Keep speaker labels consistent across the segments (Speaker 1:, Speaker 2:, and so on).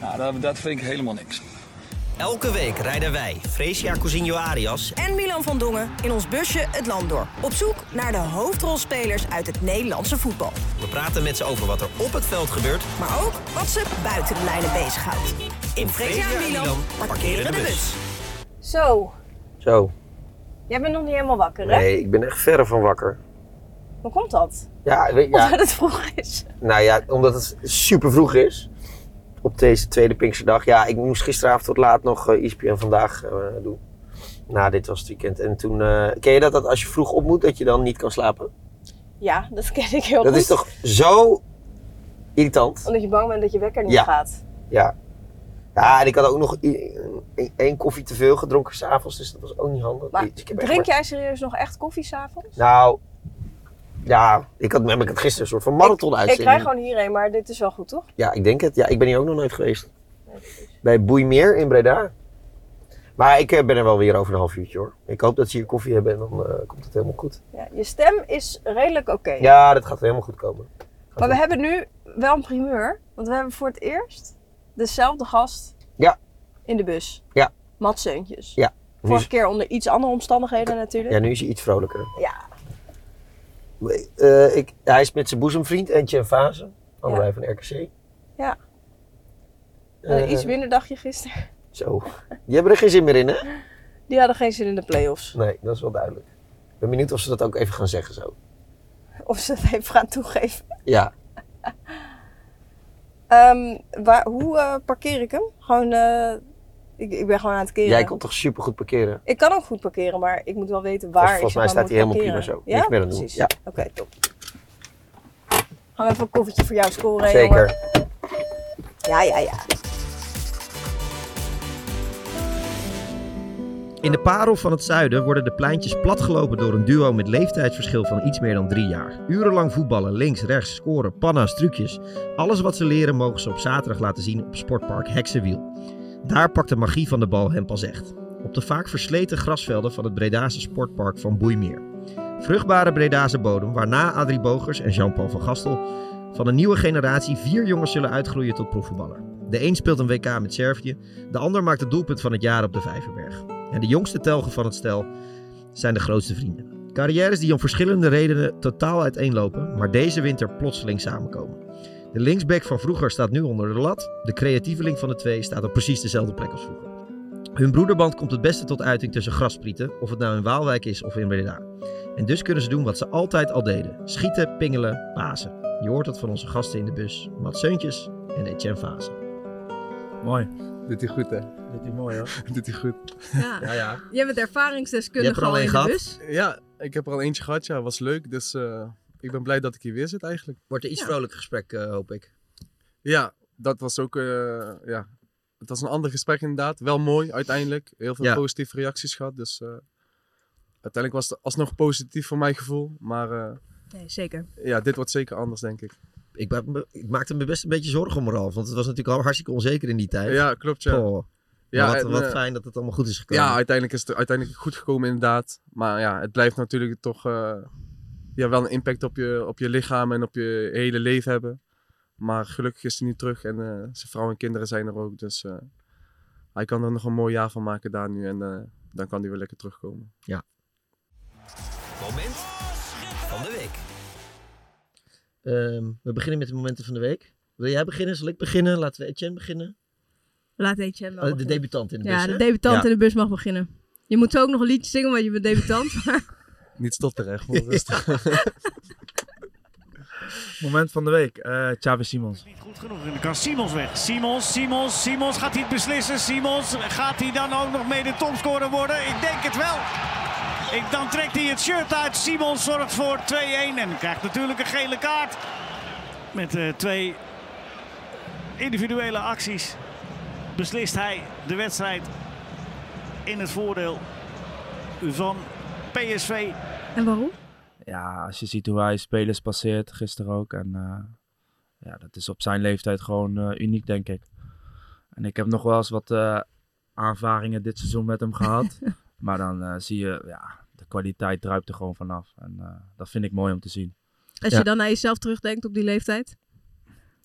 Speaker 1: nou, dat, dat vind ik helemaal niks.
Speaker 2: Elke week rijden wij, Fresia Cousinho Arias,
Speaker 3: en Milan van Dongen in ons busje het land door. Op zoek naar de hoofdrolspelers uit het Nederlandse voetbal.
Speaker 2: we praten met ze over wat er op het veld gebeurt.
Speaker 3: Maar ook wat ze buiten de lijnen bezighoudt. In Fresia en Milan parkeren de bus. Zo,
Speaker 4: Zo.
Speaker 3: jij bent nog niet helemaal wakker, hè?
Speaker 4: Nee, ik ben echt verre van wakker.
Speaker 3: Hoe komt dat?
Speaker 4: Ja, weet
Speaker 3: Omdat
Speaker 4: ja,
Speaker 3: het vroeg is.
Speaker 4: nou ja, omdat het super vroeg is. Op deze tweede Pinksterdag. Ja, ik moest gisteravond tot laat nog eh, ESPN vandaag eh, doen. Nou, dit was het weekend. En toen, eh, ken je dat, dat als je vroeg op moet, dat je dan niet kan slapen?
Speaker 3: Ja, dat ken ik heel goed.
Speaker 4: Dat is toch zo irritant?
Speaker 3: Omdat je bang bent dat je wekker niet
Speaker 4: Ja.
Speaker 3: gaat.
Speaker 4: Ja. Ja, en ik had ook nog i- één- één koffie te veel gedronken s'avonds, dus dat was ook niet handig.
Speaker 3: Maar
Speaker 4: Dus ik heb echt
Speaker 3: drink jij serieus nog echt koffie s'avonds?
Speaker 4: Nou, ja, ik had, heb ik het gisteren een soort van marathon
Speaker 3: Ik
Speaker 4: uitzending.
Speaker 3: krijg gewoon hierheen, maar dit is wel goed, toch?
Speaker 4: Ja, ik denk het. Ja, ik ben hier ook nog nooit geweest. Bij Boeimeer in Breda. Maar ik eh, ben er wel weer over een half uurtje hoor. Ik hoop dat ze hier koffie hebben en dan eh, komt het helemaal goed.
Speaker 3: Ja, je stem is redelijk oké.
Speaker 4: Ja, dat gaat helemaal goed komen.
Speaker 3: Maar we hebben nu wel een primeur. Want we hebben voor het eerst dezelfde gast
Speaker 4: Ja.
Speaker 3: in de bus.
Speaker 4: Ja.
Speaker 3: Mats Zeuntjes.
Speaker 4: Ja. Nu
Speaker 3: Vorige
Speaker 4: is,
Speaker 3: keer onder iets andere omstandigheden natuurlijk.
Speaker 4: ja, nu is hij iets vrolijker.
Speaker 3: Ja.
Speaker 4: Eh, ik, hij is met zijn boezemvriend Entje en Fase, allebei van RKC.
Speaker 3: Ja. Oh,
Speaker 4: Eh,
Speaker 3: Een iets minder dagje gisteren.
Speaker 4: Zo. Die hebben er geen zin meer in, hè?
Speaker 3: Die hadden geen zin in de play-offs.
Speaker 4: Nee, dat is wel duidelijk. Ik ben benieuwd of ze dat ook even gaan zeggen zo.
Speaker 3: Of ze het even gaan toegeven.
Speaker 4: Ja.
Speaker 3: Ehm, waar, hoe eh, parkeer ik hem? Gewoon, eh, ik, ik ben gewoon aan het keren.
Speaker 4: Jij kon toch super goed parkeren?
Speaker 3: Ik kan ook goed parkeren, maar ik moet wel weten waar
Speaker 4: Volgens
Speaker 3: ik
Speaker 4: volgens mij staat hij
Speaker 3: hij
Speaker 4: helemaal prima zo. Niks meer aan doen.
Speaker 3: Precies.
Speaker 4: Ja,
Speaker 3: Oké, top. Gaan we even een koffietje voor jou scoren, hè, jongen?
Speaker 4: zeker.
Speaker 3: Ja, ja, ja.
Speaker 5: In de parel van het zuiden worden de pleintjes platgelopen door een duo met leeftijdsverschil van iets meer dan drie jaar. Urenlang voetballen, links, rechts, scoren, panna's, trucjes. Alles wat ze leren mogen ze op zaterdag laten zien op Sportpark Heksenwiel. Daar pakt de magie van de bal hen pas echt. Op de vaak versleten grasvelden van het Bredase Sportpark van Boeimeer. Vruchtbare Bredase bodem waarna Adrie Bogers en Jean-Paul van Gastel van een nieuwe generatie vier jongens zullen uitgroeien tot proefvoetballer. De een speelt een WK met Servië, de ander maakt het doelpunt van het jaar op de Vijverberg. En de jongste telgen van het stel zijn de grootste vrienden. Carrières die om verschillende redenen totaal uiteenlopen, maar deze winter plotseling samenkomen. De linksback van vroeger staat nu onder de lat. De creatieveling van de twee staat op precies dezelfde plek als vroeger. Hun broederband komt het beste tot uiting tussen grasprieten, of het nou in Waalwijk is of in Breda. En dus kunnen ze doen wat ze altijd al deden: schieten, pingelen, pasen. Je hoort het van onze gasten in de bus, Mats Seuntjes en Etienne Fase.
Speaker 6: Mooi.
Speaker 7: Doet hij goed, hè?
Speaker 6: Dit is mooi hoor.
Speaker 7: Doet hij goed.
Speaker 8: Ja.
Speaker 6: Ja, ja.
Speaker 8: Jij bent ervaringsdeskundige al in de bus.
Speaker 7: Ja, ik heb er al eentje gehad. Ja, was leuk. Dus eh, ik ben blij dat ik hier weer zit eigenlijk.
Speaker 5: Wordt er iets vrolijker gesprek, eh, hoop ik.
Speaker 7: Ja, dat was ook... eh, ja, het was een ander gesprek inderdaad. Wel mooi uiteindelijk. Heel veel
Speaker 5: Ja.
Speaker 7: positieve reacties gehad. Dus eh, uiteindelijk was het alsnog positief voor mijn gevoel. Maar eh,
Speaker 8: Nee, zeker.
Speaker 7: ja, dit wordt zeker anders, denk ik.
Speaker 5: Ik, ba- me- ik maakte me best een beetje zorgen om Ralf, want het was natuurlijk al hartstikke onzeker in die tijd.
Speaker 7: Ja, klopt, ja.
Speaker 5: Goh.
Speaker 7: Ja,
Speaker 5: Maar wat,
Speaker 7: en,
Speaker 5: wat
Speaker 7: eh,
Speaker 5: fijn dat het allemaal goed is gekomen.
Speaker 7: Ja, uiteindelijk is het er uiteindelijk goed gekomen inderdaad. Maar ja, het blijft natuurlijk toch eh, ja, wel een impact op je, op je lichaam en op je hele leven hebben. Maar gelukkig is hij nu terug en eh, zijn vrouw en kinderen zijn er ook. Dus eh, hij kan er nog een mooi jaar van maken daar nu. En eh, dan kan hij weer lekker terugkomen.
Speaker 5: Ja.
Speaker 2: Moment van de week.
Speaker 5: Ehm, we beginnen met de momenten van de week. Wil jij beginnen? Zal ik beginnen? Laten we Etienne beginnen.
Speaker 8: Laat Etienne wel
Speaker 5: Oh, de
Speaker 8: beginnen.
Speaker 5: debutant in de
Speaker 8: Ja,
Speaker 5: bus,
Speaker 8: de
Speaker 5: hè?
Speaker 8: debutant
Speaker 5: Ja.
Speaker 8: in de bus mag beginnen. Je moet ook nog een liedje zingen, want je bent debutant. maar
Speaker 7: Niet stotteren, echt. gewoon rustig.
Speaker 6: Moment van de week. eh Xavi Simons.
Speaker 9: Goed genoeg. En dan kan Simons weg. Simons, Simons, Simons. Gaat hij het beslissen? Simons. Gaat hij dan ook nog mede topscorer worden? Ik denk het wel. Ik, dan trekt hij het shirt uit. Simons zorgt voor 2-1 en krijgt natuurlijk een gele kaart. Met eh, twee individuele acties. beslist hij de wedstrijd in het voordeel van PSV.
Speaker 8: En waarom?
Speaker 6: Ja, als je ziet hoe hij spelers passeert, gisteren ook. En eh, ja, dat is op zijn leeftijd gewoon eh, uniek, denk ik. En ik heb nog wel eens wat eh aanvaringen dit seizoen met hem gehad. maar dan eh, zie je, ja, de kwaliteit druipt er gewoon vanaf. En eh, dat vind ik mooi om te zien.
Speaker 8: Als
Speaker 6: Ja.
Speaker 8: je dan naar jezelf terugdenkt op die leeftijd.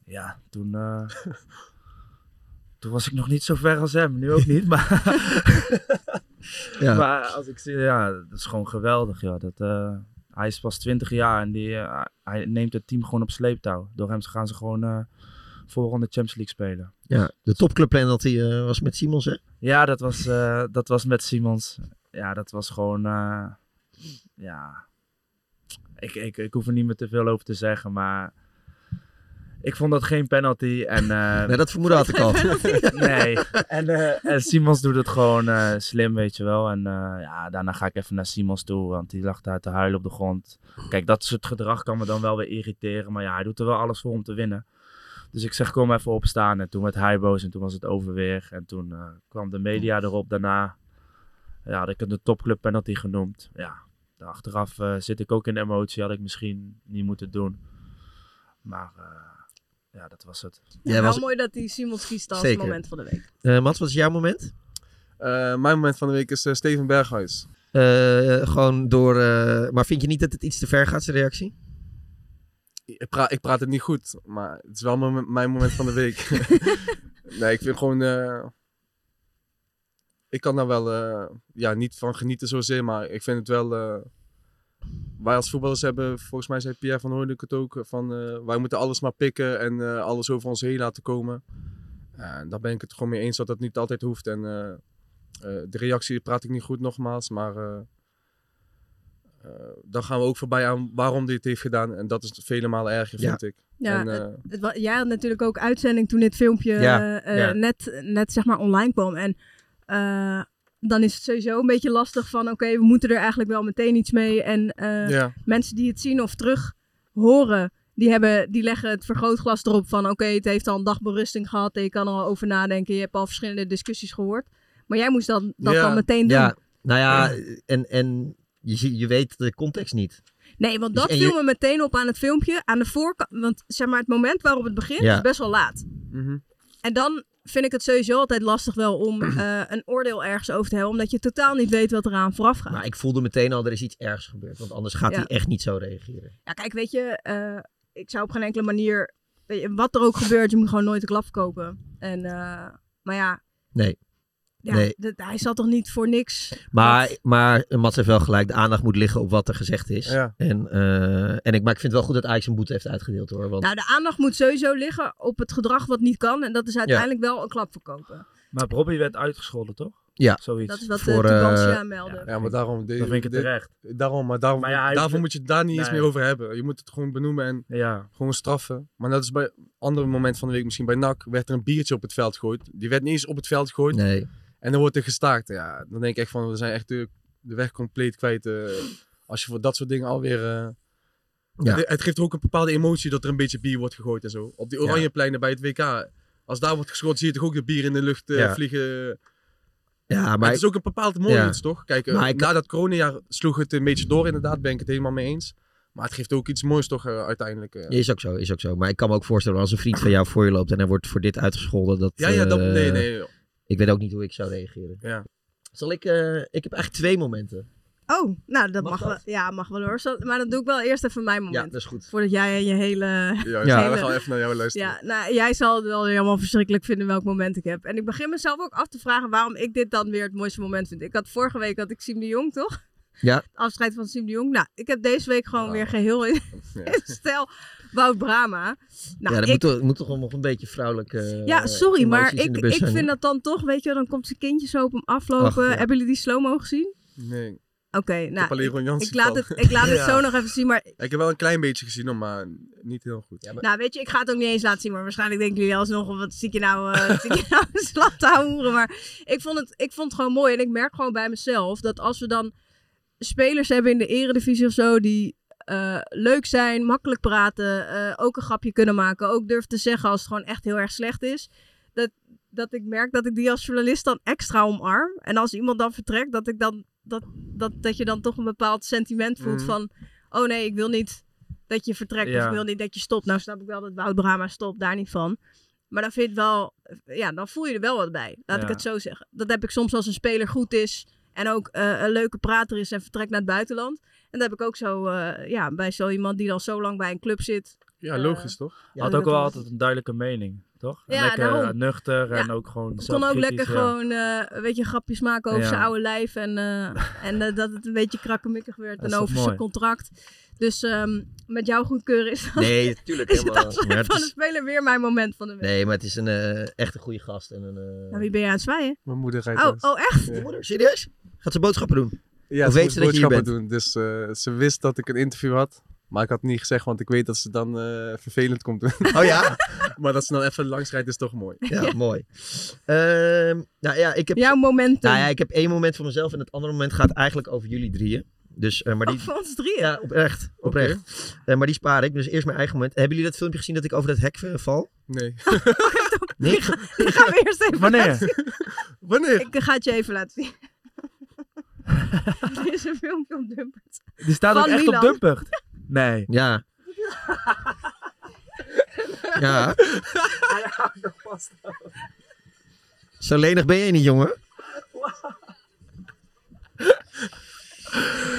Speaker 6: Ja, toen, eh, toen was ik nog niet zo ver als hem. Nu ook niet, maar...
Speaker 5: Ja.
Speaker 6: Maar als ik zie, ja, dat is gewoon geweldig, ja. Dat, eh, hij is pas 20 jaar en die, eh, hij neemt het team gewoon op sleeptouw. Door hem gaan ze gewoon eh voorronde Champions League spelen.
Speaker 5: Ja, de topclubpenalty eh was met Simons, hè?
Speaker 6: Ja, dat was, eh, dat was met Simons. Ja, dat was gewoon. eh, ja. Ik, ik, ik hoef er niet meer te veel over te zeggen, maar. Ik vond dat geen penalty. En, eh,
Speaker 5: Nee, dat vermoeden had ik al. Geen penalty.
Speaker 6: nee. En, eh, en Simons doet het gewoon eh, slim, weet je wel. En eh, ja, daarna ga ik even naar Simons toe, want die lag daar te huilen op de grond. Kijk, dat soort gedrag kan me dan wel weer irriteren, maar ja, hij doet er wel alles voor om te winnen. Dus ik zeg, kom even opstaan. En toen werd hij boos en toen was het over weer. En toen eh, kwam de media erop daarna. Ja, had ik het een topclub penalty genoemd. Ja, achteraf eh, zit ik ook in emotie. Had ik misschien niet moeten doen. Maar eh, ja, dat was het.
Speaker 8: Ja, wel mooi dat die Simons kiest als
Speaker 6: Zeker.
Speaker 8: moment van de week.
Speaker 5: Eh, Mats, wat is jouw moment?
Speaker 7: mijn moment van de week is eh, Steven Berghuis.
Speaker 5: Eh, gewoon door... eh, maar vind je niet dat het iets te ver gaat, zijn reactie?
Speaker 7: ik, pra- ik praat het niet goed, maar het is wel mijn, mijn moment van de week. nee, ik vind gewoon. eh, ik kan daar wel eh, ja, niet van genieten zozeer, maar ik vind het wel. eh, wij als voetballers hebben, volgens mij zei Pierre van Hooydonk het ook, van eh, wij moeten alles maar pikken en eh, alles over ons heen laten komen. En daar ben ik het gewoon mee eens dat dat niet altijd hoeft. En eh, eh, de reactie praat ik niet goed nogmaals, maar eh, eh, dan gaan we ook voorbij aan waarom hij het heeft gedaan. En dat is vele malen erger,
Speaker 5: Ja.
Speaker 7: vind ik.
Speaker 8: Ja,
Speaker 7: en, eh,
Speaker 8: het, het wa- jij had natuurlijk ook uitzending toen dit filmpje
Speaker 7: Ja,
Speaker 8: eh, eh,
Speaker 7: ja.
Speaker 8: Net, net zeg maar online kwam. En eh, dan is het sowieso een beetje lastig van oké, we moeten er eigenlijk wel meteen iets mee. En eh,
Speaker 7: Ja.
Speaker 8: mensen die het zien of terug horen, die, hebben, die leggen het vergrootglas erop van oké, het heeft al een dag berusting gehad. En je kan er al over nadenken. Je hebt al verschillende discussies gehoord. Maar jij moest dan, dat dan meteen doen.
Speaker 5: Ja, nou ja, en, en je, zie- je weet de context niet.
Speaker 8: Nee, want
Speaker 5: Dus-
Speaker 8: dat
Speaker 5: en
Speaker 8: viel
Speaker 5: je-
Speaker 8: me meteen op aan het filmpje. Aan de voorkant, want zeg maar, het moment waarop het begint
Speaker 5: Ja.
Speaker 8: is best wel laat. En dan vind ik het sowieso altijd lastig wel om eh, een oordeel ergens over te hebben. Omdat je totaal niet weet wat eraan vooraf gaat.
Speaker 5: Maar ik voelde meteen al, er is iets ergs gebeurd. Want anders gaat
Speaker 8: Ja.
Speaker 5: hij echt niet zo reageren.
Speaker 8: Ja, kijk, weet je, eh, ik zou op geen enkele manier... weet je, wat er ook gebeurt, je moet gewoon nooit de klap kopen. En, eh, maar ja,
Speaker 5: Nee.
Speaker 8: ja
Speaker 5: Nee.
Speaker 8: dat- hij zat toch niet voor niks...
Speaker 5: Maar, maar Mats heeft wel gelijk, de aandacht moet liggen op wat er gezegd is.
Speaker 8: Ja.
Speaker 5: En, eh, en ik, maar ik vind het wel goed dat Ajax een boete heeft uitgedeeld hoor. Want
Speaker 8: Nou, de aandacht moet sowieso liggen op het gedrag wat niet kan. En dat is uiteindelijk wel een klap verkopen.
Speaker 6: Maar Robbie werd uitgescholden, toch?
Speaker 5: Ja.
Speaker 6: Zoiets.
Speaker 8: Dat is wat, eh, Voor, Tubantia eh, meldde.
Speaker 7: Ja, maar daarom...
Speaker 6: Dat vind ik het
Speaker 7: dit-
Speaker 6: terecht.
Speaker 7: Daarom, maar daarom,
Speaker 6: Maar ja, hij-
Speaker 7: daarvoor moet je het daar niet eens
Speaker 6: Nee.
Speaker 7: meer over hebben. Je moet het gewoon benoemen en gewoon straffen. Maar dat is bij een ander moment van de week, misschien bij NAC, werd er een biertje op het veld gegooid. Die werd niet eens op het veld gegooid.
Speaker 5: Nee.
Speaker 7: En dan wordt er gestaakt. Ja, dan denk ik echt van, we zijn echt de, de weg compleet kwijt. eh, als je voor dat soort dingen alweer... eh,
Speaker 5: Ja.
Speaker 7: het, het geeft er ook een bepaalde emotie dat er een beetje bier wordt gegooid en zo. Op die
Speaker 5: Ja.
Speaker 7: oranjepleinen bij het WK. Als daar wordt geschoten, zie je toch ook de bier in de lucht eh,
Speaker 5: Ja.
Speaker 7: vliegen.
Speaker 5: Ja, maar
Speaker 7: maar het is
Speaker 5: ik-
Speaker 7: ook een bepaald mooi
Speaker 5: Ja.
Speaker 7: iets, toch? Kijk, eh,
Speaker 5: Maar ik-
Speaker 7: na dat coronajaar sloeg het een beetje door, inderdaad, ben ik het helemaal mee eens. Maar het geeft ook iets moois, toch, eh, uiteindelijk. eh.
Speaker 5: Is ook zo, is ook zo. Maar ik kan me ook voorstellen, als een vriend van jou voor je loopt en hij wordt voor dit uitgescholden. Dat,
Speaker 7: Ja, ja, dat-
Speaker 5: eh,
Speaker 7: nee, nee, joh.
Speaker 5: Ik weet ook niet hoe ik zou reageren.
Speaker 7: Ja.
Speaker 5: Zal ik, eh, ik heb eigenlijk twee momenten.
Speaker 8: Oh, nou, dat mag,
Speaker 5: dat?
Speaker 8: wel. Ja, mag wel hoor. Zal- Maar dan doe ik wel eerst even mijn moment.
Speaker 5: dat is goed.
Speaker 8: Voordat jij en je hele...
Speaker 7: Ja,
Speaker 5: Ja.
Speaker 7: we gaan even naar jou luisteren.
Speaker 8: Ja, nou, jij zal het wel weer allemaal verschrikkelijk vinden welk moment ik heb. En ik begin mezelf ook af te vragen waarom ik dit dan weer het mooiste moment vind. Ik had vorige week, had ik Siem de Jong, toch?
Speaker 5: Ja.
Speaker 8: Het afscheid van Siem de Jong. Nou, ik heb deze week gewoon weer geheel in, in stijl Wout Brama. Nou,
Speaker 5: ja, dat
Speaker 8: ik,
Speaker 5: moet, toch, moet toch wel nog een beetje vrouwelijke eh,
Speaker 8: ja, sorry, maar
Speaker 5: emoties in
Speaker 8: ik,
Speaker 5: de bus
Speaker 8: ik
Speaker 5: zijn,
Speaker 8: vind
Speaker 5: hoor.
Speaker 8: dat dan toch, weet je wel, dan komt zijn kindje zo op hem aflopen.
Speaker 5: Ach, ja.
Speaker 8: Hebben jullie die slow-mo gezien?
Speaker 7: Nee.
Speaker 8: Oké, nou,
Speaker 7: heb alleen Ron Jansen
Speaker 8: ik laat
Speaker 7: van.
Speaker 8: het- ik laat het
Speaker 7: Ja.
Speaker 8: zo nog even zien, maar-
Speaker 7: Ik heb wel een klein beetje gezien, hoor, maar niet heel goed.
Speaker 8: Nou, weet je, ik ga het ook niet eens laten zien, maar waarschijnlijk denken jullie alsnog, wat zie ik je nou, eh zie ik je nou een slap te hoeren. Maar ik vond, het, ik vond het gewoon mooi en ik merk gewoon bij mezelf dat als we dan spelers hebben in de eredivisie of zo die eh, leuk zijn, makkelijk praten, eh, ook een grapje kunnen maken, ook durven te zeggen als het gewoon echt heel erg slecht is. dat, dat ik merk dat ik die als journalist dan extra omarm. En als iemand dan vertrekt, dat, ik dan, dat, dat, dat je dan toch een bepaald sentiment voelt
Speaker 6: Mhm.
Speaker 7: Mm.
Speaker 8: van... Oh nee, ik wil niet dat je vertrekt of
Speaker 6: Ja.
Speaker 8: ik wil niet dat je stopt. Nou snap ik wel dat Wout Brama stopt, daar niet van. Maar dan, vind ik wel, ja, dan voel je er wel wat bij, laat ik
Speaker 6: Ja.
Speaker 8: het zo zeggen. Dat heb ik soms als een speler goed is en ook eh, een leuke prater is en vertrekt naar het buitenland. En dat heb ik ook zo eh, ja, bij zo iemand die dan zo lang bij een club zit. Eh,
Speaker 7: Ja, logisch toch?
Speaker 6: Had ook wel altijd een duidelijke mening, toch?
Speaker 8: Ja,
Speaker 6: lekker
Speaker 8: daarom.
Speaker 6: eh, nuchter en
Speaker 8: Ja.
Speaker 6: ook gewoon
Speaker 8: kon ook
Speaker 6: zelfkritisch,
Speaker 8: lekker
Speaker 6: ja.
Speaker 8: gewoon eh, een beetje grapjes maken over
Speaker 6: Ja.
Speaker 8: zijn oude lijf. En, eh, en eh, dat het een beetje krakkemikkig werd.
Speaker 6: Dat is
Speaker 8: en
Speaker 6: toch
Speaker 8: over zijn
Speaker 6: mooi.
Speaker 8: contract. Dus ehm, met jouw goedkeuren is dat,
Speaker 5: Nee, tuurlijk,
Speaker 8: Nou. is het
Speaker 5: helemaal.
Speaker 8: afscheid
Speaker 5: Maar het
Speaker 8: van
Speaker 5: is-
Speaker 6: dus
Speaker 8: de speler weer mijn moment van de week.
Speaker 5: Nee, maar het is een eh, echt een goede gast. En een, eh,
Speaker 8: Nou, wie ben je aan het zwaaien?
Speaker 7: Mijn moeder rijdt
Speaker 8: Oh,
Speaker 7: langs.
Speaker 8: oh echt?
Speaker 7: Ja.
Speaker 5: Serieus? Gaat ze boodschappen doen?
Speaker 7: Ja,
Speaker 5: of
Speaker 7: ze
Speaker 5: weet
Speaker 7: moest
Speaker 5: ze dat je hier
Speaker 7: boodschappen
Speaker 5: bent?
Speaker 7: doen. Dus eh, ze wist dat ik een interview had. Maar ik had het niet gezegd, want ik weet dat ze dan eh, vervelend komt doen.
Speaker 5: Oh ja?
Speaker 7: maar dat ze dan even langs rijdt is toch mooi.
Speaker 5: Ja, mooi. Ehm, nou ja, ik heb...
Speaker 8: Jouw momenten.
Speaker 5: Nou ja, ik heb één moment voor mezelf en het andere moment gaat eigenlijk over jullie drieën. Dus, eh, maar die...
Speaker 8: Oh, Voor ons drieën.
Speaker 5: Ja, oprecht. oprecht. Eh, maar die spaar ik. Dus eerst mijn eigen moment. Hebben jullie dat filmpje gezien dat ik over dat hek eh, val?
Speaker 7: Nee.
Speaker 5: nee?
Speaker 8: Dan gaan we eerst even
Speaker 5: Wanneer?
Speaker 8: laten zien.
Speaker 7: Wanneer?
Speaker 8: Ik ga het je even laten zien. Dit is een filmpje op Dumpert.
Speaker 6: Die staat ook
Speaker 8: Van
Speaker 6: echt op
Speaker 8: Milan.
Speaker 6: Dumpert. Nee.
Speaker 5: Ja. Ja. Zo lenig ben je niet, jongen.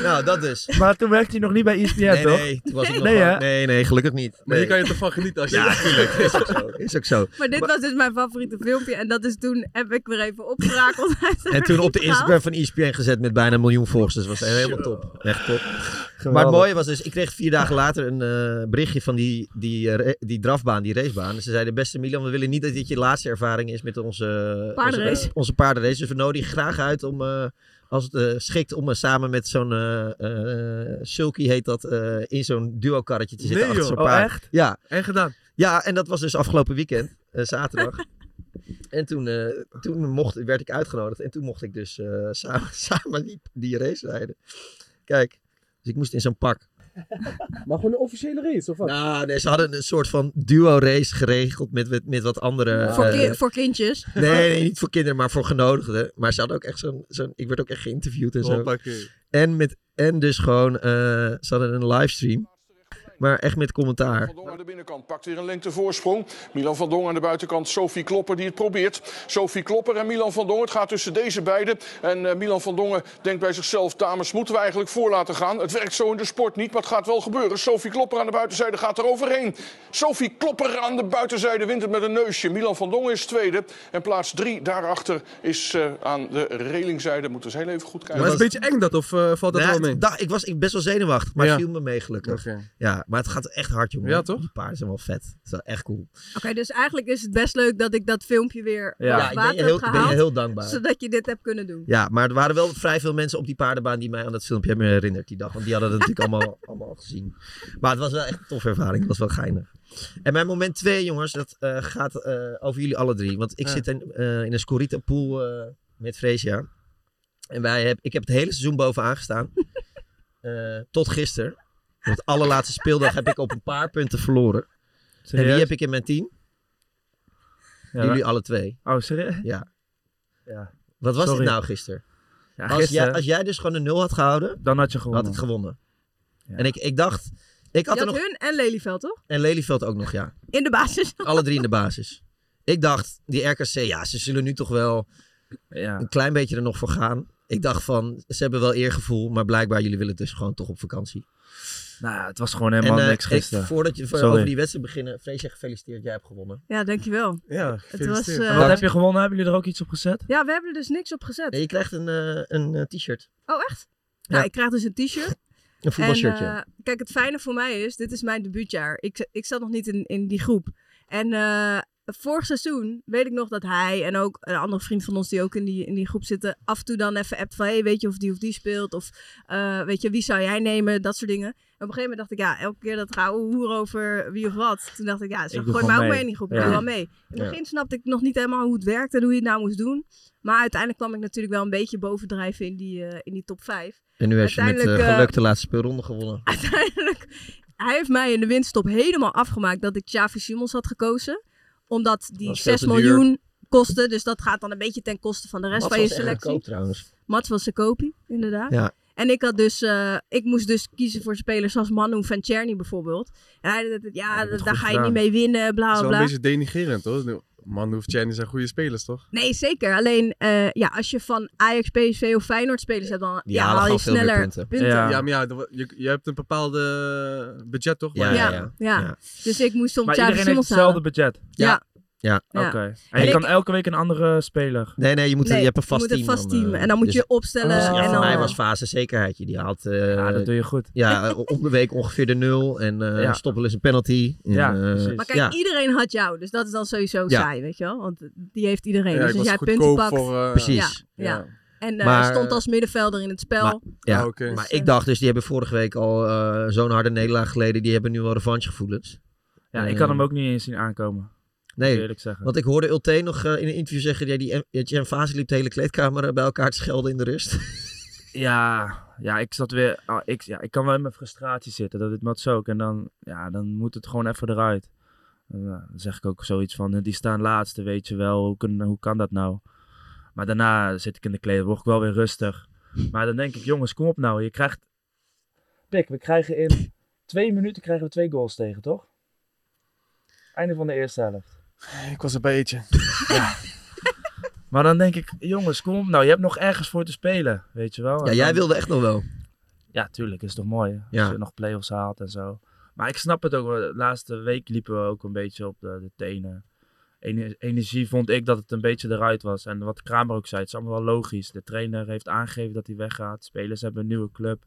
Speaker 5: Nou, dat dus.
Speaker 6: Maar toen werkte hij nog niet bij E ESPN,
Speaker 5: Nee,
Speaker 6: toch?
Speaker 5: nee, toen was ik nog
Speaker 6: nee,
Speaker 5: gewoon-
Speaker 6: hè?
Speaker 5: nee, nee, gelukkig niet.
Speaker 7: Maar
Speaker 5: Nee.
Speaker 7: hier kan je ervan genieten als je...
Speaker 5: Ja, natuurlijk. Is ook zo. Is ook zo.
Speaker 8: Maar dit was dus mijn favoriete filmpje. En dat is toen heb ik weer even opgerakeld.
Speaker 5: En toen op de Instagram van E ESPN gezet met bijna een miljoen volgers. Dus dat was helemaal top. Echt top. Maar het mooie was dus, ik kreeg vier dagen later een eh, berichtje van die, die, eh, ra- die drafbaan, die racebaan. En ze zeiden, beste Milan, we willen niet dat dit je laatste ervaring is met onze eh,
Speaker 8: Paardenrace.
Speaker 5: Onze, onze paardenrace. Dus we nodigen je graag uit om, eh, als het eh, schikt, om eh, samen met zo'n eh, eh, Sulky, heet dat, eh, in zo'n duo-karretje te zitten
Speaker 7: Nee,
Speaker 5: achter
Speaker 7: joh.
Speaker 5: zo'n
Speaker 7: Oh,
Speaker 5: paard.
Speaker 7: echt?
Speaker 5: Ja.
Speaker 7: En gedaan.
Speaker 5: Ja, en dat was dus afgelopen weekend, eh, zaterdag. En toen, eh, toen mocht, werd ik uitgenodigd. En toen mocht ik dus eh, samen, samen die, die race rijden. Kijk, dus ik moest in zo'n pak.
Speaker 7: Maar gewoon een officiële race, of wat?
Speaker 5: Nou, nee, ze hadden een soort van duo-race geregeld met, met, met wat andere...
Speaker 8: Voor,
Speaker 5: eh,
Speaker 8: ki- voor kindjes.
Speaker 5: Nee, nee, niet voor kinderen, maar voor genodigden. Maar ze hadden ook echt zo'n... zo'n ik werd ook echt geïnterviewd en zo.
Speaker 7: Hoppakee.
Speaker 5: En, met, en dus gewoon... eh, ze hadden een livestream. Maar echt met commentaar.
Speaker 10: Van Dong aan de binnenkant pakt weer een lengtevoorsprong. Milan van Dong aan de buitenkant, Sophie Klopper die het probeert. Sophie Klopper en Milan van Dong, het gaat tussen deze beiden. En eh, Milan van Dongen denkt bij zichzelf, dames, moeten we eigenlijk voor laten gaan? Het werkt zo in de sport niet, maar het gaat wel gebeuren. Sophie Klopper aan de buitenzijde gaat er overheen. Sophie Klopper aan de buitenzijde wint het met een neusje. Milan van Dongen is tweede. En plaats drie daarachter is eh, aan de relingzijde. Moeten we eens heel even goed kijken.
Speaker 7: Maar het is een beetje eng dat, of eh, valt dat
Speaker 5: Nou ja,
Speaker 7: wel mee?
Speaker 5: het- dag- ik was ik best wel zenuwachtig, maar
Speaker 7: Ja.
Speaker 5: viel me mee gelukkig.
Speaker 7: Oké.
Speaker 5: Ja, maar het gaat echt hard, jongen.
Speaker 7: Ja, toch?
Speaker 5: Die paarden zijn wel vet. Het is wel echt cool.
Speaker 8: Oké, dus eigenlijk is het best leuk dat ik dat filmpje weer
Speaker 5: Ja.
Speaker 8: uit
Speaker 5: Ja, ik ben je
Speaker 8: water
Speaker 5: heel-
Speaker 8: heb
Speaker 5: ik ben je
Speaker 8: gehaald.
Speaker 5: heel dankbaar.
Speaker 8: Zodat je dit hebt kunnen doen.
Speaker 5: Ja, maar er waren wel vrij veel mensen op die paardenbaan die mij aan dat filmpje hebben herinnerd die dag. Want die hadden het natuurlijk allemaal, allemaal al gezien. Maar het was wel echt een toffe ervaring. Het was wel geinig. En mijn moment twee, jongens, dat eh, gaat eh, over jullie alle drie. Want ik
Speaker 7: Ja.
Speaker 5: zit in, eh, in een Scorita pool eh, met Freesia. En wij heb, ik heb het hele seizoen bovenaan gestaan. Eh, tot gisteren. Want de allerlaatste speeldag heb ik op een paar punten verloren. En
Speaker 6: Serieus?
Speaker 5: wie heb ik in mijn team?
Speaker 6: Ja,
Speaker 5: jullie
Speaker 6: maar-
Speaker 5: alle twee.
Speaker 6: Oh, serieus?
Speaker 5: Ja.
Speaker 6: Ja.
Speaker 5: Wat was
Speaker 6: Sorry.
Speaker 5: dit nou gisteren?
Speaker 6: Ja,
Speaker 5: Als,
Speaker 6: gisteren-
Speaker 5: jij, als jij dus gewoon een nul had gehouden,
Speaker 6: Dan had je gewonnen.
Speaker 5: had het gewonnen. En ik, ik dacht, ik had
Speaker 8: je
Speaker 5: er nog.
Speaker 8: had hun en Lelyveld, toch?
Speaker 5: En Lelyveld ook nog, ja.
Speaker 8: In de basis.
Speaker 5: Alle drie in de basis. Ik dacht, die RKC, ja, ze zullen nu toch wel een klein beetje er nog voor gaan. Ik dacht van, ze hebben wel eergevoel, maar blijkbaar jullie willen dus gewoon toch op vakantie.
Speaker 6: Nou, ja, het was gewoon helemaal
Speaker 5: eh,
Speaker 6: niks
Speaker 5: ik-
Speaker 6: gisteren.
Speaker 5: voordat je voor-
Speaker 6: Sorry.
Speaker 5: over die wedstrijd beginnen, Freesje, gefeliciteerd, jij hebt gewonnen.
Speaker 8: Ja, dankjewel.
Speaker 7: Ja,
Speaker 8: het was, eh,
Speaker 6: En wat heb je gewonnen? Hebben jullie er ook iets op gezet?
Speaker 8: Ja, we hebben er dus niks op gezet.
Speaker 5: Nee, je krijgt een, eh, een eh, t-shirt.
Speaker 8: Oh, echt?
Speaker 5: Ja.
Speaker 8: Nou, ik krijg dus een t-shirt.
Speaker 5: Een voetbalshirtje.
Speaker 8: En, eh, kijk, het fijne voor mij is, dit is mijn debuutjaar. Ik, ik zat nog niet in, in die groep. En eh, vorig seizoen weet ik nog dat hij en ook een andere vriend van ons die ook in die, in die groep zitten, af en toe dan even appt van, hey, weet je of die of die speelt? Of eh, weet je, wie zou jij nemen? Dat soort dingen. En op een gegeven moment dacht ik, ja, elke keer dat gauw hoer over wie of wat. Toen dacht ik, ja, zo,
Speaker 6: Ik doe
Speaker 8: gooi
Speaker 6: gewoon
Speaker 8: mij ook
Speaker 6: mee.
Speaker 8: mee in die groep. Ik
Speaker 6: Ja.
Speaker 8: doe wel mee. In het
Speaker 6: Ja.
Speaker 8: begin snapte ik nog niet helemaal hoe het werkte en hoe je het nou moest doen. Maar uiteindelijk kwam ik natuurlijk wel een beetje bovendrijven in die, eh, in die top 5.
Speaker 5: En nu heeft je met eh,
Speaker 8: Uiteindelijk, eh,
Speaker 5: geluk de laatste speelronde gewonnen.
Speaker 8: Hij heeft mij in de winststop helemaal afgemaakt dat ik Xavi Simons had gekozen. Omdat die
Speaker 5: was veel
Speaker 8: 6
Speaker 5: te duur.
Speaker 8: miljoen kostte. Dus dat gaat dan een beetje ten koste van de rest
Speaker 5: Mats
Speaker 8: van je
Speaker 5: was echt goedkoop
Speaker 8: selectie.
Speaker 5: trouwens.
Speaker 8: Mats was de kopie, inderdaad.
Speaker 5: Ja.
Speaker 8: En ik, had dus, eh, ik moest dus kiezen voor spelers als Manu van Czerny bijvoorbeeld. En hij dacht, ja,
Speaker 7: wordt
Speaker 8: daar
Speaker 7: goed
Speaker 8: ga je
Speaker 7: gedaan.
Speaker 8: niet mee winnen,
Speaker 7: Het is
Speaker 8: bla bla
Speaker 7: wel een
Speaker 8: bla.
Speaker 7: beetje denigerend, hoor. Man, hoeft Chinese zijn goede spelers, toch?
Speaker 8: Nee, zeker. Alleen eh, ja, als je van Ajax, PSV of Feyenoord spelers hebt, dan
Speaker 7: Die
Speaker 8: ja,
Speaker 7: halen
Speaker 8: haal je
Speaker 7: gewoon veel meer
Speaker 8: sneller
Speaker 7: punten.
Speaker 8: punten.
Speaker 7: Ja, maar ja, dat- je, je hebt een bepaalde budget, toch?
Speaker 8: Ja,
Speaker 7: Maar-
Speaker 8: ja, Dus ik moest soms
Speaker 6: Maar
Speaker 8: Xavi
Speaker 6: iedereen heeft
Speaker 8: Simons
Speaker 6: hetzelfde
Speaker 8: halen.
Speaker 6: budget.
Speaker 8: Ja.
Speaker 5: Ja.
Speaker 8: Ja.
Speaker 6: Oké. En
Speaker 8: En
Speaker 6: je
Speaker 8: ik-
Speaker 6: kan elke week een andere speler.
Speaker 5: Nee, nee, je moet,
Speaker 8: Nee,
Speaker 5: je hebt een vast
Speaker 8: je moet een
Speaker 5: team.
Speaker 8: vast
Speaker 5: dan,
Speaker 8: team.
Speaker 5: eh,
Speaker 8: En dan moet
Speaker 5: dus-
Speaker 8: je opstellen
Speaker 5: Ja,
Speaker 8: en
Speaker 5: voor
Speaker 8: dan,
Speaker 5: mij
Speaker 8: eh,
Speaker 5: was fase zekerheidje. Die eh, had...
Speaker 6: ja, dat doe je goed.
Speaker 5: Ja, eh, om de week ongeveer de nul. En eh
Speaker 6: Ja.
Speaker 5: stoppen is een penalty. En,
Speaker 6: Ja,
Speaker 5: eh,
Speaker 6: precies.
Speaker 8: Maar kijk,
Speaker 5: ja.
Speaker 8: iedereen had jou. Dus dat is dan sowieso
Speaker 5: Ja.
Speaker 8: saai, weet je wel. Want die heeft iedereen.
Speaker 5: Ja,
Speaker 8: dus
Speaker 5: ik was
Speaker 8: als jij punten
Speaker 5: goedkoop
Speaker 8: pakt.
Speaker 5: voor, eh,
Speaker 8: ja,
Speaker 5: Precies.
Speaker 8: ja. En eh,
Speaker 5: Maar-
Speaker 8: stond als middenvelder in het spel.
Speaker 5: Maar, ja.
Speaker 7: Ah,
Speaker 6: eh,
Speaker 7: oké.
Speaker 5: maar
Speaker 7: Dus,
Speaker 5: ik dacht dus, die hebben vorige week al eh, zo'n harde nederlaag geleden. Die hebben nu wel revanchegevoelens.
Speaker 6: Ja, ik
Speaker 5: Eh,
Speaker 6: had hem ook niet eens zien aankomen.
Speaker 5: Nee,
Speaker 6: moet ik eerlijk zeggen.
Speaker 5: want ik hoorde Ulte nog eh, in een interview zeggen... Ja, die Jan Fase liep de hele kleedkamer eh, bij elkaar te schelden in de rust.
Speaker 6: Ja, ja, ik zat weer. ah, ik, ja, ik kan wel in mijn frustratie zitten. Dat dit Mats ook. En dan, ja, dan moet het gewoon even eruit. En, ja, dan zeg ik ook zoiets van: eh, die staan laatste, weet je wel. Hoe, kun, hoe kan dat nou? Maar daarna zit ik in de kleden, word ik wel weer rustig. Maar dan denk ik: jongens, kom op nou. Je krijgt. Pik, we krijgen in twee minuten krijgen we twee goals tegen, toch? Einde van de eerste helft.
Speaker 7: Ik was een beetje.
Speaker 6: Ja. Maar dan denk ik, jongens, kom op nou, je hebt nog ergens voor te spelen, weet je wel.
Speaker 5: Ja,
Speaker 6: En
Speaker 5: jij
Speaker 6: dan-
Speaker 5: wilde echt nog wel.
Speaker 6: Ja, tuurlijk, is toch mooi. hè?
Speaker 5: Ja.
Speaker 6: Als je nog play-offs haalt en zo. Maar ik snap het ook, wel. de laatste week liepen we ook een beetje op de, de tenen. Ener- Energie vond ik dat het een beetje eruit was. En wat Kramer ook zei, het is allemaal wel logisch. De trainer heeft aangegeven dat hij weggaat. Spelers hebben een nieuwe club.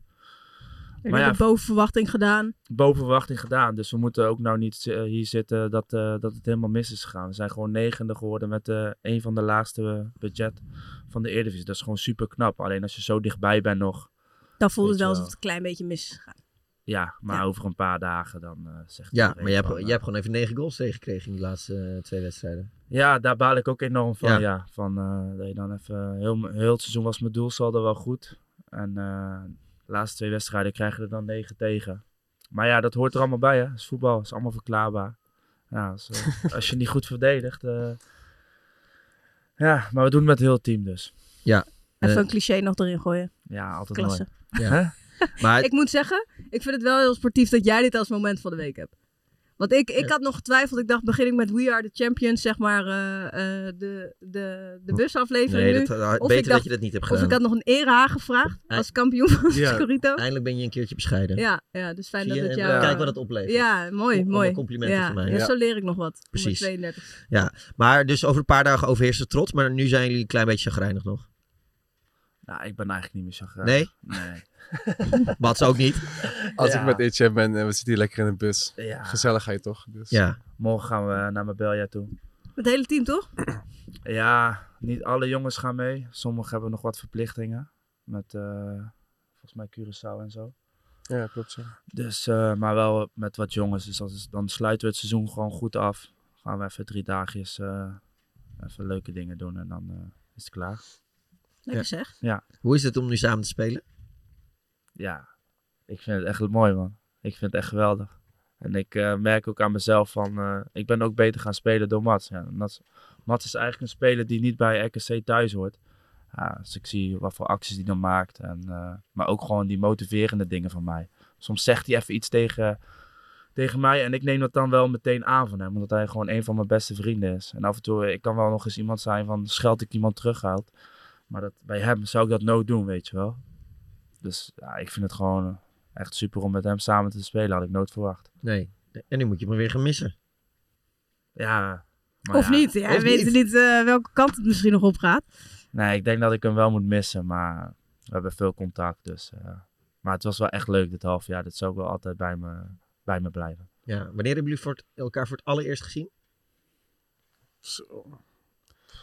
Speaker 8: Maar
Speaker 6: ja,
Speaker 8: boven verwachting gedaan.
Speaker 6: boven verwachting gedaan. Dus we moeten ook nou niet eh, hier zitten dat, eh, dat het helemaal mis is gegaan. We zijn gewoon negende geworden met eh, een van de laagste eh, budget van de Eredivisie. Dat is gewoon super knap. Alleen als je zo dichtbij bent nog.
Speaker 8: Dan voelde
Speaker 6: weet
Speaker 8: het wel
Speaker 6: je
Speaker 8: alsof het een klein beetje mis is gegaan.
Speaker 6: Ja, maar over een paar dagen dan eh, zegt
Speaker 5: Ja,
Speaker 6: iedereen
Speaker 5: maar jij hebt,
Speaker 6: van, eh,
Speaker 5: jij hebt gewoon even negen goals tegengekregen in die laatste eh, twee wedstrijden.
Speaker 6: Ja, daar baal ik ook enorm van.
Speaker 5: Ja.
Speaker 6: Ja. van, eh, dat je dan even, heel, heel het seizoen was mijn doelsaldo wel goed. En eh, de laatste twee wedstrijden krijgen er dan negen tegen. Maar ja, dat hoort er allemaal bij. Hè? Dat is voetbal, is allemaal verklaarbaar. Ja, als, eh, als je niet goed verdedigt. eh, Ja, maar we doen het met heel het team dus.
Speaker 5: Ja.
Speaker 8: Even een cliché nog erin gooien.
Speaker 6: Ja, altijd
Speaker 8: Klasse.
Speaker 6: mooi.
Speaker 5: Ja. maar
Speaker 8: Ik moet zeggen, ik vind het wel heel sportief dat jij dit als moment van de week hebt. Want ik, ik
Speaker 5: Ja.
Speaker 8: had nog getwijfeld. Ik dacht, begin ik met We Are The Champions, zeg maar, eh, eh, de, de, de busaflevering
Speaker 5: Nee,
Speaker 8: nu.
Speaker 5: dat- dat-
Speaker 8: Of
Speaker 5: beter
Speaker 8: ik
Speaker 5: dat je dat niet hebt
Speaker 8: Of
Speaker 5: gedaan.
Speaker 8: ik had nog een era gevraagd als kampioen van
Speaker 5: Ja.
Speaker 8: Scorito.
Speaker 5: Eindelijk ben je een keertje bescheiden.
Speaker 8: Ja, ja, dus fijn
Speaker 5: Zie
Speaker 8: dat
Speaker 5: je?
Speaker 8: het
Speaker 5: En
Speaker 8: jou...
Speaker 5: kijk wat het oplevert.
Speaker 8: Ja, mooi,
Speaker 5: Allemaal
Speaker 8: mooi.
Speaker 5: complimenten
Speaker 8: ja,
Speaker 5: van mij.
Speaker 8: ja,
Speaker 5: Ja.
Speaker 8: zo leer ik nog wat. op mijn
Speaker 5: Precies.
Speaker 8: 32.
Speaker 5: Ja, maar dus over een paar dagen overheerst de trots. Maar nu zijn jullie een klein beetje chagrijnig nog.
Speaker 6: Nou, ik ben eigenlijk niet meer zo graag.
Speaker 5: Nee?
Speaker 6: Nee.
Speaker 5: Wat ook niet.
Speaker 7: Als
Speaker 6: Ja.
Speaker 7: ik met Etienne ben en we zitten hier lekker in de bus.
Speaker 6: Ja.
Speaker 7: Gezelligheid, toch? Dus.
Speaker 5: Ja.
Speaker 6: Morgen gaan we naar Mabelja toe.
Speaker 8: Het hele team, toch?
Speaker 6: Ja, niet alle jongens gaan mee. Sommigen hebben nog wat verplichtingen. Met eh, volgens mij Curaçao en zo.
Speaker 7: Ja, klopt zo.
Speaker 6: Dus, eh, maar wel met wat jongens. Dus dat is- dan sluiten we het seizoen gewoon goed af. Gaan we even drie dagjes eh, even leuke dingen doen en dan eh, is het klaar.
Speaker 8: Lekker zeg.
Speaker 6: Ja.
Speaker 5: Hoe is het om nu samen te spelen?
Speaker 6: Ja, ik vind het echt mooi man. Ik vind het echt geweldig. En ik eh, merk ook aan mezelf van, eh, ik ben ook beter gaan spelen door Mats. Ja, Mats, Mats is eigenlijk een speler die niet bij RKC thuis hoort. Ja, dus ik zie wat voor acties hij dan maakt. En, eh, maar ook gewoon die motiverende dingen van mij. Soms zegt hij even iets tegen, tegen mij en ik neem dat dan wel meteen aan van hem. Omdat hij gewoon een van mijn beste vrienden is. En af en toe, eh, ik kan wel nog eens iemand zijn van, scheld ik iemand terughoud. Maar dat, bij hem zou ik dat nooit doen, weet je wel. Dus ja, ik vind het gewoon eh, echt super om met hem samen te spelen. Had ik nooit verwacht.
Speaker 5: Nee. En nu moet je me weer gaan missen.
Speaker 6: Ja. maar
Speaker 8: Of
Speaker 6: ja.
Speaker 8: niet. Jij weet niet eh, welke kant het misschien nog op gaat.
Speaker 6: Nee, ik denk dat ik hem wel moet missen. Maar we hebben veel contact. Dus, eh, maar het was wel echt leuk dit half jaar. Dit zou ook wel altijd bij me, bij me blijven.
Speaker 5: Ja. Wanneer hebben jullie voor het- elkaar voor het allereerst gezien?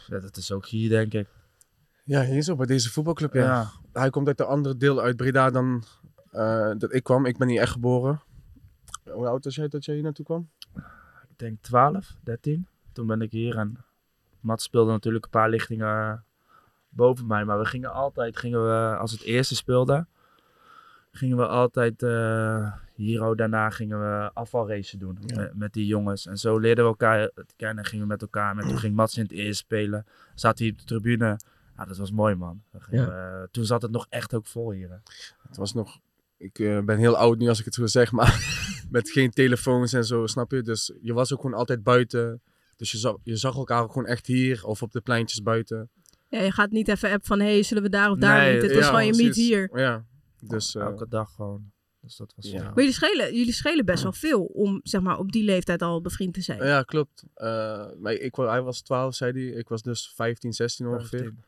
Speaker 6: Ja, dat is ook hier, denk ik.
Speaker 7: Ja, hier zo, bij deze voetbalclub, ja.
Speaker 6: Ja.
Speaker 7: Hij komt uit een ander deel uit Breda dan eh, dat ik kwam. Ik ben hier echt geboren. Hoe oud was jij dat jij hier naartoe kwam?
Speaker 6: Ik denk 12, 13. Toen ben ik hier en Mats speelde natuurlijk een paar lichtingen eh, boven mij. Maar we gingen altijd, gingen we, als het eerste speelde, gingen we altijd eh, Hiro, daarna gingen we afvalracen doen met, met die jongens. En zo leerden we elkaar kennen, gingen we met elkaar. En toen ging Mats in het eerst spelen, zat hij op de tribune. Ja, dat was mooi, man. Dan gingen
Speaker 7: Ja.
Speaker 6: we- toen zat het nog echt ook vol hier. hè.
Speaker 7: Het was nog. Ik eh, ben heel oud nu als ik het zo zeg, maar met geen telefoons en zo, snap je? Dus je was ook gewoon altijd buiten. Dus je zag, je zag elkaar ook gewoon echt hier of op de pleintjes buiten.
Speaker 8: Ja, je gaat niet even app van, hé, hey, zullen we daar of daar
Speaker 7: Nee,
Speaker 8: meeten? Het was
Speaker 7: ja,
Speaker 8: gewoon je meet
Speaker 7: precies.
Speaker 8: hier.
Speaker 7: Ja, dus...
Speaker 6: Elke dag gewoon. Dus dat was...
Speaker 7: Ja,
Speaker 8: Maar jullie schelen, jullie schelen best wel veel om zeg maar, op die leeftijd al bevriend te zijn.
Speaker 7: ja klopt. Eh, maar ik, wa- hij was 12, zei hij. Ik was dus 15, 16 ongeveer.
Speaker 6: 15.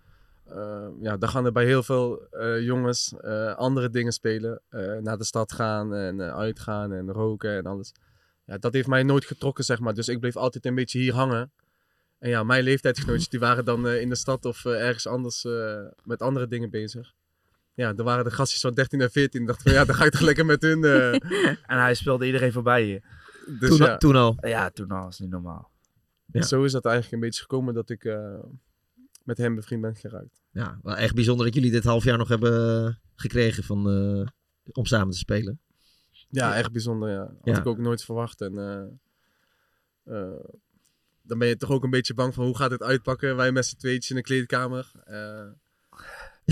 Speaker 7: Eh, ja, dan gaan er bij heel veel eh, jongens eh, andere dingen spelen. Eh, naar de stad gaan en eh, uitgaan en roken en alles. Ja, dat heeft mij nooit getrokken, zeg maar. Dus ik bleef altijd een beetje hier hangen. En ja, mijn leeftijdsgenootjes die waren dan eh, in de stad of eh, ergens anders eh, met andere dingen bezig. Ja, er waren de gastjes van 13 en 14. Ik dacht van ja, dan ga ik toch lekker met hun. eh.
Speaker 6: en hij speelde iedereen voorbij hier.
Speaker 7: Dus Toen al- ja. toen al?
Speaker 6: Ja, toen al. is niet normaal.
Speaker 5: Ja.
Speaker 7: Zo is dat eigenlijk een beetje gekomen dat ik eh, met hem bevriend ben geraakt.
Speaker 5: Ja, wel echt bijzonder dat jullie dit half jaar nog hebben eh, gekregen van, eh, om samen te spelen.
Speaker 7: Ja, echt bijzonder. Ja. Had
Speaker 5: Ja.
Speaker 7: ik ook nooit verwacht. En eh, eh, dan ben je toch ook een beetje bang van hoe gaat het uitpakken. Wij met z'n tweetjes in de kleedkamer. Eh,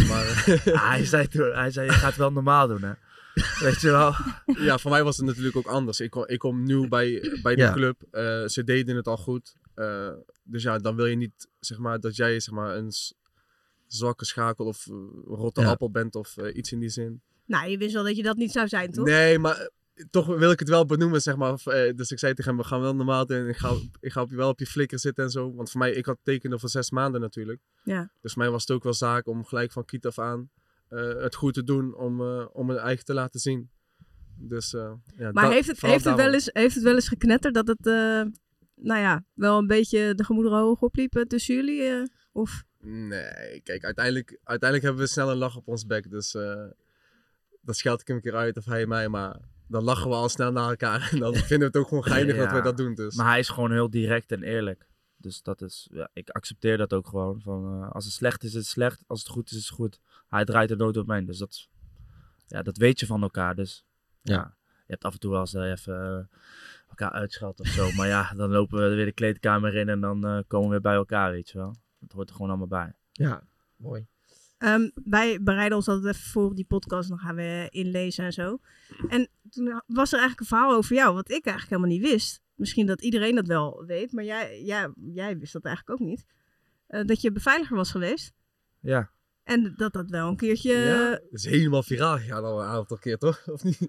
Speaker 7: maar,
Speaker 6: Ah, hij, zei toen, hij zei, je gaat wel normaal doen, hè. Weet je wel?
Speaker 7: ja, voor mij was het natuurlijk ook anders. Ik, kwam- ik kom nieuw bij, bij de
Speaker 6: Ja.
Speaker 7: club. Eh, ze deden het al goed. Eh, dus ja, dan wil je niet zeg maar, dat jij zeg maar, een s- zwakke schakel of eh, rotte
Speaker 8: Ja.
Speaker 7: appel bent of eh, iets in die zin.
Speaker 8: Nou, je wist wel dat je dat niet zou zijn, toch?
Speaker 7: Nee, maar eh, toch wil ik het wel benoemen, zeg maar. Of, eh, Dus ik zei tegen hem, we gaan wel normaal doen. Ik ga, ik ga op je wel op je flikker zitten en zo. Want voor mij, ik had tekenen voor zes maanden natuurlijk.
Speaker 8: Ja.
Speaker 7: Dus voor mij was het ook wel zaak om gelijk van kiet af aan eh, het goed te doen om, eh, om het eigen te laten zien. Dus, eh, ja,
Speaker 8: maar
Speaker 7: dat-
Speaker 8: heeft het,
Speaker 7: vooral
Speaker 8: heeft,
Speaker 7: daarom.
Speaker 8: het wel eens, heeft het wel eens geknetterd dat het, eh, nou ja, wel een beetje de gemoederen hoog opliepen tussen jullie? eh, of
Speaker 7: Nee, kijk, uiteindelijk, uiteindelijk hebben we snel een lach op ons bek. Dus eh dan scheld ik hem een keer uit of hij mij. Maar dan lachen we al snel naar elkaar. En dan vinden we het ook gewoon geinig dat
Speaker 6: Ja.
Speaker 7: we dat doen. Dus.
Speaker 6: Maar hij is gewoon heel direct en eerlijk. Dus dat is, ja, ik accepteer dat ook gewoon. Van, eh, als het slecht is, is het slecht. Als het goed is, is het goed. Hij draait er nooit omheen. Dus dat, ja, dat weet je van elkaar. Dus ja. je hebt af en toe wel eens eh, even eh, elkaar uitschat of zo. maar ja, dan lopen we weer de kleedkamer in en dan eh, komen we weer bij elkaar, weet je wel. Dat hoort er gewoon allemaal bij.
Speaker 5: Ja, mooi.
Speaker 8: Ehm, wij bereiden ons altijd even voor op die podcast, dan gaan we inlezen en zo. En toen was er eigenlijk een verhaal over jou, wat ik eigenlijk helemaal niet wist. Misschien dat iedereen dat wel weet, maar jij, jij, jij wist dat eigenlijk ook niet. Eh, dat je beveiliger was geweest.
Speaker 6: Ja.
Speaker 8: En dat dat wel een keertje...
Speaker 7: Ja, dat is helemaal viraal gegaan al een aantal keer, toch? Of niet?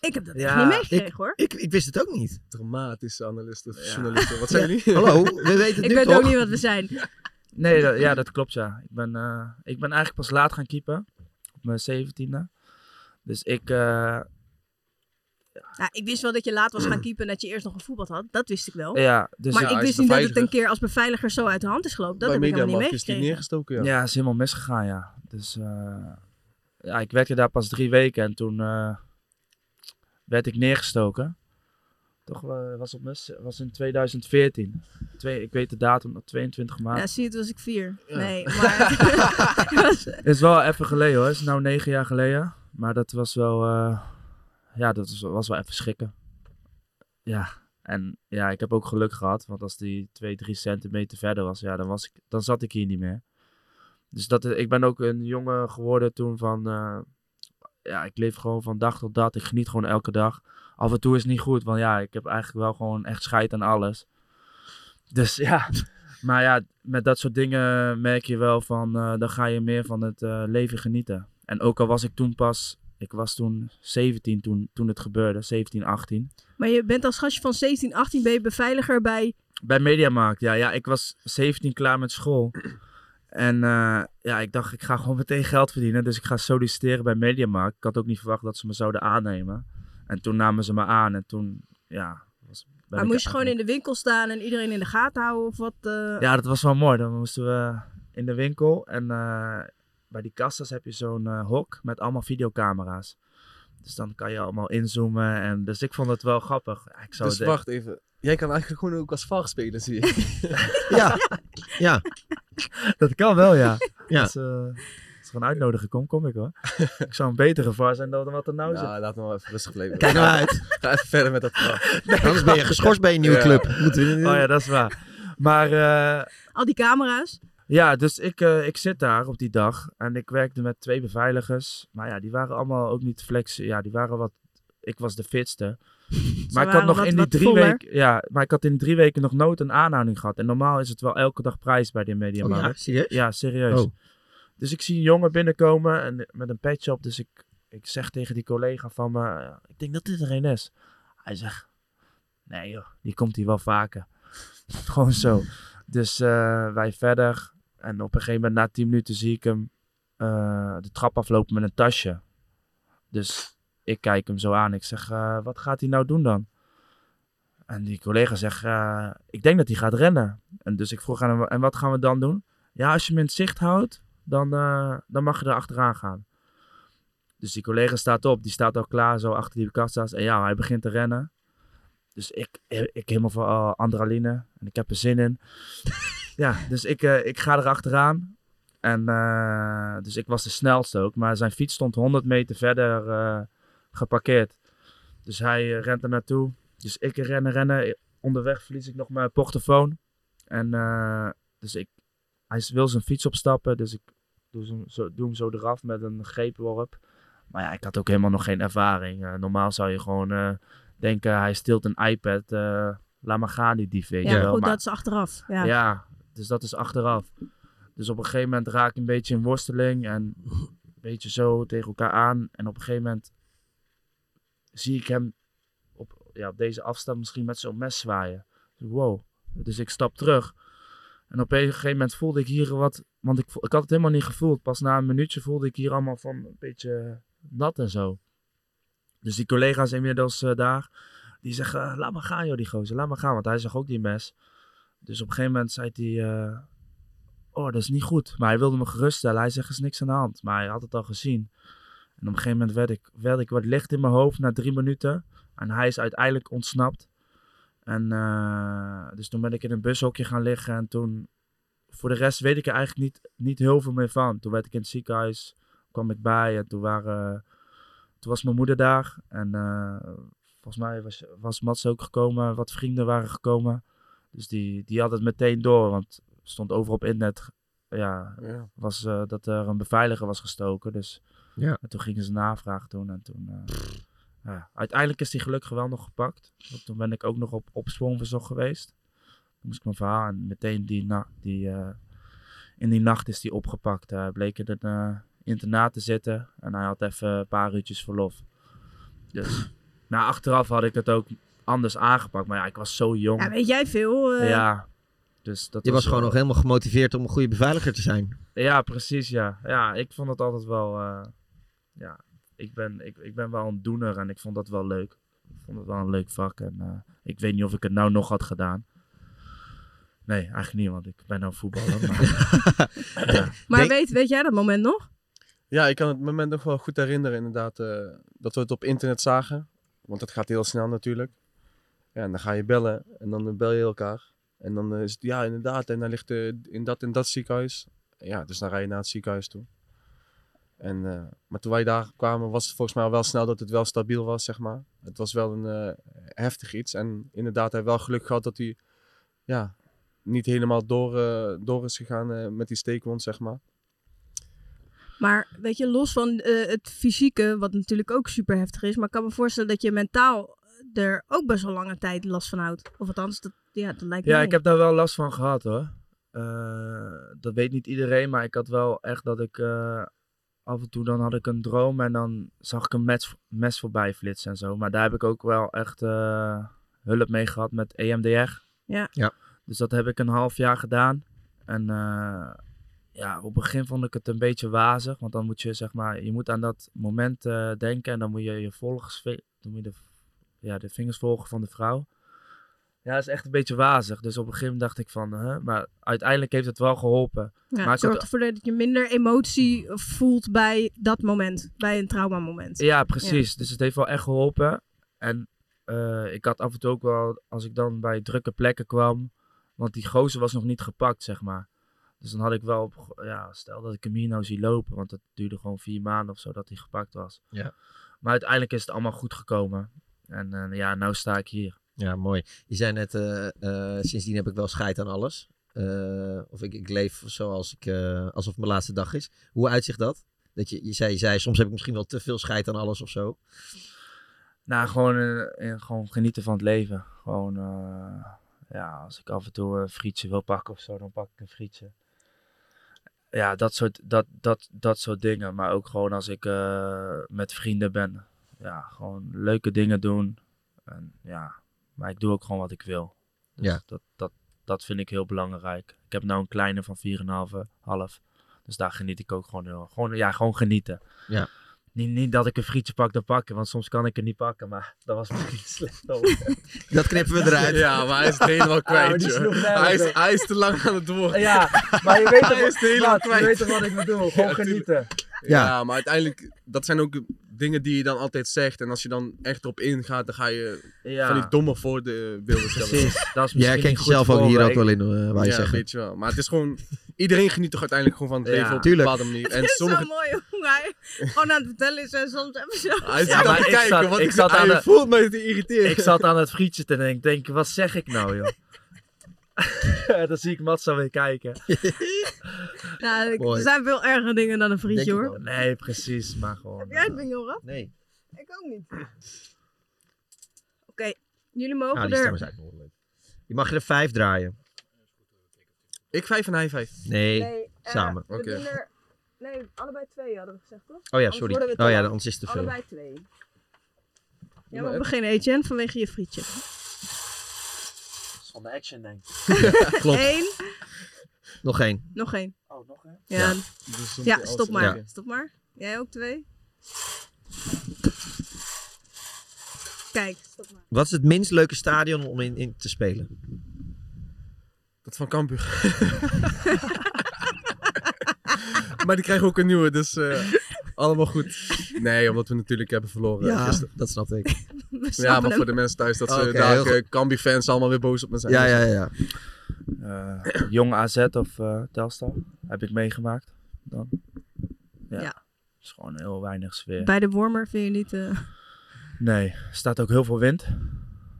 Speaker 8: Ik heb dat echt niet meegekregen, hoor.
Speaker 5: Ik, ik wist het ook niet.
Speaker 7: Dramatische analisten, journalisten, wat zijn
Speaker 8: Ja.
Speaker 7: jullie?
Speaker 5: Hallo, we weten
Speaker 8: ik weet ook niet wat we zijn.
Speaker 6: Nee, dat- ja, dat klopt ja. Ik ben, eh, ik ben eigenlijk pas laat gaan keepen. Op mijn zeventiende. Dus ik, eh,
Speaker 8: Ja, ik wist wel dat je laat was gaan keepen en dat je eerst nog gevoetbald had. Dat wist ik wel.
Speaker 6: Ja, dus-
Speaker 8: maar
Speaker 6: Ja,
Speaker 8: ik
Speaker 6: hij is
Speaker 8: wist niet dat het een
Speaker 6: beveiliger.
Speaker 8: keer als beveiliger zo uit de hand is gelopen. Dat heb ik helemaal niet meegekregen.
Speaker 7: ja.
Speaker 6: Ja, is helemaal misgegaan, ja. Dus eh, ja, ik werkte daar pas drie weken en toen eh, werd ik neergestoken. Toch eh, was op mis, was in 2014. Twee, ik weet de datum, nog 22 maart.
Speaker 8: Ja, zie je, toen was ik vier. Nee, maar...
Speaker 6: is wel even geleden hoor. is nou negen jaar geleden. Maar dat was wel, eh, ja, dat was, was wel even schrikken. Ja, en ja, ik heb ook geluk gehad. Want als die twee, drie centimeter verder was, ja, dan, was ik, dan zat ik hier niet meer. Dus dat, ik ben ook een jongen geworden toen van, eh, ja, ik leef gewoon van dag tot dag. Ik geniet gewoon elke dag. Af en toe is het niet goed, want ja, ik heb eigenlijk wel gewoon echt scheid aan alles. Dus ja, maar ja, met dat soort dingen merk je wel van, eh, dan ga je meer van het eh, leven genieten. En ook al was ik toen pas, ik was toen 17 toen, toen het gebeurde, 17, 18.
Speaker 8: maar je bent als gastje van 17, 18 ben je beveiliger bij...
Speaker 6: Bij Mediamarkt, ja. ja. Ik was 17 klaar met school. En eh, ja, ik dacht, ik ga gewoon meteen geld verdienen. Dus ik ga solliciteren bij Mediamarkt. Ik had ook niet verwacht dat ze me zouden aannemen. En toen namen ze me aan. En toen, ja... Was, ben
Speaker 8: Maar
Speaker 6: ik-
Speaker 8: moest je gewoon in de winkel staan en iedereen in de gaten houden of wat? eh?
Speaker 6: Ja, dat was wel mooi. Dan moesten we in de winkel. En eh, bij die kastas heb je zo'n eh, hok met allemaal videocamera's. Dus dan kan je allemaal inzoomen. En, dus ik vond het wel grappig. Ja, Ik zou
Speaker 7: Dus
Speaker 6: het-
Speaker 7: wacht even. Jij kan eigenlijk gewoon ook als VAR spelen, zie je.
Speaker 5: ja. ja.
Speaker 6: Dat kan wel, ja.
Speaker 5: Ja.
Speaker 6: Dat is, eh, dat is
Speaker 7: gewoon uitnodigen komt, kom ik hoor. ik zou een betere VAR zijn dan wat er nou zit.
Speaker 11: Nou, laat me wel even rustig blijven.
Speaker 7: Kijk nou uit.
Speaker 11: Ga even verder met dat verhaal.
Speaker 7: Anders
Speaker 5: ben je geschorst bij een nieuwe club. Moeten we-
Speaker 7: Oh ja, dat is waar. Maar eh,
Speaker 8: Al die camera's.
Speaker 7: ja, dus ik, eh, ik zit daar op die dag en ik werkte met twee beveiligers. Maar ja, die waren allemaal ook niet flex. Ja, die waren wat... Ik was de fitste. Maar ik had
Speaker 8: waren
Speaker 7: nog
Speaker 8: wat-
Speaker 7: in die
Speaker 8: wat
Speaker 7: drie
Speaker 8: voller.
Speaker 7: weken... Ja, maar ik had in drie weken nog nooit een aanhouding gehad. En normaal is het wel elke dag prijs bij die mediamarkt.
Speaker 5: Oh ja, serieus?
Speaker 7: Ja, serieus.
Speaker 5: Oh.
Speaker 7: Dus ik zie een jongen binnenkomen en, met een petje op. Dus ik, ik zeg tegen die collega van me... eh, Ik denk dat dit er een is. Hij zegt... Nee joh, die komt hier wel vaker. Gewoon zo. Dus eh, wij verder. En op een gegeven moment, na 10 minuten, zie ik hem eh, de trap aflopen met een tasje. Dus ik kijk hem zo aan. Ik zeg, eh, wat gaat hij nou doen dan? En die collega zegt, eh, ik denk dat hij gaat rennen. En dus ik vroeg aan hem, en wat gaan we dan doen? Ja, als je hem in het zicht houdt, dan, eh, dan mag je er achteraan gaan. Dus die collega staat op, die staat al klaar zo achter die kassa's. En ja, hij begint te rennen. Dus ik, ik helemaal van eh, adrenaline en ik heb er zin in. ja, dus ik, eh, ik ga erachteraan. En eh, dus ik was de snelste ook, maar zijn fiets stond 100 meter verder eh, geparkeerd. Dus hij eh, rent er naartoe. Dus ik rennen, rennen. Onderweg verlies ik nog mijn portofoon. En eh, dus ik, hij wil zijn fiets opstappen, dus ik doe hem zo, doe hem zo eraf met een greepworp. Maar ja, ik had ook helemaal nog geen ervaring. Eh, normaal zou je gewoon eh, denken, hij steelt een iPad. eh, laat maar gaan, die dief, weet
Speaker 8: Ja,
Speaker 7: je wel.
Speaker 8: goed,
Speaker 7: Maar-
Speaker 8: dat is achteraf. Ja.
Speaker 7: dus dat is achteraf. Dus op een gegeven moment raak ik een beetje in worsteling en een beetje zo tegen elkaar aan. En op een gegeven moment zie ik hem op, ja, op deze afstand misschien met zo'n mes zwaaien. Dus wow. Dus ik stap terug. En op een gegeven moment voelde ik hier wat, want ik, vo- ik had het helemaal niet gevoeld. Pas na een minuutje voelde ik hier allemaal van een beetje nat en zo. Dus die collega's inmiddels eh, daar, die zeggen, eh, laat maar gaan joh, die gozer, laat maar gaan. Want hij zag ook die mes. Dus op een gegeven moment zei hij, eh, oh, dat is niet goed. Maar hij wilde me geruststellen. Hij zegt, er is niks aan de hand. Maar hij had het al gezien. En op een gegeven moment werd ik, werd ik wat licht in mijn hoofd na drie minuten. En hij is uiteindelijk ontsnapt. En eh, dus toen ben ik in een bushokje gaan liggen. En toen, voor de rest weet ik er eigenlijk niet, niet heel veel meer van. Toen werd ik in het ziekenhuis, kwam ik bij. En toen, waren, toen was mijn moeder daar. En eh, volgens mij was, was Mats ook gekomen. Wat vrienden waren gekomen. Dus die, die had het meteen door. Want stond over op internet ja,
Speaker 11: Ja.
Speaker 7: Was, eh, dat er een beveiliger was gestoken. Dus
Speaker 5: Ja.
Speaker 7: en toen gingen ze navraag doen. En toen, eh, ja. Uiteindelijk is die gelukkig wel nog gepakt. Want toen ben ik ook nog op opsporingverzoek geweest. Toen moest ik mijn verhaal en meteen die, na die, eh, in die nacht is die opgepakt. Hij bleek in een eh, internaat te zitten en hij had even een paar uurtjes verlof. Dus nou, achteraf had ik het ook anders aangepakt. Maar ja, ik was zo jong.
Speaker 8: Ja, weet jij veel? eh?
Speaker 7: Ja, dus dat
Speaker 5: Je was
Speaker 7: wel-
Speaker 5: gewoon nog helemaal gemotiveerd om een goede beveiliger te zijn.
Speaker 7: Ja, precies, ja. Ja, ik vond het altijd wel... eh, ja, ik ben, ik, ik ben wel een doener en ik vond dat wel leuk. Ik vond het wel een leuk vak en eh, ik weet niet of ik het nou nog had gedaan. Nee, eigenlijk niet, want ik ben nou voetballer. Maar, ja.
Speaker 8: Maar weet, weet jij dat moment nog?
Speaker 11: Ja, ik kan het moment nog wel goed herinneren, inderdaad, eh, dat we het op internet zagen. Want dat gaat heel snel natuurlijk. Ja, en dan ga je bellen en dan eh, bel je elkaar. En dan eh, is het, ja, inderdaad, en dan ligt eh, in dat en dat ziekenhuis. Ja, dus dan rij je naar het ziekenhuis toe. En, eh, maar toen wij daar kwamen, was het volgens mij wel snel dat het wel stabiel was, zeg maar. Het was wel een eh, heftig iets. En inderdaad, hij heeft wel geluk gehad dat hij ja, niet helemaal door, eh, door is gegaan eh, met die steekwond, zeg maar.
Speaker 8: Maar weet je, los van eh, het fysieke, wat natuurlijk ook super heftig is, maar ik kan me voorstellen dat je mentaal eh, er ook best wel lange tijd last van houdt. Of althans, dat, ja, dat lijkt me.
Speaker 7: Ja, ik heb daar wel last van gehad hoor. Eh, dat weet niet iedereen, maar ik had wel echt dat ik eh, af en toe dan had ik een droom en dan zag ik een mes, mes voorbij flitsen en zo. Maar daar heb ik ook wel echt eh, hulp mee gehad met E EMDR.
Speaker 8: Ja.
Speaker 5: Ja.
Speaker 7: Dus dat heb ik een half jaar gedaan. En eh, ja, op het begin vond ik het een beetje wazig, want dan moet je zeg maar, je moet aan dat moment eh, denken en dan moet je je volgers, dan moet je de, ja, de vingers volgen van de vrouw. Ja, dat is echt een beetje wazig. Dus op een gegeven moment dacht ik van, hè, maar uiteindelijk heeft het wel geholpen.
Speaker 8: Ja,
Speaker 7: maar
Speaker 8: het
Speaker 7: ik had-
Speaker 8: zorgt ervoor dat je minder emotie voelt bij dat moment, bij een traumamoment.
Speaker 7: Ja, precies. Dus het heeft wel echt geholpen. En eh, ik had af en toe ook wel, als ik dan bij drukke plekken kwam, want die gozer was nog niet gepakt, zeg maar.
Speaker 6: Dus dan had ik wel, op- ja, stel dat ik hem hier nou zie lopen, want dat duurde gewoon vier maanden of zo dat hij gepakt was.
Speaker 5: Ja.
Speaker 6: Maar uiteindelijk is het allemaal goed gekomen. En eh, ja, nou sta ik hier.
Speaker 5: Ja, mooi. Je zei net, eh, eh, sindsdien heb ik wel scheid aan alles. Eh, of ik, ik leef zoals ik, eh, alsof het mijn laatste dag is. Hoe uitzicht dat? Dat je, je, zei, je zei, soms heb ik misschien wel te veel scheid aan alles of zo.
Speaker 6: Nou, gewoon, eh, eh, gewoon genieten van het leven. Gewoon, eh, ja, als ik af en toe een frietje wil pakken of zo, dan pak ik een frietje. Ja, dat soort, dat, dat, dat soort dingen. Maar ook gewoon als ik eh, met vrienden ben. Ja, gewoon leuke dingen doen. En, ja, maar ik doe ook gewoon wat ik wil. Dus
Speaker 5: Ja.
Speaker 6: dat, dat, dat vind ik heel belangrijk. Ik heb nou een kleine van 4,5. half. Dus daar geniet ik ook gewoon heel erg. Gewoon, ja, gewoon genieten.
Speaker 5: Ja.
Speaker 6: Niet, niet dat ik een frietje pak, dan pakken, want soms kan ik het niet pakken, maar dat was misschien slecht.
Speaker 5: Dat knippen we eruit.
Speaker 7: Ja, maar hij is het helemaal
Speaker 6: Oh,
Speaker 7: kwijt,
Speaker 6: die
Speaker 7: joh.
Speaker 6: sloeg nergens
Speaker 7: Hij is,
Speaker 6: op.
Speaker 7: hij is te lang aan het woord.
Speaker 6: Ja, maar je weet toch
Speaker 7: Hij
Speaker 6: wat-
Speaker 7: is het helemaal
Speaker 6: Maat, je
Speaker 7: kwijt.
Speaker 6: weet toch wat ik bedoel, gewoon genieten.
Speaker 7: Ja.
Speaker 5: Ja.
Speaker 7: maar uiteindelijk, dat zijn ook dingen die je dan altijd zegt. En als je dan echt erop ingaat, dan ga je
Speaker 6: Ja.
Speaker 7: van die domme voorbeelden stellen.
Speaker 6: Precies, dat is
Speaker 5: Jij herkent jezelf ook hier ook wel in, eh, waar je
Speaker 7: ja,
Speaker 5: zegt.
Speaker 7: weet je wel. Maar het is gewoon, iedereen geniet toch uiteindelijk gewoon van het
Speaker 5: Ja.
Speaker 7: leven op
Speaker 5: Tuurlijk.
Speaker 7: een bepaalde manier. En
Speaker 8: Het is
Speaker 7: sommige...
Speaker 8: zo mooi hoe hij gewoon aan het vertellen is en soms even zo...
Speaker 7: Hij zit aan te kijken, want ik zat aan
Speaker 6: de-
Speaker 7: voelt mij te irriteren.
Speaker 6: Ik zat aan het frietje te denken, denk, wat zeg ik nou, joh? dan zie ik Mats alweer kijken.
Speaker 8: Nou, ik-
Speaker 6: Mooi.
Speaker 8: er zijn veel erger dingen dan een
Speaker 6: Denk
Speaker 8: frietje
Speaker 6: ik
Speaker 8: hoor.
Speaker 6: wel. Nee, precies, maar gewoon.
Speaker 8: Heb jij het ding, Joran?
Speaker 5: Nee.
Speaker 8: Ik ook niet. Oké, jullie mogen
Speaker 5: Nou, die
Speaker 8: er...
Speaker 5: stem is eigenlijk nog wel leuk. Je mag er vijf draaien.
Speaker 7: Ik vijf en hij vijf.
Speaker 5: Nee, Oh
Speaker 8: eh,
Speaker 5: samen.
Speaker 8: we doen er- Nee, allebei twee hadden we gezegd, toch?
Speaker 5: ja,
Speaker 8: Anders
Speaker 5: sorry.
Speaker 8: worden we te
Speaker 5: Oh ja,
Speaker 8: lang.
Speaker 5: anders is het te veel.
Speaker 8: Allebei twee. Ja, maar
Speaker 6: maar
Speaker 8: we
Speaker 6: even.
Speaker 8: beginnen Etienne vanwege je frietje.
Speaker 6: Zonder action, denk ik.
Speaker 5: Klopt.
Speaker 8: Eén.
Speaker 5: Nog één.
Speaker 8: Nog één.
Speaker 6: Oh, nog één?
Speaker 8: Ja,
Speaker 6: Ja.
Speaker 8: ja.
Speaker 6: Dus dan moet je alles
Speaker 8: stop maar.
Speaker 6: doen.
Speaker 8: Stop maar. Jij ook twee? Kijk, stop maar.
Speaker 5: Wat is het minst leuke stadion om in, in te spelen?
Speaker 7: Dat van Cambuur. maar die krijgen ook een nieuwe, dus eh, allemaal goed. Nee, omdat we natuurlijk hebben verloren Dus
Speaker 5: Ja,
Speaker 7: gisteren.
Speaker 5: dat snap ik.
Speaker 7: ja,
Speaker 5: snappen
Speaker 7: maar
Speaker 5: hem.
Speaker 7: voor de mensen thuis, dat ze
Speaker 5: Oké, heel
Speaker 7: daar
Speaker 5: goed.
Speaker 7: eh, Cambuur-fans allemaal weer boos op me zijn.
Speaker 5: Ja, ja, ja.
Speaker 6: Eh, jong AZ of eh, Telstar heb ik meegemaakt dan. Ja.
Speaker 8: Ja.
Speaker 6: is gewoon heel weinig sfeer.
Speaker 8: Bij de warmer vind je niet... eh,
Speaker 6: Nee, er staat ook heel veel wind.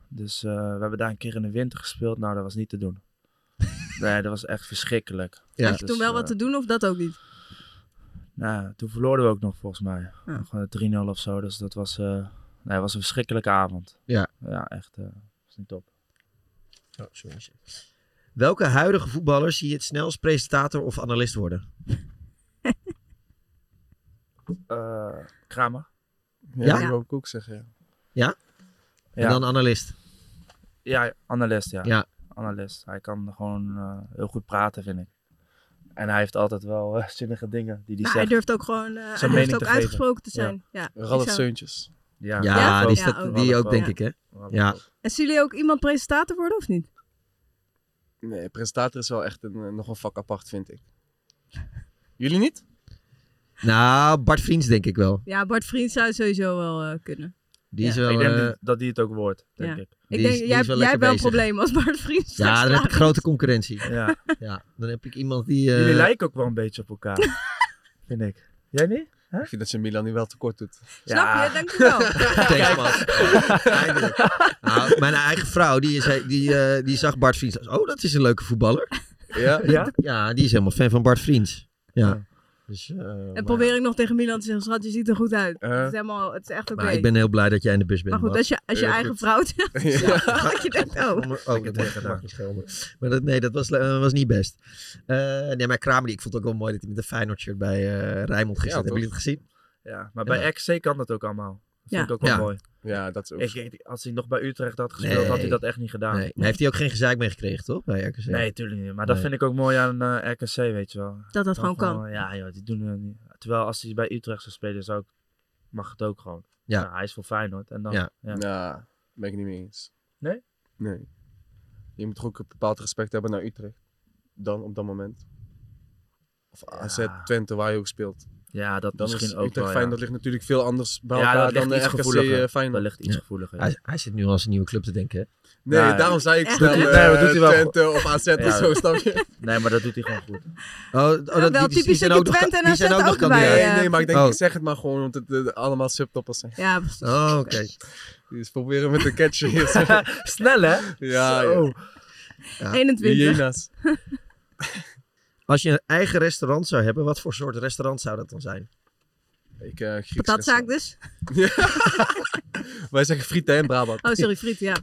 Speaker 6: Dus eh, we hebben daar een keer in de winter gespeeld. Nou, dat was niet te doen. Nee, dat was echt verschrikkelijk. Dus, eh,
Speaker 8: Had je toen wel wat te doen of dat ook niet?
Speaker 6: Nou, toen verloren we ook nog volgens mij. Nog, eh, 3-0 of zo. Dus dat was, eh, nee, het was een verschrikkelijke avond.
Speaker 5: Ja.
Speaker 6: Ja, echt. eh was niet top.
Speaker 5: Oh, sorry. Welke huidige voetballer zie je het snelst presentator of analist worden?
Speaker 6: Eh, Kramer.
Speaker 7: Ja,
Speaker 5: Ja?
Speaker 7: dat wou ik ook zeggen, ja.
Speaker 5: Ja? En
Speaker 6: Ja.
Speaker 5: dan analist.
Speaker 6: Ja, analist, ja.
Speaker 5: Ja.
Speaker 6: Analist. Hij kan gewoon eh, heel goed praten, vind ik. En hij heeft altijd wel eh, zinnige dingen die hij
Speaker 8: Nou,
Speaker 6: zegt.
Speaker 8: hij durft ook gewoon, eh,
Speaker 6: Zijn
Speaker 8: hij
Speaker 6: mening
Speaker 8: durft ook
Speaker 6: te geven.
Speaker 8: uitgesproken te zijn. Ja.
Speaker 7: Ralf
Speaker 8: Ik zou-
Speaker 7: Seuntjes.
Speaker 6: Ja,
Speaker 5: Ja,
Speaker 6: Ralf
Speaker 5: die,
Speaker 6: ook.
Speaker 5: staat-
Speaker 6: Ralf
Speaker 5: die ook, denk
Speaker 6: ook.
Speaker 5: ik, hè?
Speaker 6: Ralf
Speaker 5: Ja.
Speaker 6: ook.
Speaker 8: En zullen jullie ook iemand presentator worden of niet?
Speaker 7: Nee, presentator is wel echt een, eh, nog een vak apart, vind ik. Jullie niet?
Speaker 5: Nou, Bart Vriends denk ik wel.
Speaker 8: Ja, Bart Vriend zou het sowieso wel eh, kunnen.
Speaker 5: Die is
Speaker 6: Ja,
Speaker 5: wel...
Speaker 6: ik denk
Speaker 5: eh,
Speaker 6: dat- dat die het ook wordt, denk
Speaker 8: ja.
Speaker 6: ik.
Speaker 5: die
Speaker 8: denk,
Speaker 5: is- die
Speaker 8: jij,
Speaker 5: is wel
Speaker 8: jij hebt
Speaker 5: lekker
Speaker 8: wel een
Speaker 5: bezig.
Speaker 8: probleem als Bart Vriend. straks
Speaker 5: Ja, dan heb ik
Speaker 8: klaar
Speaker 5: grote concurrentie.
Speaker 6: Ja.
Speaker 5: ja. Dan heb ik iemand die... eh,
Speaker 6: Jullie lijken ook wel een beetje op elkaar, vind ik. Jij niet?
Speaker 7: Ik vind dat ze Milan nu wel tekort doet.
Speaker 8: Snap je? Dankjewel.
Speaker 5: Thanks, man. Eindelijk. Nou, mijn eigen vrouw, die, is, die, eh, die zag Bart Vriends. Oh, dat is een leuke voetballer.
Speaker 7: Ja?
Speaker 6: Ja?
Speaker 5: Ja, die is helemaal fan van Bart Vriends. Ja. Dus, eh, maar-
Speaker 8: En probeer ik nog tegen Milan te zeggen, schat, je ziet er goed uit.
Speaker 5: Eh.
Speaker 8: het, is helemaal, het is echt oké.
Speaker 5: Maar ik ben heel blij dat jij in de bus bent.
Speaker 8: Maar goed,
Speaker 5: Bart.
Speaker 8: als je, als je
Speaker 5: Heel
Speaker 8: eigen
Speaker 5: goed.
Speaker 8: vrouw het zegt,
Speaker 5: Ja.
Speaker 8: dat je denkt, oh.
Speaker 5: Oh, dat mag, dat mag niet schelden. Maar dat, nee, dat was, eh, was niet best. Eh, nee, maar Kramer, die- ik vond het ook wel mooi dat hij met een Feyenoord shirt bij eh Rijmond
Speaker 6: Ja,
Speaker 5: gezet. Hebben
Speaker 6: toch?
Speaker 5: jullie het gezien?
Speaker 6: Ja, maar bij
Speaker 5: Ja.
Speaker 6: XC kan dat ook allemaal. Dat
Speaker 5: Ja.
Speaker 6: vind ik ook wel
Speaker 5: Ja.
Speaker 6: mooi.
Speaker 7: Ja, dat is ook
Speaker 6: Ik, ik- als hij nog bij Utrecht had gespeeld, had hij dat echt niet gedaan.
Speaker 5: Nee. Maar heeft hij ook geen gezeik mee gekregen, toch? Bij RKC?
Speaker 6: Nee, tuurlijk niet. Maar dat
Speaker 5: Nee.
Speaker 6: vind ik ook mooi aan eh, RKC, weet je wel.
Speaker 8: Dat dat gewoon kan.
Speaker 6: Ja, joh, die doen het niet. Terwijl als hij bij Utrecht zou spelen, zou ik, mag het ook gewoon.
Speaker 5: Ja.
Speaker 6: Nou, hij is voor Feyenoord. En dan,
Speaker 7: Ja.
Speaker 6: ja.
Speaker 7: Nou, ben ik niet mee eens.
Speaker 6: Nee?
Speaker 7: Nee. Je moet toch ook een bepaald respect hebben naar Utrecht. Dan, op dat moment. Of AZ, Twente, waar je ook speelt. Ja, dat
Speaker 6: Dan
Speaker 7: misschien
Speaker 6: is
Speaker 7: ook wel.
Speaker 6: Utrecht
Speaker 7: ja.
Speaker 6: Feyenoord ligt natuurlijk veel anders bij
Speaker 7: Ja,
Speaker 6: elkaar
Speaker 7: dat ligt
Speaker 6: dan
Speaker 7: iets
Speaker 6: de RKC
Speaker 7: gevoeliger.
Speaker 6: eh, Feyenoord.
Speaker 7: Dat ligt iets gevoeliger.
Speaker 5: Hij, hij zit nu al zijn nieuwe club te denken. hè?
Speaker 6: Nee,
Speaker 7: Ja, ja.
Speaker 6: daarom zei ik
Speaker 7: Echt?
Speaker 6: snel
Speaker 7: Doet hij-
Speaker 6: eh,
Speaker 7: nee, maar doet hij wel
Speaker 6: Twente
Speaker 7: goed.
Speaker 6: of AZ
Speaker 7: Ja.
Speaker 6: of zo, snap je?
Speaker 7: Nee, maar dat doet hij gewoon goed.
Speaker 5: Oh,
Speaker 8: dat- wel die- die typisch zijn dat je ook nog- Twente en die zijn AZ ook nog ook erbij, kandidaat. eh,
Speaker 6: Nee, maar ik denk,
Speaker 8: Oh.
Speaker 6: ik zeg het maar gewoon, want het eh, allemaal subtoppers zijn.
Speaker 8: Ja, precies.
Speaker 5: Oh, oké.
Speaker 6: Dus proberen met de catcher hier.
Speaker 7: Snel, hè?
Speaker 6: Ja,
Speaker 5: Zo.
Speaker 6: ja.
Speaker 5: Ja.
Speaker 8: 21.
Speaker 6: Hyena's.
Speaker 5: Als je een eigen restaurant zou hebben, wat voor soort restaurant zou dat dan zijn?
Speaker 6: Ik, eh, Grieks
Speaker 8: Patatzaak dus.
Speaker 6: restaurant. Wij zeggen frieten en Brabant.
Speaker 8: Oh, sorry, friet, ja.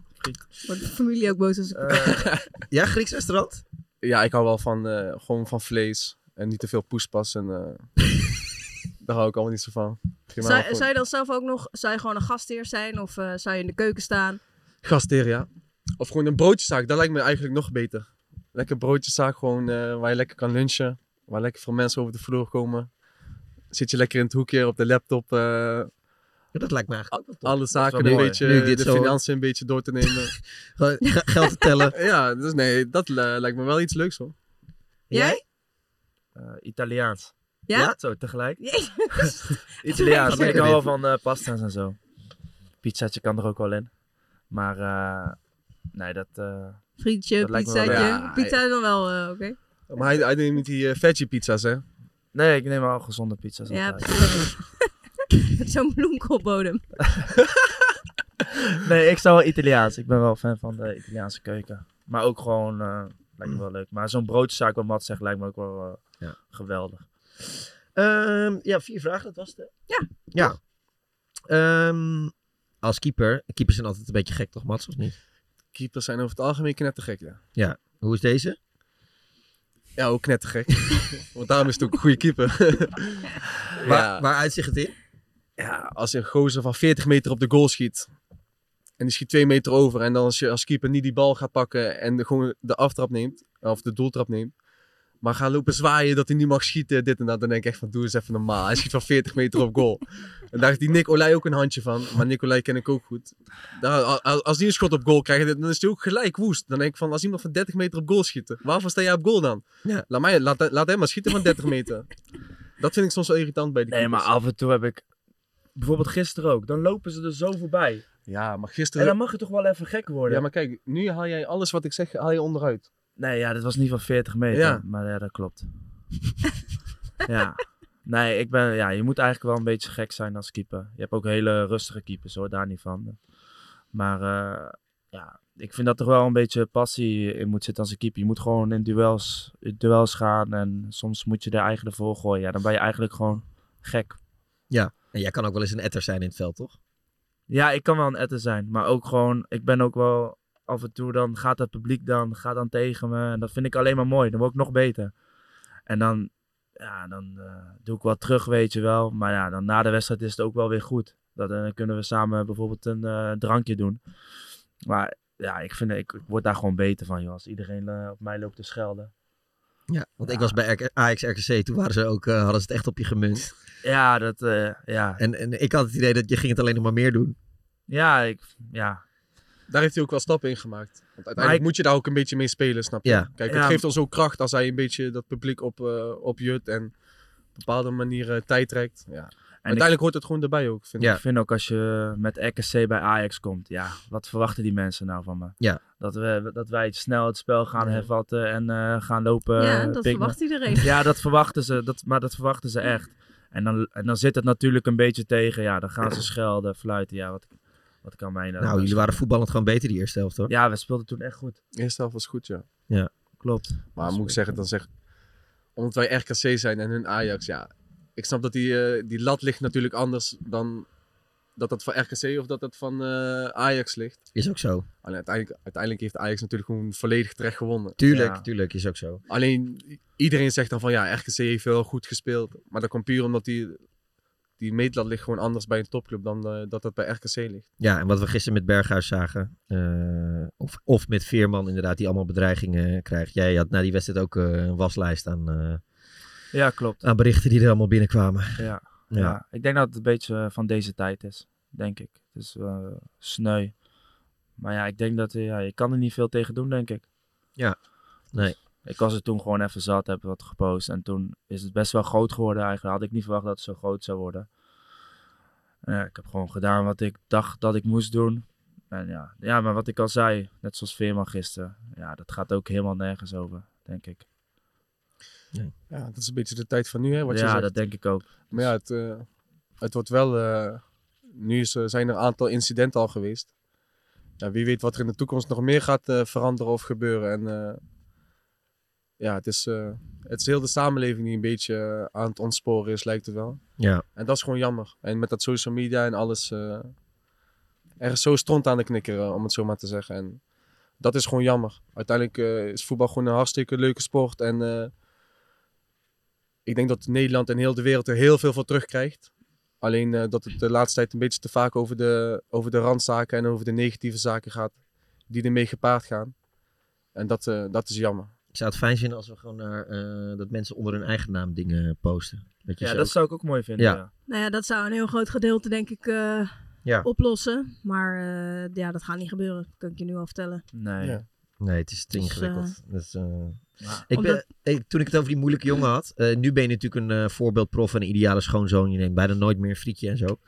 Speaker 8: Wordt de familie ook boos als ik...
Speaker 5: Eh, ja, Grieks restaurant?
Speaker 6: Ja, ik hou wel van, eh, gewoon van vlees en niet te veel poespas. En, eh, daar hou ik allemaal niet zo van. Geen maar
Speaker 8: zou,
Speaker 6: voor-
Speaker 8: zou je dan zelf ook nog... Zou je gewoon een gastheer zijn? Of eh, zou je in de keuken staan?
Speaker 6: Gastheer, ja. Of gewoon een broodjeszaak, dat lijkt me eigenlijk nog beter. Lekker broodjeszaak, gewoon eh, waar je lekker kan lunchen. Waar lekker veel mensen over de vloer komen. Zit je lekker in het hoekje op de laptop. eh,
Speaker 5: dat lijkt me eigenlijk ook
Speaker 6: Alle zaken
Speaker 5: wel
Speaker 6: een
Speaker 5: mooi.
Speaker 6: beetje, eh,
Speaker 5: Nu ik dit
Speaker 6: de
Speaker 5: zo-
Speaker 6: financiën een beetje door te nemen.
Speaker 5: Gewoon ge- geld te tellen.
Speaker 6: ja, dus nee, dat eh, lijkt me wel iets leuks hoor.
Speaker 8: Jij?
Speaker 7: Eh, Italiaans.
Speaker 8: Ja?
Speaker 7: Zo, tegelijk.
Speaker 8: Jezus.
Speaker 7: Italiaans.
Speaker 8: Wat
Speaker 7: Ik
Speaker 8: leuk.
Speaker 7: hou wel van eh, pasta's en zo. Pizzaatje kan er ook wel in. Maar eh, nee, dat... eh,
Speaker 8: Frietje,
Speaker 7: dat lijkt me wel
Speaker 8: pizzaatje.
Speaker 7: leuk. Ja,
Speaker 8: pizza dan wel, eh, oké.
Speaker 6: Maar hij, hij neemt niet die eh, veggie pizza's hè?
Speaker 7: Nee, ik neem wel gezonde pizza's.
Speaker 8: Ja,
Speaker 7: altijd.
Speaker 8: precies. Met zo'n bloemkoolbodem.
Speaker 7: Nee, ik zou wel Italiaans. Ik ben wel fan van de Italiaanse keuken. Maar ook gewoon, eh, lijkt me wel leuk. Maar zo'n broodzaak, wat Matt zegt, lijkt me ook wel eh, geweldig.
Speaker 5: Ehm, ja, vier vragen, dat was het. hè?
Speaker 8: Ja.
Speaker 5: Ja. Ehm, als keeper, keepers zijn altijd een beetje gek toch, Mats, of niet?
Speaker 6: Keepers zijn over het algemeen knettergek ja.
Speaker 5: Ja. Hoe is deze?
Speaker 6: Ja, ook knettergek. Want daarom is het ook een goede keeper.
Speaker 5: Waar, waar uitzicht het in?
Speaker 6: Ja, als een gozer van 40 meter op de goal schiet. En die schiet 2 meter over. En dan als je als keeper niet die bal gaat pakken en de, gewoon de aftrap neemt. Of de doeltrap neemt. Maar gaan lopen zwaaien dat hij niet mag schieten. Dit en dat. Dan denk ik echt van doe eens even normaal. Hij schiet van 40 meter op goal. En daar heeft die Nick Olij ook een handje van. Maar Nick Olij ken ik ook goed. Daar, a- a- als die een schot op goal krijgt, dan is hij ook gelijk woest. Dan denk ik van als iemand van 30 meter op goal schiet. Waarvan sta jij op goal dan?
Speaker 5: Ja.
Speaker 6: Laat, mij, laat, laat hem maar schieten van 30 meter. Dat vind ik soms wel irritant bij die
Speaker 7: Nee, maar
Speaker 6: keepers.
Speaker 7: af en toe heb ik... Bijvoorbeeld gisteren ook. Dan lopen ze er zo voorbij.
Speaker 6: Ja, maar
Speaker 7: En
Speaker 6: gisteren...
Speaker 7: dan mag het toch wel even gek worden.
Speaker 6: Ja, maar kijk, nu haal jij alles wat ik zeg, haal je onderuit.
Speaker 7: Nee, ja, dit was niet van 40 meter.
Speaker 6: Ja.
Speaker 7: Maar ja, dat klopt. ja. Nee, ik ben, ja, je moet eigenlijk wel een beetje gek zijn als keeper. Je hebt ook hele rustige keepers hoor, daar niet van. Maar eh, ja, ik vind dat toch wel een beetje passie in moet zitten als een keeper. Je moet gewoon in duels, in duels gaan en soms moet je er eigenlijk voor gooien. Ja, dan ben je eigenlijk gewoon gek.
Speaker 5: Ja. En jij kan ook wel eens een etter zijn in het veld, toch?
Speaker 7: Ja, ik kan wel een etter zijn, maar ook gewoon, ik ben ook wel af en toe dan gaat het publiek dan, gaat dan tegen me. En dat vind ik alleen maar mooi, dan word ik nog beter. En dan, ja, dan eh, doe ik wat terug, weet je wel. Maar ja, dan na de wedstrijd is het ook wel weer goed. Dat, eh, dan kunnen we samen bijvoorbeeld een eh, drankje doen. Maar ja, ik, vind, ik, ik word daar gewoon beter van, joh. Als iedereen eh, op mij loopt te schelden.
Speaker 5: Ja, want ik was bij RK Ajax RKC, toen waren ze ook, eh, hadden ze het echt op je gemunt.
Speaker 7: Ja, dat, eh, ja.
Speaker 5: En, en ik had het idee dat je ging het alleen nog maar meer doen.
Speaker 7: Ja, ik, ja.
Speaker 6: Daar heeft hij ook wel stappen in gemaakt. Want uiteindelijk
Speaker 7: Maar ik-
Speaker 6: moet je daar ook een beetje mee spelen, snap je?
Speaker 5: Ja.
Speaker 6: Kijk, het
Speaker 7: Ja.
Speaker 6: geeft ons ook kracht als hij een beetje dat publiek op, eh opjut en op bepaalde manieren tijd trekt. Ja. uiteindelijk hoort het gewoon erbij ook, vind
Speaker 7: ja. Ik
Speaker 6: ik.
Speaker 7: vind ook als je met RKC bij Ajax komt, ja, wat verwachten die mensen nou van me?
Speaker 5: Ja.
Speaker 7: Dat, we, dat wij snel het spel gaan hervatten en eh, gaan lopen.
Speaker 8: Ja,
Speaker 7: eh,
Speaker 8: dat
Speaker 7: pikken.
Speaker 8: verwacht iedereen.
Speaker 7: Ja, dat verwachten ze, dat, maar dat verwachten ze echt. En dan, en dan zit het natuurlijk een beetje tegen, ja, dan gaan ze schelden, fluiten, ja, wat, wat kan mij nou?
Speaker 5: nou, jullie waren voetballend gewoon beter die eerste helft, hoor.
Speaker 7: Ja, we speelden toen echt goed.
Speaker 6: Eerste helft was goed, ja.
Speaker 5: Ja.
Speaker 7: Klopt.
Speaker 6: Maar moet ik zeggen, dan zeg omdat wij RKC zijn en hun Ajax, ja. Ik snap dat die, eh, die lat ligt natuurlijk anders dan dat dat van RKC of dat dat van eh, Ajax ligt.
Speaker 5: Is ook zo.
Speaker 6: Alleen uiteindelijk, uiteindelijk heeft Ajax natuurlijk gewoon volledig terecht gewonnen.
Speaker 5: Tuurlijk, tuurlijk, is ook zo.
Speaker 6: Alleen iedereen zegt dan van ja, RKC heeft wel goed gespeeld. Maar dat komt puur omdat die, die meetlat ligt gewoon anders bij een topclub dan eh, dat dat bij RKC ligt.
Speaker 5: Ja, en wat we gisteren met Berghuis zagen, eh, of, of met Veerman inderdaad, die allemaal bedreigingen krijgt. Jij had na die wedstrijd ook eh, een waslijst aan, eh,
Speaker 7: Ja, klopt.
Speaker 5: aan berichten die er allemaal binnenkwamen.
Speaker 7: Ja.
Speaker 5: Ja.
Speaker 7: Ja. ik denk dat het een beetje eh, van deze tijd is, denk ik. Het is eh, sneu. Maar ja, ik denk dat eh, ja, je kan er niet veel tegen doen, denk ik.
Speaker 5: Ja, nee.
Speaker 7: Ik was er toen gewoon even zat, heb wat gepost. En toen is het best wel groot geworden eigenlijk. Had ik niet verwacht dat het zo groot zou worden. En ja, ik heb gewoon gedaan wat ik dacht dat ik moest doen. En ja, ja, maar wat ik al zei, net zoals Veerman gisteren. Ja, dat gaat ook helemaal nergens over, denk ik.
Speaker 12: Ja, dat is een beetje de tijd van nu, hè, wat je
Speaker 7: Ja,
Speaker 12: zegt.
Speaker 7: dat denk ik ook.
Speaker 12: Maar ja, het, eh, het wordt wel... eh, nu is, eh, zijn er een aantal incidenten al geweest. Ja, wie weet wat er in de toekomst nog meer gaat eh, veranderen of gebeuren. En eh, ja, het is, eh, het is heel de samenleving die een beetje eh, aan het ontsporen is, lijkt het wel.
Speaker 5: Ja.
Speaker 12: En dat is gewoon jammer. En met dat social media en alles... eh, er is zo stront aan de knikker, eh, om het zo maar te zeggen. En dat is gewoon jammer. Uiteindelijk eh, is voetbal gewoon een hartstikke leuke sport. En eh, ik denk dat Nederland en heel de wereld er heel veel voor terugkrijgt. Alleen eh, dat het de laatste tijd een beetje te vaak over de, over de randzaken en over de negatieve zaken gaat. Die ermee gepaard gaan. En dat, eh, dat is jammer.
Speaker 5: Ik zou het fijn vinden als we gewoon naar, eh, dat mensen onder hun eigen naam dingen posten. Dat je
Speaker 7: Ja,
Speaker 5: ze
Speaker 7: dat zou ik ook mooi vinden, ja.
Speaker 8: Nou ja, dat zou een heel groot gedeelte, denk ik, eh,
Speaker 5: Ja.
Speaker 8: oplossen. Maar eh, ja, dat gaat niet gebeuren. Dat kan ik je nu al vertellen.
Speaker 7: Nee.
Speaker 5: Ja. Nee, het is te
Speaker 8: Dus,
Speaker 5: ingewikkeld. Dat is, eh,
Speaker 7: Ja.
Speaker 5: ik ben,
Speaker 8: Omdat-
Speaker 5: ik- toen ik het over die moeilijke jongen had, eh, nu ben je natuurlijk een eh, voorbeeldprof en een ideale schoonzoon. Je neemt bijna nooit meer een frietje en zo.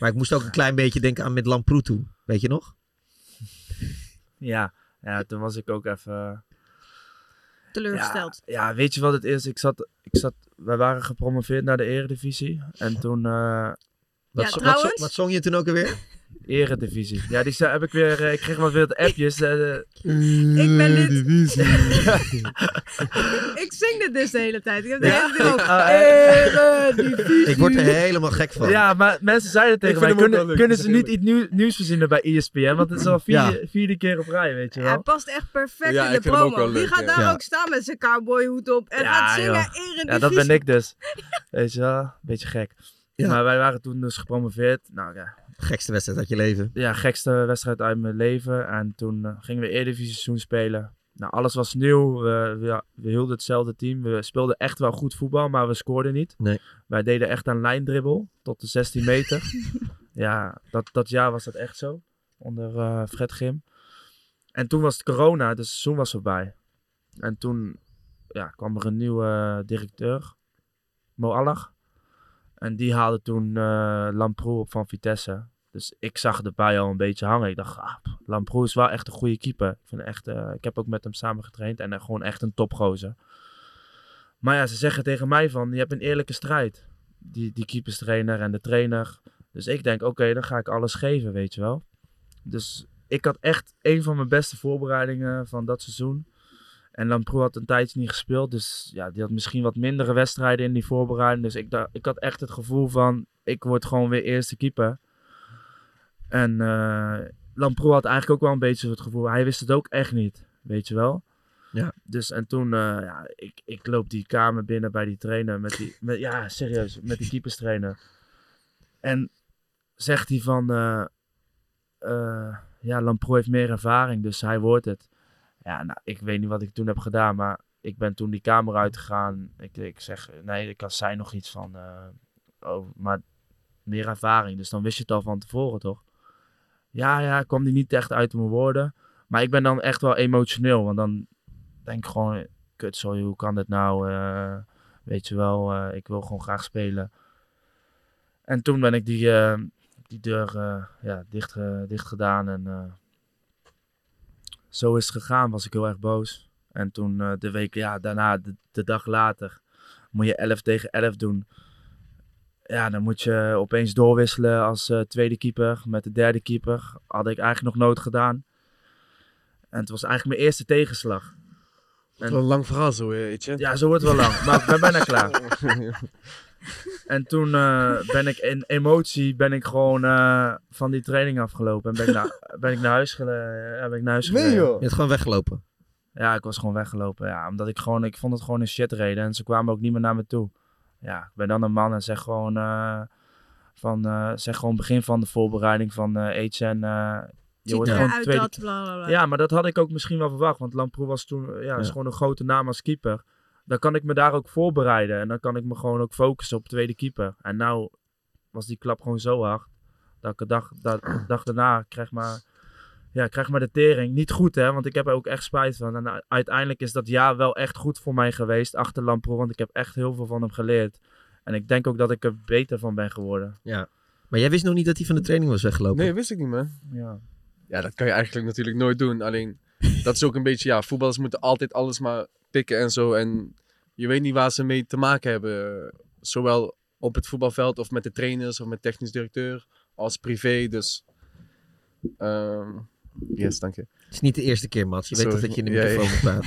Speaker 5: Maar ik moest ook een klein beetje denken aan met Lamproetu. Weet je nog?
Speaker 7: Ja, ja toen was ik ook even... eh,
Speaker 8: Teleurgesteld.
Speaker 7: Ja, ja, weet je wat het is? Ik zat, ik zat, wij waren gepromoveerd naar de eredivisie. En toen... eh,
Speaker 5: Wat, zo- wat, zo- wat zong je toen ook alweer?
Speaker 7: Eredivisie. Ja, die zei- heb ik weer. eh, ik kreeg maar weer wat appjes. eh, eh.
Speaker 8: Ik ben dit- ik zing dit dus de hele tijd. Ik heb de hele tijd Eh, ook.
Speaker 7: Ah, eh.
Speaker 5: Ik word er helemaal gek van.
Speaker 7: Ja, maar mensen zeiden tegen
Speaker 5: Ik vind
Speaker 7: mij:
Speaker 5: hem ook wel
Speaker 7: kunnen, kunnen
Speaker 5: leuk,
Speaker 12: dus
Speaker 5: dat
Speaker 7: ze
Speaker 5: is
Speaker 7: niet iets nieuw- nieuws verzinnen bij E ESPN? Want het is al vierde,
Speaker 5: Ja.
Speaker 7: vierde keer op rij, weet je wel.
Speaker 8: Hij past echt perfect
Speaker 7: Ja,
Speaker 8: in de
Speaker 7: ik vind hem ook
Speaker 8: promo.
Speaker 7: wel
Speaker 8: Die
Speaker 7: leuk,
Speaker 8: gaat
Speaker 7: ja.
Speaker 8: daar
Speaker 7: Ja.
Speaker 8: ook staan met zijn cowboyhoed op en gaat zingen
Speaker 7: joh.
Speaker 8: Eredivisie.
Speaker 7: Ja, dat ben ik dus. Weet je wel, beetje gek. Maar wij waren toen dus gepromoveerd. Nou ja.
Speaker 5: Gekste wedstrijd uit je leven.
Speaker 7: Ja, gekste wedstrijd uit mijn leven. En toen eh, gingen we Eredivisie seizoen spelen. Nou, alles was nieuw. We, we, we hielden hetzelfde team. We speelden echt wel goed voetbal, maar we scoorden niet.
Speaker 5: Nee.
Speaker 7: Wij deden echt een lijndribbel tot de 16 meter. ja, dat, dat jaar was dat echt zo. Onder eh, Fred Grim. En toen was het corona, dus het seizoen was voorbij. En toen ja, kwam er een nieuwe eh, directeur, Mo Allach. En die haalde toen eh Lamproe op van Vitesse. Dus ik zag de bij al een beetje hangen. Ik dacht, ah, pff, Lamproe is wel echt een goede keeper. Ik, vind echt, eh, ik heb ook met hem samen getraind en eh, gewoon echt een topgozer. Maar ja, ze zeggen tegen mij van, je hebt een eerlijke strijd. Die, die keeperstrainer en de trainer. Dus ik denk, oké, dan ga ik alles geven, weet je wel. Dus ik had echt een van mijn beste voorbereidingen van dat seizoen. En Lamproe had een tijdje niet gespeeld. Dus ja, die had misschien wat mindere wedstrijden in die voorbereiding. Dus ik, da- ik had echt het gevoel van, ik word gewoon weer eerste keeper. En eh Lamproe had eigenlijk ook wel een beetje het gevoel. Hij wist het ook echt niet, weet je wel.
Speaker 5: Ja.
Speaker 7: Dus en toen, eh, ja, ik, ik loop die kamer binnen bij die trainer. Met die, met, ja, serieus, met die keeperstrainer. En zegt hij van, eh, eh, ja, Lamproe heeft meer ervaring, dus hij wordt het. Ja, nou, ik weet niet wat ik toen heb gedaan, maar ik ben toen die kamer uitgegaan. Ik, ik zeg, nee, ik had zij nog iets van, eh, oh, maar meer ervaring. Dus dan wist je het al van tevoren, toch? Ja, ja, kwam die niet echt uit mijn woorden. Maar ik ben dan echt wel emotioneel, want dan denk ik gewoon, kut, sorry, hoe kan dit nou? Eh, weet je wel, eh, ik wil gewoon graag spelen. En toen ben ik die, eh, die deur eh, ja, dicht, eh, dicht gedaan. En eh, zo is het gegaan, was ik heel erg boos. En toen eh, de week ja, daarna, de, de dag later, moet je 11 tegen 11 doen. Ja, dan moet je opeens doorwisselen als eh, tweede keeper met de derde keeper. Had ik eigenlijk nog nooit gedaan. En het was eigenlijk mijn eerste tegenslag.
Speaker 12: Het is wel een lang verhaal zo, eh, Etienne.
Speaker 7: Ja, zo wordt het wel lang, maar ik ben bijna klaar. En toen eh, ben ik in emotie ben ik gewoon eh, van die training afgelopen. En ben ik naar, ben ik naar huis gele, ja, ben ik naar huis
Speaker 5: Nee,
Speaker 7: gereden.
Speaker 5: joh. Je bent gewoon weggelopen.
Speaker 7: Ja, ik was gewoon weggelopen. Ja, omdat ik gewoon, ik vond het gewoon een shitreden. En ze kwamen ook niet meer naar me toe. Ja, ik ben dan een man en zeg gewoon, eh, van, eh, zeg gewoon begin van de voorbereiding van eh Etienne. eh, je
Speaker 8: Ziet
Speaker 7: wordt
Speaker 8: er
Speaker 7: gewoon
Speaker 8: uit
Speaker 7: tweede-
Speaker 8: dat, bla, bla, bla.
Speaker 7: Ja, maar dat had ik ook misschien wel verwacht. Want Lamproe was toen, eh, ja, is
Speaker 5: Ja.
Speaker 7: gewoon een grote naam als keeper. Dan kan ik me daar ook voorbereiden. En dan kan ik me gewoon ook focussen op tweede keeper. En nou was die klap gewoon zo hard. Dat ik de dag, dat, dag daarna kreeg maar
Speaker 6: ja, ik krijg maar de tering. Niet goed, hè, want ik heb er ook echt spijt van. En u- uiteindelijk is dat jaar wel echt goed voor mij geweest achter Lampro, want ik heb echt heel veel van hem geleerd. En ik denk ook dat ik er beter van ben geworden.
Speaker 5: Ja. Maar jij wist nog niet dat hij van de training was weggelopen?
Speaker 7: Nee, wist ik niet, man.
Speaker 6: Ja.
Speaker 7: ja, dat kan je eigenlijk natuurlijk nooit doen. Alleen, dat is ook een beetje, ja, voetballers moeten altijd alles maar pikken en zo. En je weet niet waar ze mee te maken hebben. Zowel op het voetbalveld of met de trainers of met technisch directeur als privé. Dus, ehm, yes, dank je.
Speaker 5: Het is niet de eerste keer, Mats. Je weet toch dat je in de microfoon moet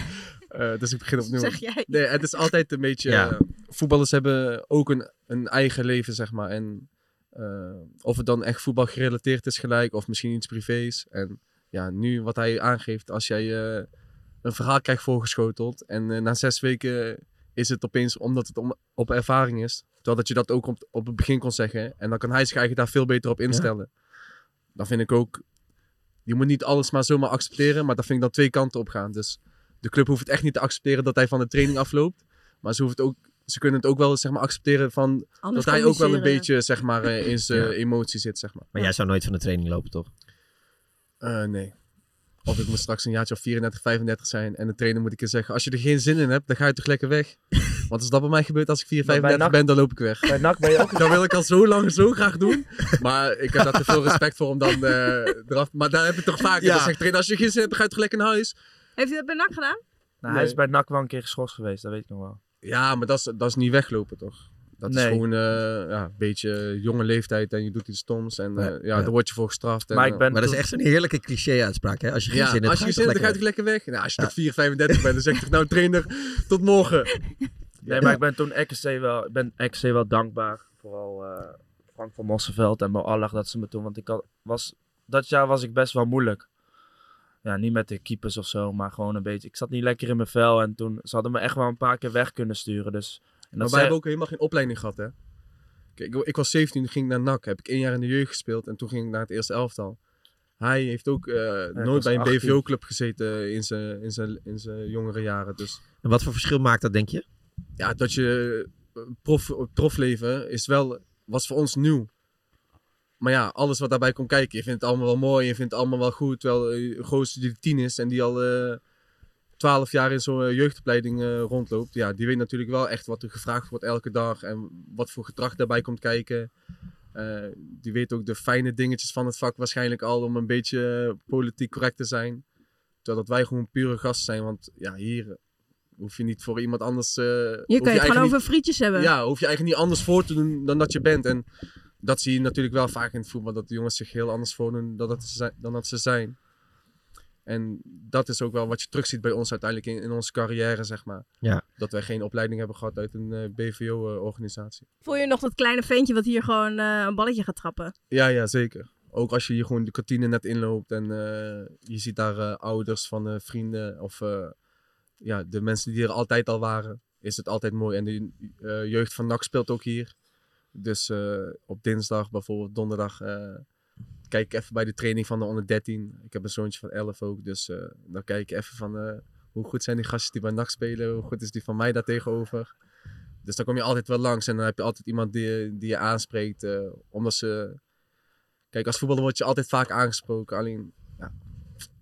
Speaker 7: Eh, dus ik begin opnieuw.
Speaker 8: Zeg jij.
Speaker 7: Nee, het is altijd een beetje...
Speaker 5: Ja.
Speaker 7: eh, voetballers hebben ook een, een eigen leven, zeg maar. En eh, of het dan echt voetbal gerelateerd is gelijk, of misschien iets privés. En ja, nu wat hij aangeeft, als jij eh, een verhaal krijgt voorgeschoteld... en eh, na zes weken is het opeens omdat het om, op ervaring is... terwijl dat je dat ook op, op het begin kon zeggen. En dan kan hij zich eigenlijk daar veel beter op instellen. Dan vind ik ook... Je moet niet alles maar zomaar accepteren, maar dat vind ik dan twee kanten op gaan. Dus de club hoeft het echt niet te accepteren dat hij van de training afloopt. Maar ze, hoeft het ook, ze kunnen het ook wel zeg maar, accepteren van
Speaker 8: Anders
Speaker 7: dat hij ook wel een
Speaker 8: communiceren.
Speaker 7: beetje zeg maar, eh, in zijn
Speaker 5: Ja.
Speaker 7: emotie zit. Zeg maar.
Speaker 5: Maar jij zou nooit van de training lopen, toch?
Speaker 7: Eh, nee. Of ik moet straks een jaartje of 34, 35 zijn. En de trainer moet ik je zeggen, als je er geen zin in hebt, dan ga je toch lekker weg. Want als dat bij mij gebeurt, als ik 4,
Speaker 6: Maar bij
Speaker 7: 35
Speaker 6: NAC-
Speaker 7: ben, dan loop ik weg.
Speaker 6: Bij NAC ben je ook-
Speaker 7: Dat
Speaker 8: Nou,
Speaker 7: wil ik al zo lang zo graag doen. Maar ik heb daar te veel respect voor om dan eh, eraf... Maar daar heb ik toch vaak.
Speaker 6: Ja.
Speaker 7: Dan zegt de trainer, als je geen zin hebt, dan ga je toch lekker naar huis.
Speaker 8: Heeft hij dat bij NAC gedaan?
Speaker 6: Nou, Hij
Speaker 7: Nee.
Speaker 6: is bij NAC wel een keer geschorst geweest, dat weet ik nog wel.
Speaker 7: Ja, maar dat is, dat is niet weglopen, toch? Dat is
Speaker 6: Nee.
Speaker 7: gewoon eh, ja, een beetje eh, jonge leeftijd en je doet iets stoms en eh,
Speaker 5: Ja,
Speaker 7: ja,
Speaker 5: ja.
Speaker 7: daar word je voor gestraft. En, eh,
Speaker 5: maar dat is echt zo'n heerlijke cliché-uitspraak, hè? Als je geen
Speaker 7: ja,
Speaker 5: zin hebt,
Speaker 7: als je geen zin hebt, dan ga je toch lekker weg. Nou, als je
Speaker 5: Ja.
Speaker 7: toch 4, 35 bent, dan zegt toch nou trainer, tot morgen.
Speaker 6: Nee, maar ik ben toen XC wel, ik ben XC wel dankbaar. Vooral eh, Frank van Mossenveld en Moallag dat ze me toen. Want ik had, was, dat jaar was ik best wel moeilijk. Ja, niet met de keepers of zo, maar gewoon een beetje. Ik zat niet lekker in mijn vel en toen ze hadden me echt wel een paar keer weg kunnen sturen. Dus, en dat
Speaker 7: Maar wij
Speaker 6: zei-
Speaker 7: hebben ook helemaal geen opleiding gehad, hè? Kijk, ik- ik was 17, ging ik naar NAC. Heb ik één jaar in de jeugd gespeeld en toen ging ik naar het eerste elftal. Hij heeft ook eh,
Speaker 5: was
Speaker 7: nooit bij een
Speaker 5: 18.
Speaker 7: BVO-club gezeten in zijn, in, zijn, in zijn jongere jaren. Dus
Speaker 5: En wat voor verschil maakt dat, denk je?
Speaker 7: ja, dat je eh, prof, profleven is wel, was voor ons nieuw. Maar ja, alles wat daarbij komt kijken, je vindt het allemaal wel mooi, je vindt het allemaal wel goed. Terwijl eh, een gozer die tien is en die al eh, twaalf jaar in zo'n eh, jeugdopleiding eh, rondloopt, ja, die weet natuurlijk wel echt wat er gevraagd wordt elke dag en wat voor gedrag daarbij komt kijken. Eh, die weet ook de fijne dingetjes van het vak waarschijnlijk al om een beetje eh, politiek correct te zijn. Terwijl dat wij gewoon pure gasten zijn, want ja, hier hoef je niet voor iemand anders... eh, hoef
Speaker 8: Je kan het
Speaker 7: eigen
Speaker 8: gewoon
Speaker 7: niet-
Speaker 8: over frietjes hebben.
Speaker 7: ja, hoef je eigenlijk niet anders voor te doen dan dat je bent. En dat zie je natuurlijk wel vaak in het voetbal, dat de jongens zich heel anders voordoen dan dat ze zijn. Dan dat ze zijn. En dat is ook wel wat je terugziet bij ons uiteindelijk in, in onze carrière, zeg maar.
Speaker 5: Ja.
Speaker 7: Dat wij geen opleiding hebben gehad uit een eh, BVO-organisatie.
Speaker 8: Voel je nog dat kleine ventje wat hier gewoon eh, een balletje gaat trappen?
Speaker 7: Ja, ja, zeker. Ook als je hier gewoon de kantine net inloopt en eh, je ziet daar eh, ouders van eh, vrienden of eh, ja, de mensen die er altijd al waren, is het altijd mooi. En de eh, jeugd van NAC speelt ook hier. Dus eh, op dinsdag, bijvoorbeeld donderdag, eh, kijk ik even bij de training van de onder 13. Ik heb een zoontje van 11 ook, dus eh, dan kijk ik even van eh, hoe goed zijn die gasten die bij NAC spelen, hoe goed is die van mij daar tegenover. Dus dan kom je altijd wel langs en dan heb je altijd iemand die, die je aanspreekt, eh, omdat ze Kijk, als voetballer word je altijd vaak aangesproken. Alleen, ja,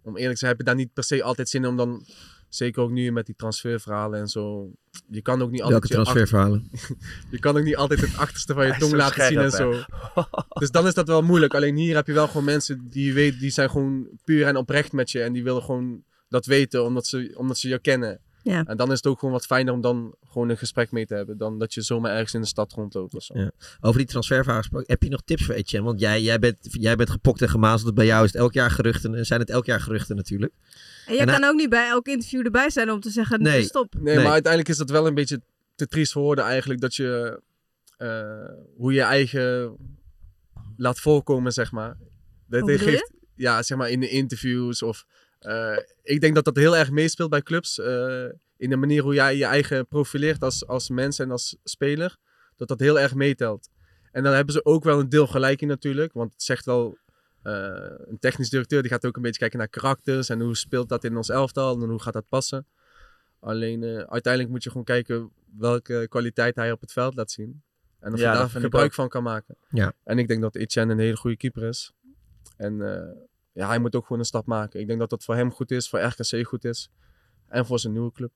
Speaker 7: om eerlijk te zijn, heb je daar niet per se altijd zin in om dan... Zeker ook nu met die transferverhalen en zo. Je kan ook niet altijd...
Speaker 5: Welke
Speaker 7: je achter-
Speaker 5: transferverhalen?
Speaker 7: je kan ook niet altijd het achterste van je
Speaker 5: Hij is
Speaker 7: tong
Speaker 5: zo
Speaker 7: laten zien en
Speaker 5: scherp,
Speaker 7: zo. Dus dan is dat wel moeilijk. Alleen hier heb je wel gewoon mensen die je weet, die zijn gewoon puur en oprecht met je. En die willen gewoon dat weten, omdat ze, omdat ze je kennen.
Speaker 8: Ja.
Speaker 7: En dan is het ook gewoon wat fijner om dan gewoon een gesprek mee te hebben. Dan dat je zomaar ergens in de stad rondloopt of zo.
Speaker 5: Ja. Over die transferverhaal gesproken, heb je nog tips voor Etienne? Want jij, jij, bent, jij bent gepokt en gemazeld. Bij jou is het elk jaar geruchten. En zijn het elk jaar geruchten natuurlijk.
Speaker 8: En jij
Speaker 5: En hij-
Speaker 8: kan ook niet bij elk interview erbij zijn om te zeggen,
Speaker 5: Nee.
Speaker 8: stop.
Speaker 7: Nee, maar uiteindelijk is dat wel een beetje te triest voor woorden eigenlijk. Dat je eh, hoe je eigen laat voorkomen, zeg maar. Dat
Speaker 8: Hoe bedoel
Speaker 7: geeft, ja, zeg maar in de interviews of... eh, ik denk dat dat heel erg meespeelt bij clubs. eh, in de manier hoe jij je eigen profileert als, als mens en als speler. Dat dat heel erg meetelt. En dan hebben ze ook wel een deel gelijk in natuurlijk. Want het zegt wel... eh, een technisch directeur die gaat ook een beetje kijken naar karakters. En hoe speelt dat in ons elftal? En hoe gaat dat passen? Alleen eh, uiteindelijk moet je gewoon kijken welke kwaliteit hij op het veld laat zien. En of
Speaker 6: Ja,
Speaker 7: je
Speaker 6: dat
Speaker 7: daar
Speaker 6: vind ik
Speaker 7: gebruik
Speaker 6: ook.
Speaker 7: van kan maken.
Speaker 5: Ja.
Speaker 7: En ik denk dat Etienne een hele goede keeper is. En eh,
Speaker 5: ja, hij moet ook gewoon een stap maken. Ik denk dat dat voor hem goed is, voor RKC goed is. En voor zijn nieuwe club.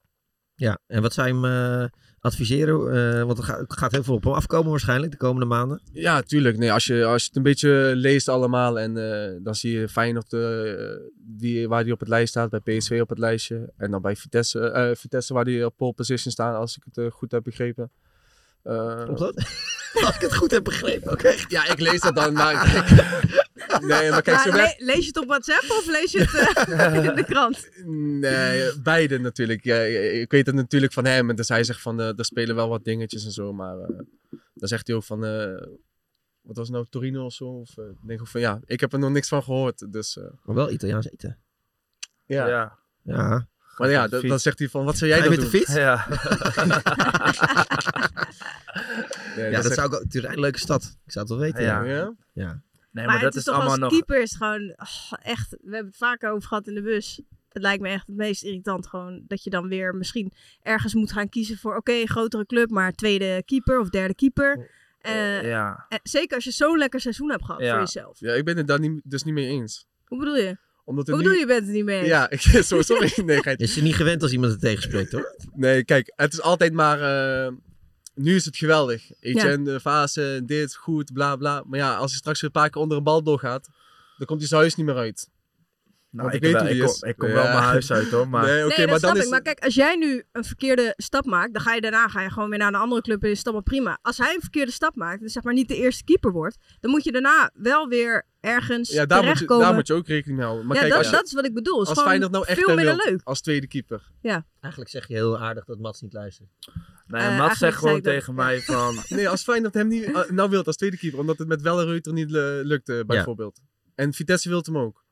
Speaker 6: Ja, en wat zou je hem eh, adviseren? Eh, want er gaat, gaat heel veel op hem afkomen waarschijnlijk de komende maanden.
Speaker 5: Ja, tuurlijk. Nee, als, je, als je het een beetje leest allemaal en eh, dan zie je Feyenoord eh, die, waar hij op het lijst staat, bij PSV op het lijstje. En dan bij Vitesse, eh, Vitesse waar die op pole position staan, als ik het eh, goed heb begrepen. Eh,
Speaker 6: Klopt dat? Als ik het goed heb begrepen, oké.
Speaker 5: Ja, ik lees dat dan. Maar kijk, nee, maar kijk,
Speaker 8: Maar
Speaker 5: zo
Speaker 8: le-
Speaker 5: werkt-
Speaker 8: lees je het op WhatsApp of lees je het eh, in de krant?
Speaker 5: Nee, beide natuurlijk. Ja, ik weet het natuurlijk van hem. En dus hij zegt van, eh er spelen wel wat dingetjes en zo. Maar eh, dan zegt hij ook van, eh, wat was het nou, Torino of zo? Of, eh, ik denk ook van, ja, ik heb er nog niks van gehoord. Dus, eh,
Speaker 6: Maar wel Italiaans eten.
Speaker 5: ja.
Speaker 6: Ja. Ja.
Speaker 5: Maar ja,
Speaker 6: Met de
Speaker 5: dan,
Speaker 6: fiets.
Speaker 5: dan zegt hij van, wat zou jij
Speaker 6: Ga
Speaker 5: dan
Speaker 6: je
Speaker 5: doen?
Speaker 6: met de fiets? Ja.
Speaker 5: Nee,
Speaker 6: ja,
Speaker 5: dat
Speaker 6: dat
Speaker 5: zegt-
Speaker 6: zou ik ook... Turijn, een leuke stad. Ik zou het wel weten.
Speaker 7: Ja.
Speaker 5: Ja?
Speaker 6: Ja.
Speaker 7: Nee, maar,
Speaker 8: maar
Speaker 7: dat
Speaker 8: het
Speaker 7: is
Speaker 8: is toch
Speaker 7: allemaal
Speaker 8: als
Speaker 7: nog...
Speaker 8: keeper is gewoon oh, echt. We hebben het vaker over gehad in de bus. Het lijkt me echt het meest irritant gewoon dat je dan weer misschien ergens moet gaan kiezen voor oké grotere club, maar tweede keeper of derde keeper. Eh,
Speaker 5: Oh, ja.
Speaker 8: eh, zeker als je zo'n lekker seizoen hebt gehad voor jezelf.
Speaker 5: Ja, ik ben het daar niet, dus niet mee eens.
Speaker 8: Hoe bedoel je?
Speaker 5: Omdat
Speaker 8: Hoe
Speaker 5: er
Speaker 8: bedoel
Speaker 5: nu-
Speaker 8: je bent het niet mee? eens?
Speaker 5: Ja, ik, sorry, sorry. Nee, geitje.
Speaker 6: Is je niet gewend als iemand het tegenspreekt, hoor.
Speaker 5: Nee, kijk, het is altijd maar. eh, nu is het geweldig. Weet je,
Speaker 6: Ja.
Speaker 5: en de fase, dit, goed, bla bla. Maar ja, als hij straks weer een paar keer onder een bal doorgaat, dan komt hij zijn huis niet meer uit.
Speaker 7: Nou,
Speaker 5: Want
Speaker 7: ik wel.
Speaker 5: hoe die
Speaker 7: Ik kom-
Speaker 5: is.
Speaker 7: ik kom wel mijn huis uit, hoor, maar-
Speaker 5: Nee, oké,
Speaker 8: nee,
Speaker 5: maar
Speaker 8: dat
Speaker 5: dan
Speaker 8: snap
Speaker 5: is.
Speaker 8: ik. Maar kijk, als jij nu een verkeerde stap maakt, dan ga je daarna ga je gewoon weer naar een andere club en is het allemaal prima. Als hij een verkeerde stap maakt, dus zeg maar niet de eerste keeper wordt, dan moet je daarna wel weer ergens
Speaker 5: ja, daar moet, je,
Speaker 8: terechtkomen.
Speaker 5: daar moet je ook rekening mee houden. Maar
Speaker 8: ja,
Speaker 5: kijk,
Speaker 8: dat,
Speaker 5: als, je-
Speaker 8: dat is wat ik bedoel. Het is
Speaker 5: als
Speaker 8: gewoon
Speaker 5: Feyenoord nou echt
Speaker 8: veel
Speaker 5: hem
Speaker 8: minder
Speaker 5: wil,
Speaker 8: leuk.
Speaker 5: als tweede keeper.
Speaker 8: Ja.
Speaker 6: Eigenlijk zeg je heel aardig dat Mats niet luistert.
Speaker 7: Nee,
Speaker 5: Eh,
Speaker 7: Mats
Speaker 5: eigenlijk
Speaker 7: zegt gewoon
Speaker 5: zei ik
Speaker 7: tegen mij van...
Speaker 5: Nee, als Feyenoord hem niet, eh, nou wilt als tweede keeper, omdat het met Welleruiter niet eh, lukte, bijvoorbeeld. En Vitesse wil hem ook.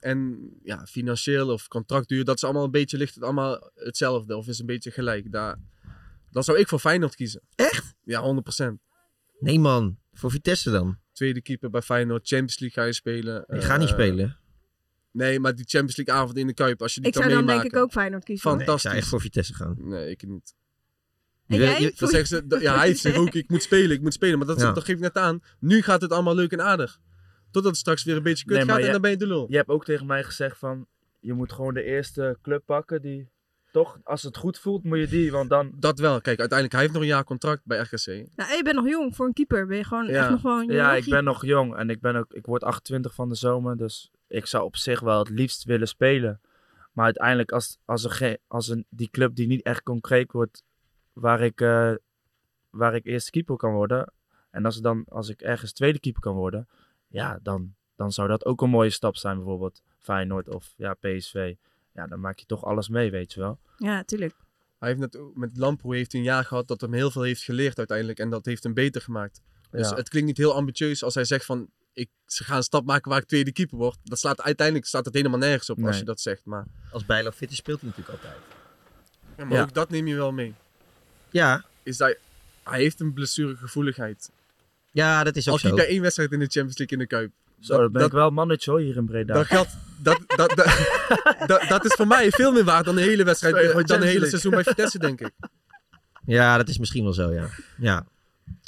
Speaker 5: En ja, financieel of contractduur, dat is allemaal een beetje, ligt het allemaal hetzelfde of is een beetje gelijk. Daar, dan zou ik voor Feyenoord kiezen.
Speaker 6: Echt?
Speaker 5: Ja, 100%.
Speaker 6: Nee, man. Voor Vitesse dan?
Speaker 5: Tweede keeper bij Feyenoord, Champions League ga je spelen.
Speaker 6: Je
Speaker 5: Eh,
Speaker 6: gaat niet spelen.
Speaker 5: Nee, maar die Champions League avond in de Kuip, als je die
Speaker 8: Ik
Speaker 5: kan
Speaker 8: zou dan
Speaker 5: meemaken.
Speaker 8: denk ik ook Feyenoord kiezen. hoor.
Speaker 6: Nee, ik
Speaker 5: Fantastisch.
Speaker 6: zou echt voor Vitesse gaan.
Speaker 5: Nee, ik niet.
Speaker 8: En jij?
Speaker 5: Dan
Speaker 8: Voor-
Speaker 5: zeggen ze, dat- ja, hij zegt ook, ik moet spelen, ik moet spelen. Maar dat, is-
Speaker 7: Ja.
Speaker 5: dat geef ik net aan. Nu gaat het allemaal leuk en aardig. Totdat het straks weer een beetje kut
Speaker 7: Nee, maar
Speaker 5: gaat en
Speaker 7: je-
Speaker 5: dan ben je de lul.
Speaker 7: Je hebt ook tegen mij gezegd van... Je moet gewoon de eerste club pakken die... Toch, als het goed voelt, moet je die, want dan...
Speaker 5: Dat wel. Kijk, uiteindelijk, hij heeft nog een jaar contract bij RKC.
Speaker 8: Nou, en je bent nog jong voor een keeper. Ben je gewoon echt nog gewoon
Speaker 7: ja ik
Speaker 8: jochie.
Speaker 7: ben nog jong en ik, ben ook, ik word 28 van de zomer. Dus ik zou op zich wel het liefst willen spelen. Maar uiteindelijk, als, als, er geen, als een, die club die niet echt concreet wordt, waar ik, eh, waar ik eerste keeper kan worden. En als, er dan, als ik ergens tweede keeper kan worden, ja, dan, dan zou dat ook een mooie stap zijn. Bijvoorbeeld Feyenoord of ja, PSV. Ja, dan maak je toch alles mee, weet je wel.
Speaker 8: Ja, tuurlijk.
Speaker 5: Hij heeft net, met Lamproe heeft hij een jaar gehad dat hem heel veel heeft geleerd uiteindelijk. En dat heeft hem beter gemaakt. Dus
Speaker 7: Ja.
Speaker 5: het klinkt niet heel ambitieus als hij zegt van... Ik ga een stap maken waar ik tweede keeper word. Dat slaat, uiteindelijk staat het helemaal nergens op als
Speaker 6: Nee.
Speaker 5: je dat zegt. Maar,
Speaker 6: Als Bijlo fit is, speelt hij natuurlijk altijd.
Speaker 5: ja, maar
Speaker 6: Ja.
Speaker 5: ook dat neem je wel mee.
Speaker 6: Ja.
Speaker 5: Is dat, hij heeft een blessuregevoeligheid.
Speaker 6: Ja, dat is ook
Speaker 5: Als
Speaker 6: zo.
Speaker 5: hij bij één wedstrijd in de Champions League in de Kuip.
Speaker 7: Zo, dan ben ik wel mannetje hoor, hier in Breda.
Speaker 5: Dat, geldt- dat, dat, dat, dat, dat is voor mij veel meer waard dan de hele wedstrijd,
Speaker 7: Sorry,
Speaker 5: dan
Speaker 7: maar
Speaker 5: een hele
Speaker 7: Champions
Speaker 5: seizoen bij
Speaker 7: League.
Speaker 5: Vitesse, denk ik.
Speaker 6: Ja, dat is misschien wel zo, ja. Ja.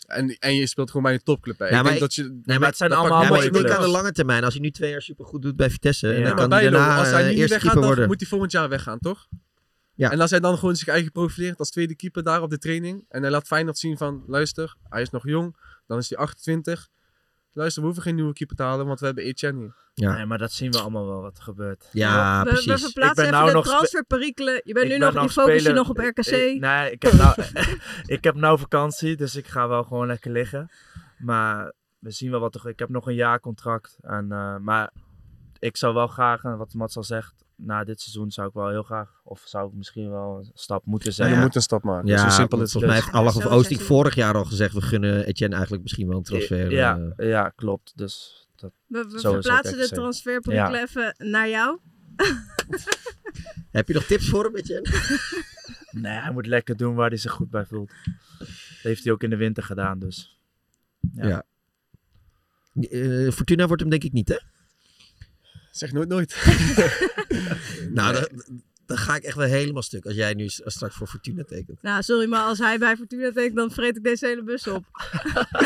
Speaker 5: En, en je speelt gewoon bij een topclub. Hè.
Speaker 6: Ja,
Speaker 5: ik
Speaker 6: maar
Speaker 5: denk
Speaker 6: ik-
Speaker 5: dat je,
Speaker 6: nee, maar het zijn
Speaker 5: dat
Speaker 6: allemaal
Speaker 5: pakt-
Speaker 6: mooie Ik denk aan de lange termijn. Als hij nu twee jaar supergoed doet bij Vitesse,
Speaker 5: Ja,
Speaker 6: dan
Speaker 5: maar
Speaker 6: kan hij
Speaker 5: Bijlo,
Speaker 6: daarna
Speaker 5: als hij
Speaker 6: eh,
Speaker 5: nu niet
Speaker 6: eerste
Speaker 5: weggaat,
Speaker 6: keeper
Speaker 5: dan
Speaker 6: worden.
Speaker 5: moet hij volgend jaar weggaan, toch?
Speaker 6: Ja.
Speaker 5: En als hij dan gewoon zich eigen profileert als tweede keeper daar op de training. En hij laat Feyenoord zien van, luister, hij is nog jong. Dan is hij 28. Luister, we hoeven geen nieuwe keeper te halen, want we hebben Etienne hier.
Speaker 6: Ja.
Speaker 7: Nee, maar dat zien we allemaal wel wat er gebeurt.
Speaker 6: Ja,
Speaker 8: We, we
Speaker 7: Ah, Ik ben
Speaker 8: verplaatsen even
Speaker 7: nou
Speaker 8: de
Speaker 7: nog spe-
Speaker 8: transferperikelen. Je bent
Speaker 7: Ik ben
Speaker 8: nu nog, je focus je
Speaker 7: speler-
Speaker 8: nog op RKC.
Speaker 7: Ik- nee, ik heb, nou, ik heb nou vakantie, dus ik ga wel gewoon lekker liggen. Maar we zien wel wat er... Ik heb nog een jaar contract. En, eh, maar ik zou wel graag, en wat Mats al zegt, na dit seizoen zou ik wel heel graag... Of zou ik misschien wel een stap moeten zetten.
Speaker 5: je moet een stap maken.
Speaker 6: Nou Ja,
Speaker 5: Zo simpel
Speaker 6: want
Speaker 5: is het.
Speaker 7: dus.
Speaker 6: volgens mij heeft Allag of
Speaker 7: Zo
Speaker 6: Oosting
Speaker 7: simpel.
Speaker 6: vorig jaar al gezegd... we gunnen Etienne eigenlijk misschien wel een transfer.
Speaker 7: Ja,
Speaker 6: eh.
Speaker 7: ja, klopt. Dus dat,
Speaker 8: We, we
Speaker 7: zo is het
Speaker 8: verplaatsen de
Speaker 7: RKC.
Speaker 8: transferperikelen
Speaker 7: Ja.
Speaker 8: even naar jou.
Speaker 6: Heb je nog tips voor hem, Etienne?
Speaker 7: Nee, hij moet lekker doen waar hij zich goed bij voelt. Dat heeft hij ook in de winter gedaan, dus...
Speaker 6: Ja. Eh, Fortuna wordt hem denk ik niet, hè?
Speaker 5: Zeg nooit nooit.
Speaker 6: Nou, dat,
Speaker 7: dan ga ik echt wel helemaal stuk als jij nu s- straks voor Fortuna tekent.
Speaker 8: Nou, sorry, maar als hij bij Fortuna tekent, dan vreet ik deze hele bus op.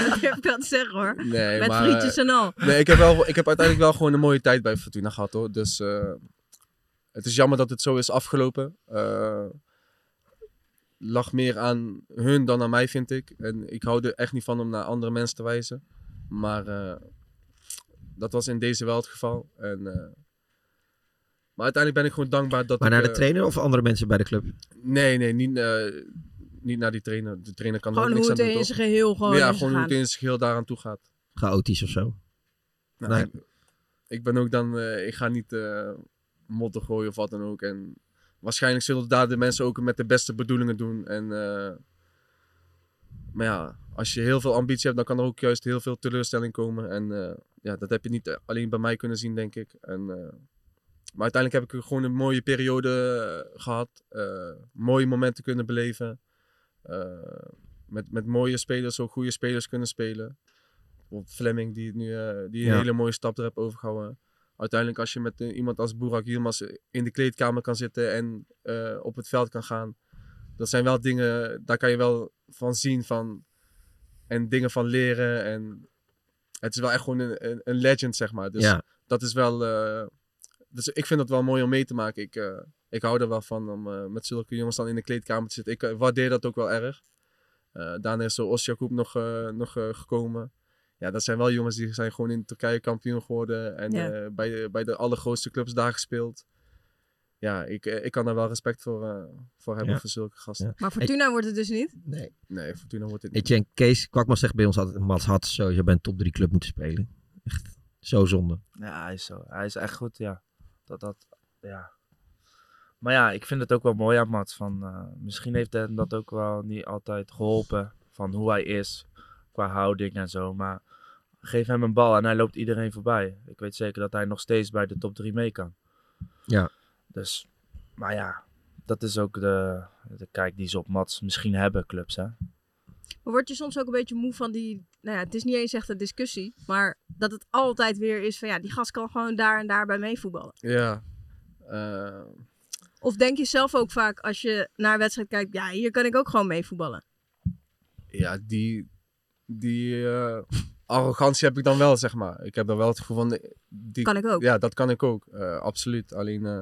Speaker 8: dat heb ik wel te zeggen hoor.
Speaker 5: Nee,
Speaker 8: Met
Speaker 5: maar,
Speaker 8: frietjes
Speaker 5: eh,
Speaker 8: en al.
Speaker 5: Nee, ik heb, wel, ik heb uiteindelijk wel gewoon een mooie tijd bij Fortuna gehad hoor. Dus eh, het is jammer dat het zo is afgelopen. Eh lag meer aan hun dan aan mij, vind ik. En ik hou er echt niet van om naar andere mensen te wijzen. Maar eh, dat was in deze wel het geval. En, eh, maar uiteindelijk ben ik gewoon dankbaar dat
Speaker 7: Maar
Speaker 5: ik,
Speaker 7: naar de
Speaker 5: eh,
Speaker 7: trainer of andere mensen bij de club?
Speaker 5: Nee, nee, niet, eh, niet naar die trainer. De trainer kan er
Speaker 8: Gewoon
Speaker 5: niks
Speaker 8: hoe
Speaker 5: aan
Speaker 8: het
Speaker 5: doen,
Speaker 8: in
Speaker 5: toch?
Speaker 8: zijn geheel gewoon
Speaker 5: Ja,
Speaker 8: is
Speaker 5: gewoon hoe het
Speaker 8: gegaan.
Speaker 5: in zijn geheel daaraan toe gaat.
Speaker 7: Chaotisch of zo?
Speaker 5: Nou,
Speaker 7: Nee.
Speaker 5: ik, ik ben ook dan, eh, ik ga niet eh, motten gooien of wat dan ook. En waarschijnlijk zullen daar de mensen ook met de beste bedoelingen doen. En, eh, maar ja, als je heel veel ambitie hebt, dan kan er ook juist heel veel teleurstelling komen. En eh, ja, dat heb je niet eh, alleen bij mij kunnen zien, denk ik. En, eh, maar uiteindelijk heb ik gewoon een mooie periode eh, gehad. eh, mooie momenten kunnen beleven. eh, met, met mooie spelers, ook goede spelers kunnen spelen. Bijvoorbeeld Fleming, die, het nu, eh, die een
Speaker 13: Ja.
Speaker 5: hele mooie stap er heeft overgehouden. Uiteindelijk, als je met eh, iemand als Burak Yilmaz in de kleedkamer kan zitten en eh, op het veld kan gaan. Dat zijn wel dingen, daar kan je wel van zien van, en dingen van leren. En het is wel echt gewoon een, een, een legend, zeg maar. Dus
Speaker 7: Ja.
Speaker 5: dat is wel. eh, dus ik vind dat wel mooi om mee te maken. Ik, eh, ik hou er wel van om eh, met zulke jongens dan in de kleedkamer te zitten. Ik eh, waardeer dat ook wel erg. Eh, daarna is zo Osjakoub nog, eh, nog eh, gekomen. Ja, dat zijn wel jongens die zijn gewoon in Turkije kampioen geworden. En
Speaker 13: Ja.
Speaker 5: eh, bij, de, bij de allergrootste clubs daar gespeeld. Ja, ik, eh, ik kan daar wel respect voor, eh, voor hebben
Speaker 7: Ja.
Speaker 5: voor zulke gasten.
Speaker 7: Ja.
Speaker 8: Maar Fortuna wordt het dus niet.
Speaker 7: Nee.
Speaker 5: Nee, Fortuna wordt het niet.
Speaker 7: Etienne, Kees Kwakman zegt bij ons altijd, Mats had sowieso bij een top 3 club moeten spelen. Echt zo zonde.
Speaker 6: Ja, hij is zo. Hij is echt goed, ja. Dat, dat, ja. Maar ja, ik vind het ook wel mooi aan Mats. Van, eh, misschien heeft hem dat ook wel niet altijd geholpen. Van hoe hij is, qua houding en zo. Maar geef hem een bal en hij loopt iedereen voorbij. Ik weet zeker dat hij nog steeds bij de top 3 mee kan.
Speaker 7: Ja.
Speaker 6: Dus, maar ja, dat is ook de, de kijk die ze op Mats misschien hebben, clubs, hè.
Speaker 8: Maar word je soms ook een beetje moe van die... Nou ja, het is niet eens echt een discussie. Maar dat het altijd weer is van... Ja, die gast kan gewoon daar en daarbij meevoetballen.
Speaker 5: Ja. Eh,
Speaker 8: Of denk je zelf ook vaak als je naar een wedstrijd kijkt... Ja, hier kan ik ook gewoon meevoetballen.
Speaker 5: ja, die, die eh, arrogantie heb ik dan wel, zeg maar. Ik heb dan wel het gevoel van... eh, Die,
Speaker 8: Kan ik ook.
Speaker 5: Ja, dat kan ik ook. eh, absoluut. Alleen, eh,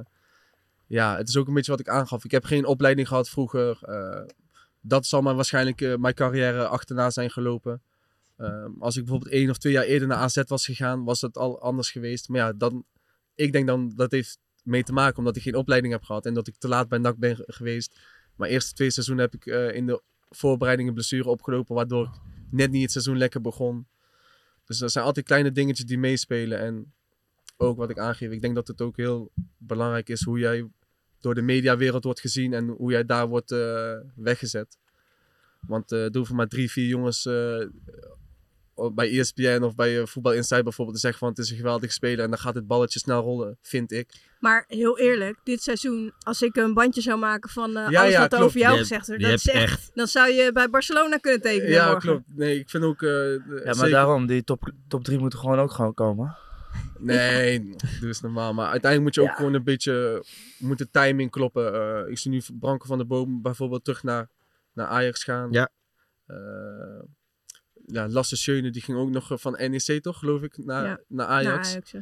Speaker 5: ja, het is ook een beetje wat ik aangaf. Ik heb geen opleiding gehad vroeger. eh, dat zal mij waarschijnlijk eh, mijn carrière achterna zijn gelopen. Ehm, als ik bijvoorbeeld één of twee jaar eerder naar AZ was gegaan, was dat al anders geweest. Maar ja, dan, ik denk dan dat heeft mee te maken omdat ik geen opleiding heb gehad en dat ik te laat bij NAC ben ge- geweest. Mijn eerste twee seizoenen heb ik eh, in de voorbereiding een blessure opgelopen, waardoor ik net niet het seizoen lekker begon. Dus dat zijn altijd kleine dingetjes die meespelen. En ook wat ik aangeef, ik denk dat het ook heel belangrijk is hoe jij door de mediawereld wordt gezien en hoe jij daar wordt eh, weggezet. Want eh er hoeven maar drie, vier jongens eh, op- bij ESPN of bij eh, Voetbal Insight bijvoorbeeld te zeggen van het is een geweldig speler en dan gaat het balletje snel rollen, vind ik.
Speaker 8: Maar heel eerlijk, dit seizoen... Als ik een bandje zou maken van eh,
Speaker 5: Ja,
Speaker 8: alles
Speaker 5: ja,
Speaker 8: wat er
Speaker 5: klopt.
Speaker 8: over jou
Speaker 5: Je hebt-
Speaker 8: gezegd wordt...
Speaker 5: je
Speaker 8: Dat is
Speaker 5: hebt
Speaker 8: echt-
Speaker 5: echt-
Speaker 8: Dan zou je bij Barcelona kunnen tekenen
Speaker 5: ja,
Speaker 8: morgen.
Speaker 5: klopt. Nee, ik vind ook... eh,
Speaker 6: Ja, maar
Speaker 5: zeker-
Speaker 6: daarom, die top, top 3 moeten gewoon ook gewoon komen.
Speaker 5: Nee, doe eens normaal. Maar uiteindelijk moet je ook gewoon een beetje... Moet de timing kloppen. Eh, ik zie nu Branko van der Boom bijvoorbeeld terug naar, naar Ajax gaan.
Speaker 7: Ja.
Speaker 5: Eh, ja, Lasse Schöne, die ging ook nog eh, van NEC toch, geloof ik, naar,
Speaker 8: Ja,
Speaker 5: naar
Speaker 8: naar
Speaker 5: Ajax.
Speaker 8: Nou, Ajax, ja.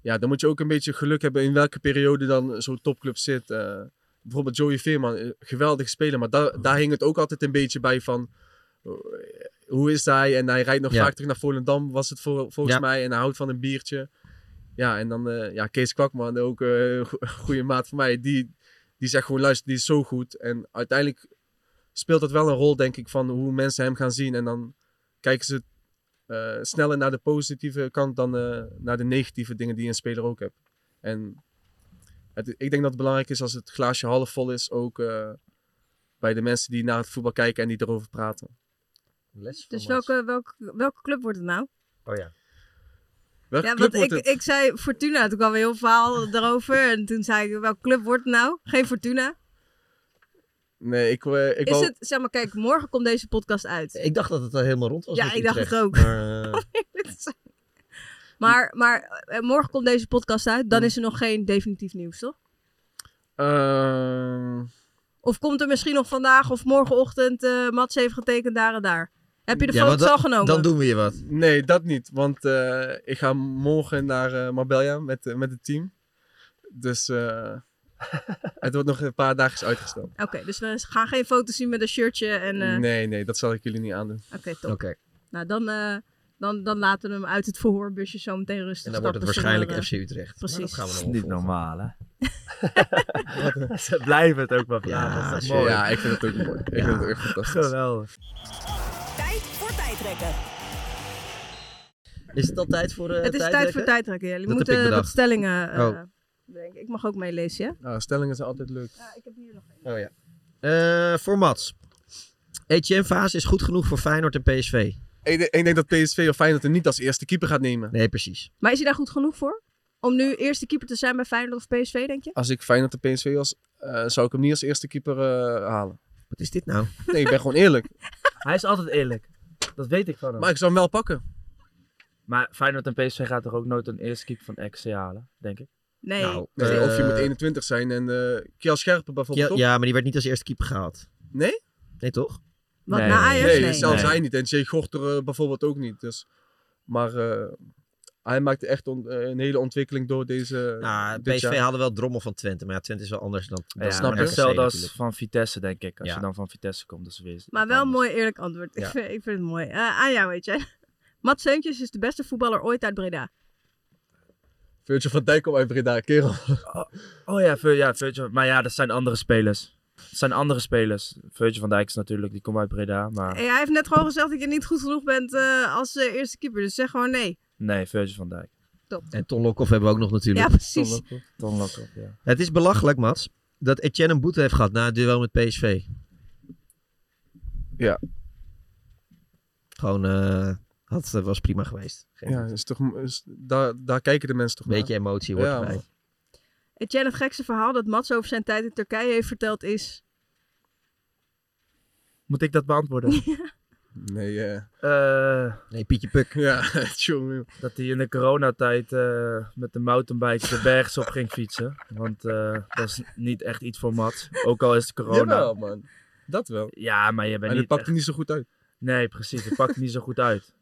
Speaker 5: ja, dan moet je ook een beetje geluk hebben in welke periode dan zo'n topclub zit. Eh, bijvoorbeeld Joey Veerman, eh, geweldig speler, maar daar, daar hing het ook altijd een beetje bij van... eh, Hoe is hij? En hij rijdt nog
Speaker 7: Ja.
Speaker 5: vaak terug naar Volendam, was het vol- volgens
Speaker 7: Ja.
Speaker 5: mij. En hij houdt van een biertje. Ja, en dan eh, ja, Kees Kwakman, ook eh, een go- goede maat van mij. Die, die zegt gewoon, luister, die is zo goed. En uiteindelijk speelt dat wel een rol, denk ik, van hoe mensen hem gaan zien. En dan kijken ze eh, sneller naar de positieve kant dan eh, naar de negatieve dingen die een speler ook hebt. En het, ik denk dat het belangrijk is als het glaasje half vol is, ook eh, bij de mensen die naar het voetbal kijken en die erover praten.
Speaker 8: Dus welke, welke, welke club wordt het nou?
Speaker 7: Oh ja.
Speaker 5: Welke
Speaker 8: ja,
Speaker 5: club
Speaker 8: want
Speaker 5: wordt
Speaker 8: ik,
Speaker 5: het?
Speaker 8: ik zei Fortuna. Toen kwam een heel verhaal daarover. En toen zei ik, welke club wordt het nou? Geen Fortuna.
Speaker 5: Nee, ik, eh, ik
Speaker 8: is
Speaker 5: wou-
Speaker 8: het, zeg maar, kijk, morgen komt deze podcast uit.
Speaker 7: Ik dacht dat het al helemaal rond was.
Speaker 8: Ja,
Speaker 7: met
Speaker 8: ik dacht het
Speaker 7: Utrecht,
Speaker 8: ook. Oh,
Speaker 7: maar, eh,
Speaker 8: Maar, maar eh, morgen komt deze podcast uit. Dan is er nog geen definitief nieuws, toch?
Speaker 5: Ehm,
Speaker 8: Of komt er misschien nog vandaag of morgenochtend... eh Mats heeft getekend daar en daar. Heb je de
Speaker 5: Ja,
Speaker 8: foto's
Speaker 5: want
Speaker 8: al
Speaker 5: dan-
Speaker 8: genomen?
Speaker 5: dan doen
Speaker 7: we je wat.
Speaker 5: nee, dat niet. Want eh, ik ga morgen naar eh, Marbella met, eh, met het team. Dus eh, het wordt nog een paar dagen uitgesteld.
Speaker 8: Oké, dus we gaan geen foto's zien met een shirtje en... eh,
Speaker 5: Nee, nee, dat zal ik jullie niet aandoen.
Speaker 8: Oké, top. Nou, dan, eh, dan, dan laten we hem uit het verhoorbusje zo meteen rustig
Speaker 7: En dan wordt het
Speaker 8: stappen
Speaker 7: waarschijnlijk
Speaker 8: zonder,
Speaker 7: FC
Speaker 8: eh,
Speaker 7: Utrecht.
Speaker 8: Precies.
Speaker 7: Maar dat gaan we nog
Speaker 6: Niet
Speaker 7: opvolgen.
Speaker 6: normaal, hè? Ze blijven het ook maar praten.
Speaker 7: Ja,
Speaker 6: dat is
Speaker 7: shit.
Speaker 6: mooi.
Speaker 7: Ja, ik vind het ook Ah, mooi. Ik vind het ook echt fantastisch.
Speaker 6: Geweldig.
Speaker 3: Tijd voor tijdrekken.
Speaker 7: Is het al tijd voor eh
Speaker 8: het is tijd voor tijdrekken. Ja. Jullie
Speaker 5: Dat heb ik
Speaker 8: moeten wat
Speaker 5: bedacht.
Speaker 8: stellingen eh,
Speaker 5: Oh.
Speaker 8: bedenken. Ik mag ook meelezen, ja?
Speaker 5: Nou, stellingen zijn altijd leuk.
Speaker 7: Oh ja. Eh, voor Mats. Etienne Vaas is goed genoeg voor Feyenoord en PSV.
Speaker 5: Ik, denk- ik denk dat PSV of Feyenoord hem niet als eerste keeper gaat nemen.
Speaker 7: Nee, precies.
Speaker 8: Maar is hij daar goed genoeg voor? Om nu eerste keeper te zijn bij Feyenoord of PSV, denk je?
Speaker 7: Ah.
Speaker 5: Als ik Feyenoord en PSV was, eh, zou ik hem niet als eerste keeper eh, halen.
Speaker 7: Wat is dit nou?
Speaker 5: Nee, ik ben gewoon eerlijk.
Speaker 6: Hij is altijd eerlijk. Dat weet ik van hem.
Speaker 5: Maar ik zou hem wel pakken.
Speaker 6: Maar Feyenoord en PSV gaat toch ook nooit een eerste keeper van XC halen, denk ik?
Speaker 8: Nee. Nou,
Speaker 5: Nee, of je
Speaker 7: Eh,
Speaker 5: moet 21 zijn en eh Kjell Scherpen bijvoorbeeld
Speaker 7: Ja,
Speaker 5: ook.
Speaker 7: ja, maar die werd niet als eerste keeper gehaald.
Speaker 5: Nee?
Speaker 7: Nee, toch?
Speaker 8: Wat, Nee. na Ajax?
Speaker 5: Nee,
Speaker 8: Nee.
Speaker 5: zelfs
Speaker 7: Nee.
Speaker 5: hij niet. En Jay Gorter eh, bijvoorbeeld ook niet. Dus, maar eh, hij maakte echt on- eh, een hele ontwikkeling door deze
Speaker 7: Nou,
Speaker 5: dit
Speaker 7: PSV
Speaker 5: jaar.
Speaker 7: hadden wel drommel van Twente, maar ja, Twente is wel anders dan. dan
Speaker 6: Ja,
Speaker 7: dan
Speaker 6: maar
Speaker 7: RKC
Speaker 6: Hetzelfde als
Speaker 7: natuurlijk.
Speaker 6: van Vitesse, denk ik. Als
Speaker 7: Ja.
Speaker 6: je dan van Vitesse komt, dat is weer...
Speaker 8: Maar wel een mooi eerlijk antwoord.
Speaker 6: Ja.
Speaker 8: Ik, vind, ik vind het mooi. Eh, aan jou, weet je. Mats Seuntjes is de beste voetballer ooit uit Breda.
Speaker 5: Virgil van Dijk komt uit Breda, kerel.
Speaker 6: Oh ja, Vir- ja Virgil. Maar ja, dat zijn andere spelers. Dat zijn andere spelers. Virgil van Dijk is natuurlijk, die komt uit Breda.
Speaker 7: Ah.
Speaker 6: Maar
Speaker 8: Hey, hij heeft net gewoon gezegd dat je niet goed genoeg bent eh, als eh, eerste keeper. Dus zeg gewoon nee.
Speaker 6: nee, Virgil van Dijk.
Speaker 8: Top.
Speaker 7: En Ton Lokhoff hebben we ook nog natuurlijk.
Speaker 8: Ja, precies. Ton Lokhoff.
Speaker 6: Ton Lokhoff, ja.
Speaker 7: Het is belachelijk, Mats, dat Etienne een boete heeft gehad na het duel met PSV.
Speaker 5: Ja.
Speaker 7: Gewoon, eh had, dat was prima geweest. Geen
Speaker 5: Ja, is toch, is, daar, daar kijken de mensen toch naar.
Speaker 7: beetje emotie hoort erbij.
Speaker 5: man.
Speaker 8: Etienne, het gekste verhaal dat Mats over zijn tijd in Turkije heeft verteld is...
Speaker 6: Moet ik dat beantwoorden?
Speaker 5: Nee, eh,
Speaker 7: nee, Pietje Puk.
Speaker 5: Ja, jongen.
Speaker 6: Dat hij in de coronatijd eh, met de mountainbike de bergs op ging fietsen. Want eh, dat is niet echt iets voor Mats. Ook al is het corona.
Speaker 5: Jawel, man. Dat wel.
Speaker 6: Ja, maar je bent
Speaker 5: en
Speaker 6: niet
Speaker 5: het pakt
Speaker 6: echt-
Speaker 5: er niet zo goed uit.
Speaker 6: Nee, precies. Het pakt niet zo goed uit.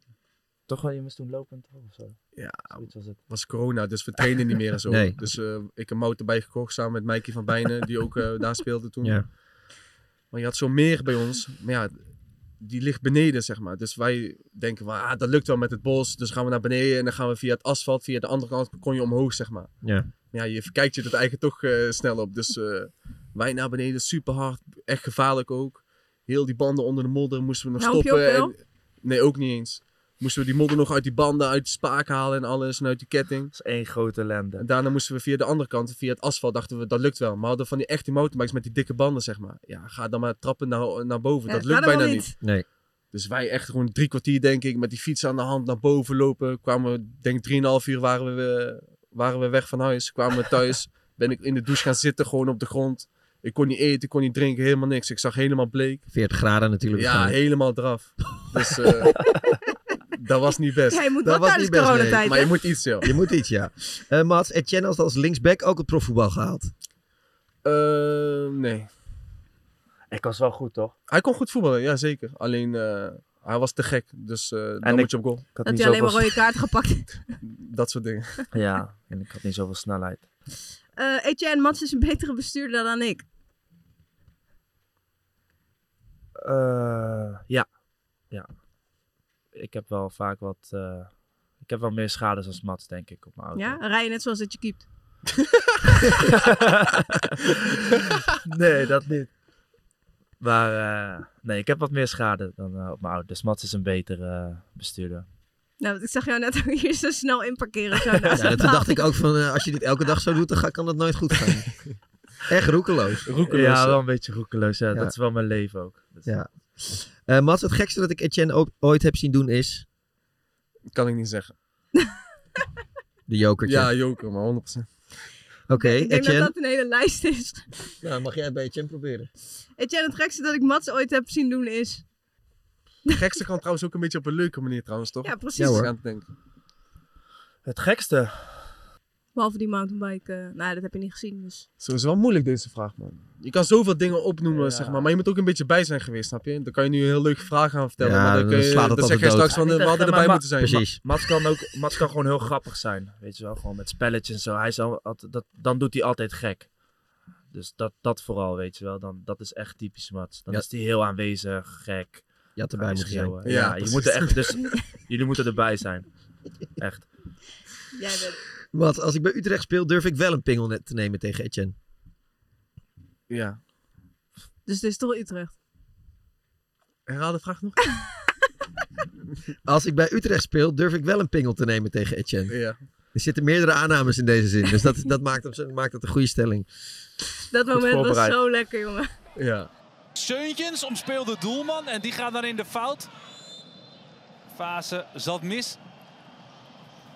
Speaker 6: Toch wel, je moest toen lopend of zo.
Speaker 5: Ja,
Speaker 6: was het.
Speaker 5: was corona, dus we trainden niet meer en zo.
Speaker 7: Nee.
Speaker 5: Dus eh, ik heb mout erbij gekocht samen met Mikey van Bijnen, die ook eh, daar speelde toen.
Speaker 7: Ja.
Speaker 5: Maar je had zo'n meer bij ons. Maar ja, die ligt beneden, zeg maar. Dus wij denken van, ah, dat lukt wel met het bos. Dus gaan we naar beneden en dan gaan we via het asfalt. Via de andere kant kon je omhoog, zeg maar.
Speaker 7: Ja.
Speaker 5: Maar ja, je verkijkt je dat eigenlijk toch eh, snel op. Dus eh, wij naar beneden, super hard. Echt gevaarlijk ook. Heel die banden onder de modder moesten we nog
Speaker 8: Helmpje
Speaker 5: stoppen.
Speaker 8: ook
Speaker 5: en- nee, ook niet eens. Moesten we die modder nog uit die banden, uit de spaak halen en alles. En uit die ketting. Dat
Speaker 6: is één grote ellende.
Speaker 5: En daarna moesten we via de andere kant, via het asfalt, dachten we dat lukt wel. Maar we hadden van die echte mountainbikes met die dikke banden, zeg maar. Ja, ga dan maar trappen naar, naar boven.
Speaker 8: Ja,
Speaker 5: dat
Speaker 8: dat
Speaker 5: lukt
Speaker 8: kan
Speaker 5: bijna
Speaker 8: helemaal
Speaker 5: niet.
Speaker 8: niet.
Speaker 7: Nee.
Speaker 5: Dus wij echt gewoon drie kwartier, denk ik, met die fiets aan de hand naar boven lopen. Kwamen we, denk ik, drieënhalf uur waren we, waren we weg van huis. Kwamen we thuis. ben ik in de douche gaan zitten, gewoon op de grond. Ik kon niet eten, ik kon niet drinken, helemaal niks. Ik zag helemaal bleek.
Speaker 7: 40 graden natuurlijk.
Speaker 5: Ja,
Speaker 7: waarschijnlijk.
Speaker 5: helemaal eraf. Dus eh, dat was niet best.
Speaker 7: Ja, je moet Dat wat was tijdens niet best, nee. coronatijd,
Speaker 5: Maar
Speaker 7: hè?
Speaker 5: je moet iets, joh.
Speaker 7: Je moet iets, ja. Eh Mats, Etienne had als linksback ook het profvoetbal gehaald.
Speaker 5: Eh, nee.
Speaker 6: Ik was wel goed, toch?
Speaker 5: Hij kon goed voetballen, ja zeker. Alleen eh, hij was te gek. Dus eh dan
Speaker 6: ik-
Speaker 5: moet je op goal.
Speaker 6: ik had
Speaker 8: Dat hij alleen maar rode kaart gepakt.
Speaker 5: Dat soort dingen.
Speaker 6: Ja, en ik had niet zoveel snelheid.
Speaker 8: Eh Etienne, Mats is een betere bestuurder dan ik.
Speaker 6: Eh, ja. ja. Ik heb wel vaak wat... eh, ik heb wel meer schades als Mats, denk ik, op mijn auto.
Speaker 8: Ja? Rij je net zoals dat je keept.
Speaker 6: nee, dat niet. Maar eh, nee, ik heb wat meer schade dan eh, op mijn auto. Dus Mats is een betere eh, bestuurder.
Speaker 8: Nou, want ik zag jou net ook hier zo snel in parkeren. Zo naast
Speaker 7: Ja,
Speaker 8: de
Speaker 7: toen
Speaker 8: paal.
Speaker 7: dacht ik ook van, eh, als je dit elke dag zo doet, dan ga- kan dat nooit goed gaan. Echt roekeloos.
Speaker 6: Ja, wel een beetje roekeloos. Ja.
Speaker 7: Ja.
Speaker 6: Dat is wel mijn leven ook. Dus, Dat is-
Speaker 7: Ja. Eh, Mats, het gekste dat ik Etienne ook ooit heb zien doen is...
Speaker 5: Kan ik niet zeggen.
Speaker 7: De jokertje.
Speaker 5: Ja, joker, maar 100%.
Speaker 7: Oké,
Speaker 8: Ik denk dat
Speaker 7: Etienne.
Speaker 8: dat een hele lijst is.
Speaker 7: Nou, mag jij het bij Etienne proberen.
Speaker 8: Etienne, het gekste dat ik Mats ooit heb zien doen is...
Speaker 5: De gekste kan trouwens ook een beetje op een leuke manier trouwens, toch?
Speaker 8: Ja, precies.
Speaker 6: Ja, hoor.
Speaker 5: Aan het denken.
Speaker 6: Het gekste.
Speaker 8: Behalve die mountainbike. eh, nou, dat heb je niet gezien. Dus.
Speaker 5: Zo is wel moeilijk deze vraag, man. Je kan zoveel dingen opnoemen, zeg maar. Maar je moet ook een beetje bij zijn geweest, snap je? Dan kan je nu een heel leuke vraag gaan vertellen.
Speaker 7: Ja,
Speaker 5: maar dan,
Speaker 7: dan
Speaker 5: kun je,
Speaker 7: slaat het
Speaker 5: dan
Speaker 7: als
Speaker 5: zeg
Speaker 7: de
Speaker 5: je
Speaker 7: dood.
Speaker 5: straks van,
Speaker 7: Ja,
Speaker 5: eh,
Speaker 7: niet
Speaker 5: we hadden
Speaker 7: echt,
Speaker 5: erbij
Speaker 7: maar
Speaker 5: moeten zijn.
Speaker 6: Ma- Mats kan, ook, Mats kan gewoon heel grappig zijn. Weet je wel, gewoon met spelletjes en zo. Hij is al, altijd- dat, dan doet hij altijd gek. Dus dat, dat vooral, weet je wel. Dan, dat is echt typisch Mats. Dan
Speaker 7: Ja.
Speaker 6: is hij heel aanwezig, gek.
Speaker 7: Je had erbij
Speaker 6: Hij is
Speaker 7: moeten zijn.
Speaker 6: eh,
Speaker 7: Ja,
Speaker 6: Ja, je
Speaker 7: precies.
Speaker 6: moet er echt, dus, jullie moeten erbij zijn. Echt.
Speaker 8: Jij bent...
Speaker 7: Want als ik bij Utrecht speel, durf ik wel een pingel net te nemen tegen Etienne.
Speaker 5: Ja.
Speaker 8: Dus het is toch Utrecht.
Speaker 5: Herhaal de vraag nog.
Speaker 7: Als ik bij Utrecht speel, durf ik wel een pingel te nemen tegen Etienne.
Speaker 5: Ja.
Speaker 7: Er zitten meerdere aannames in deze zin. Dus dat, dat maakt, het, maakt het een goede stelling.
Speaker 8: Dat
Speaker 7: Goed
Speaker 8: moment was
Speaker 7: voorbereid.
Speaker 8: zo lekker, jongen.
Speaker 5: Ja.
Speaker 14: Seuntjens omspeelt de doelman en die gaat dan in de fout. Fase zat mis.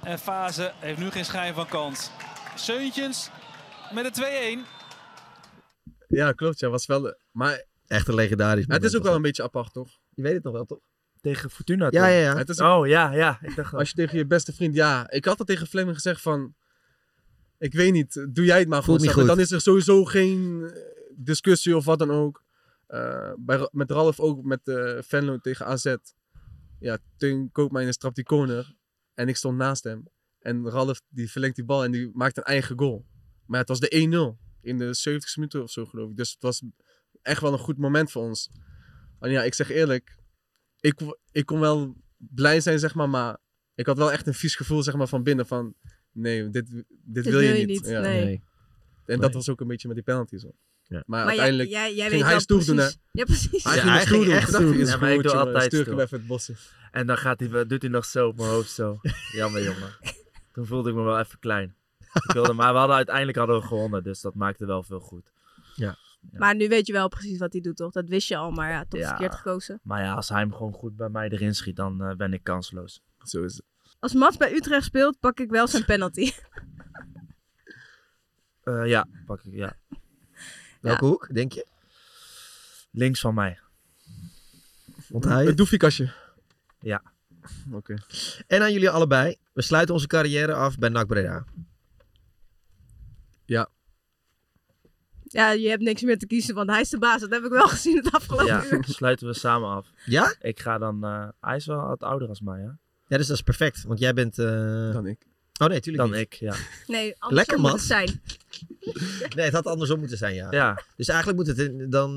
Speaker 14: En Fase heeft nu geen schijn van kans. Seuntjens met de 2-1.
Speaker 5: Ja, klopt. Ja, was wel... eh, Maar
Speaker 7: Echt een legendarisch
Speaker 5: het
Speaker 7: moment
Speaker 5: is ook wel een beetje apart, toch?
Speaker 7: Je weet het nog wel, toch?
Speaker 6: Tegen Fortuna.
Speaker 7: Ja, ja, ja.
Speaker 5: Het is-
Speaker 6: Oh ja, ja. Ik dacht
Speaker 5: Als je tegen je beste vriend, ja, ik had dat tegen Fleming gezegd van, ik weet niet, doe jij het maar
Speaker 7: Voelt
Speaker 5: gewoon.
Speaker 7: niet
Speaker 5: snap je?
Speaker 7: goed.
Speaker 5: Dan is er sowieso geen eh, discussie of wat dan ook. Eh, bij, Ra- met Ralf ook, met eh Venlo tegen AZ. Ja, Teun Koopmeiners trapt die corner en ik stond naast hem. En Ralf die verlengt die bal en die maakt een eigen goal. Maar het was de 1-0 in de 70 minuten of zo geloof ik. Dus het was echt wel een goed moment voor ons. En ja, ik zeg eerlijk, ik, w- ik kon wel blij zijn, zeg maar, maar ik had wel echt een vies gevoel, zeg maar, van binnen van, nee, dit, dit, wil je niet. Ja.
Speaker 8: nee. Nee.
Speaker 5: En dat was ook een beetje met die penalties. hoor. Maar,
Speaker 8: Maar jij-
Speaker 5: uiteindelijk
Speaker 8: jij- jij weet
Speaker 5: ging hij
Speaker 8: wel
Speaker 5: stoer doen, hè?
Speaker 8: precies- Ja, precies.
Speaker 5: Hij
Speaker 6: Ja,
Speaker 5: ging
Speaker 6: hij
Speaker 5: wel stoer
Speaker 6: ging
Speaker 5: doen.
Speaker 6: echt
Speaker 5: Toen dacht
Speaker 6: stoer
Speaker 5: ik,
Speaker 6: doen.
Speaker 5: is
Speaker 6: Ja, maar ik
Speaker 5: goed,
Speaker 6: doe
Speaker 5: jongen,
Speaker 6: altijd
Speaker 5: stuur ik hem
Speaker 6: stoer.
Speaker 5: even het bos in.
Speaker 6: En dan gaat hij, doet hij nog zo op mijn hoofd zo. Jammer, jongen. Toen voelde ik me wel even klein. Ik wilde, maar we hadden uiteindelijk hadden we gewonnen, dus dat maakte wel veel goed.
Speaker 7: Ja.
Speaker 8: Maar nu weet je wel precies wat hij doet, toch? Dat wist je al, maar ja, toch
Speaker 6: Ja.
Speaker 8: verkeerd gekozen.
Speaker 6: Maar ja, als hij hem gewoon goed bij mij erin schiet, dan eh, ben ik kansloos.
Speaker 5: Zo is het.
Speaker 8: Als Mats bij Utrecht speelt, pak ik wel zijn penalty.
Speaker 6: Eh, ja, pak ik, ja.
Speaker 7: Welke hoek, denk je?
Speaker 6: Links van mij.
Speaker 7: Want hij...
Speaker 5: Het doefiekasje.
Speaker 6: Ja.
Speaker 5: Oké.
Speaker 7: En aan jullie allebei. We sluiten onze carrière af bij NAC Breda.
Speaker 5: Ja.
Speaker 8: Ja, je hebt niks meer te kiezen, want hij is de baas. Dat heb ik wel gezien het afgelopen
Speaker 6: Ja,
Speaker 8: uur.
Speaker 6: sluiten we samen af.
Speaker 7: Ja?
Speaker 6: Ik ga dan... eh, hij is wel wat ouder als mij, hè?
Speaker 7: Ja, dus dat is perfect. Want jij bent... eh,
Speaker 5: Dan ik.
Speaker 7: Oh nee, tuurlijk
Speaker 6: Dan
Speaker 7: niet.
Speaker 6: ik, ja.
Speaker 8: Nee, andersom
Speaker 7: Lekker,
Speaker 8: moet
Speaker 7: man.
Speaker 8: het zijn.
Speaker 7: Nee, het had andersom moeten zijn, ja.
Speaker 6: Ja.
Speaker 7: Dus eigenlijk moet het in- dan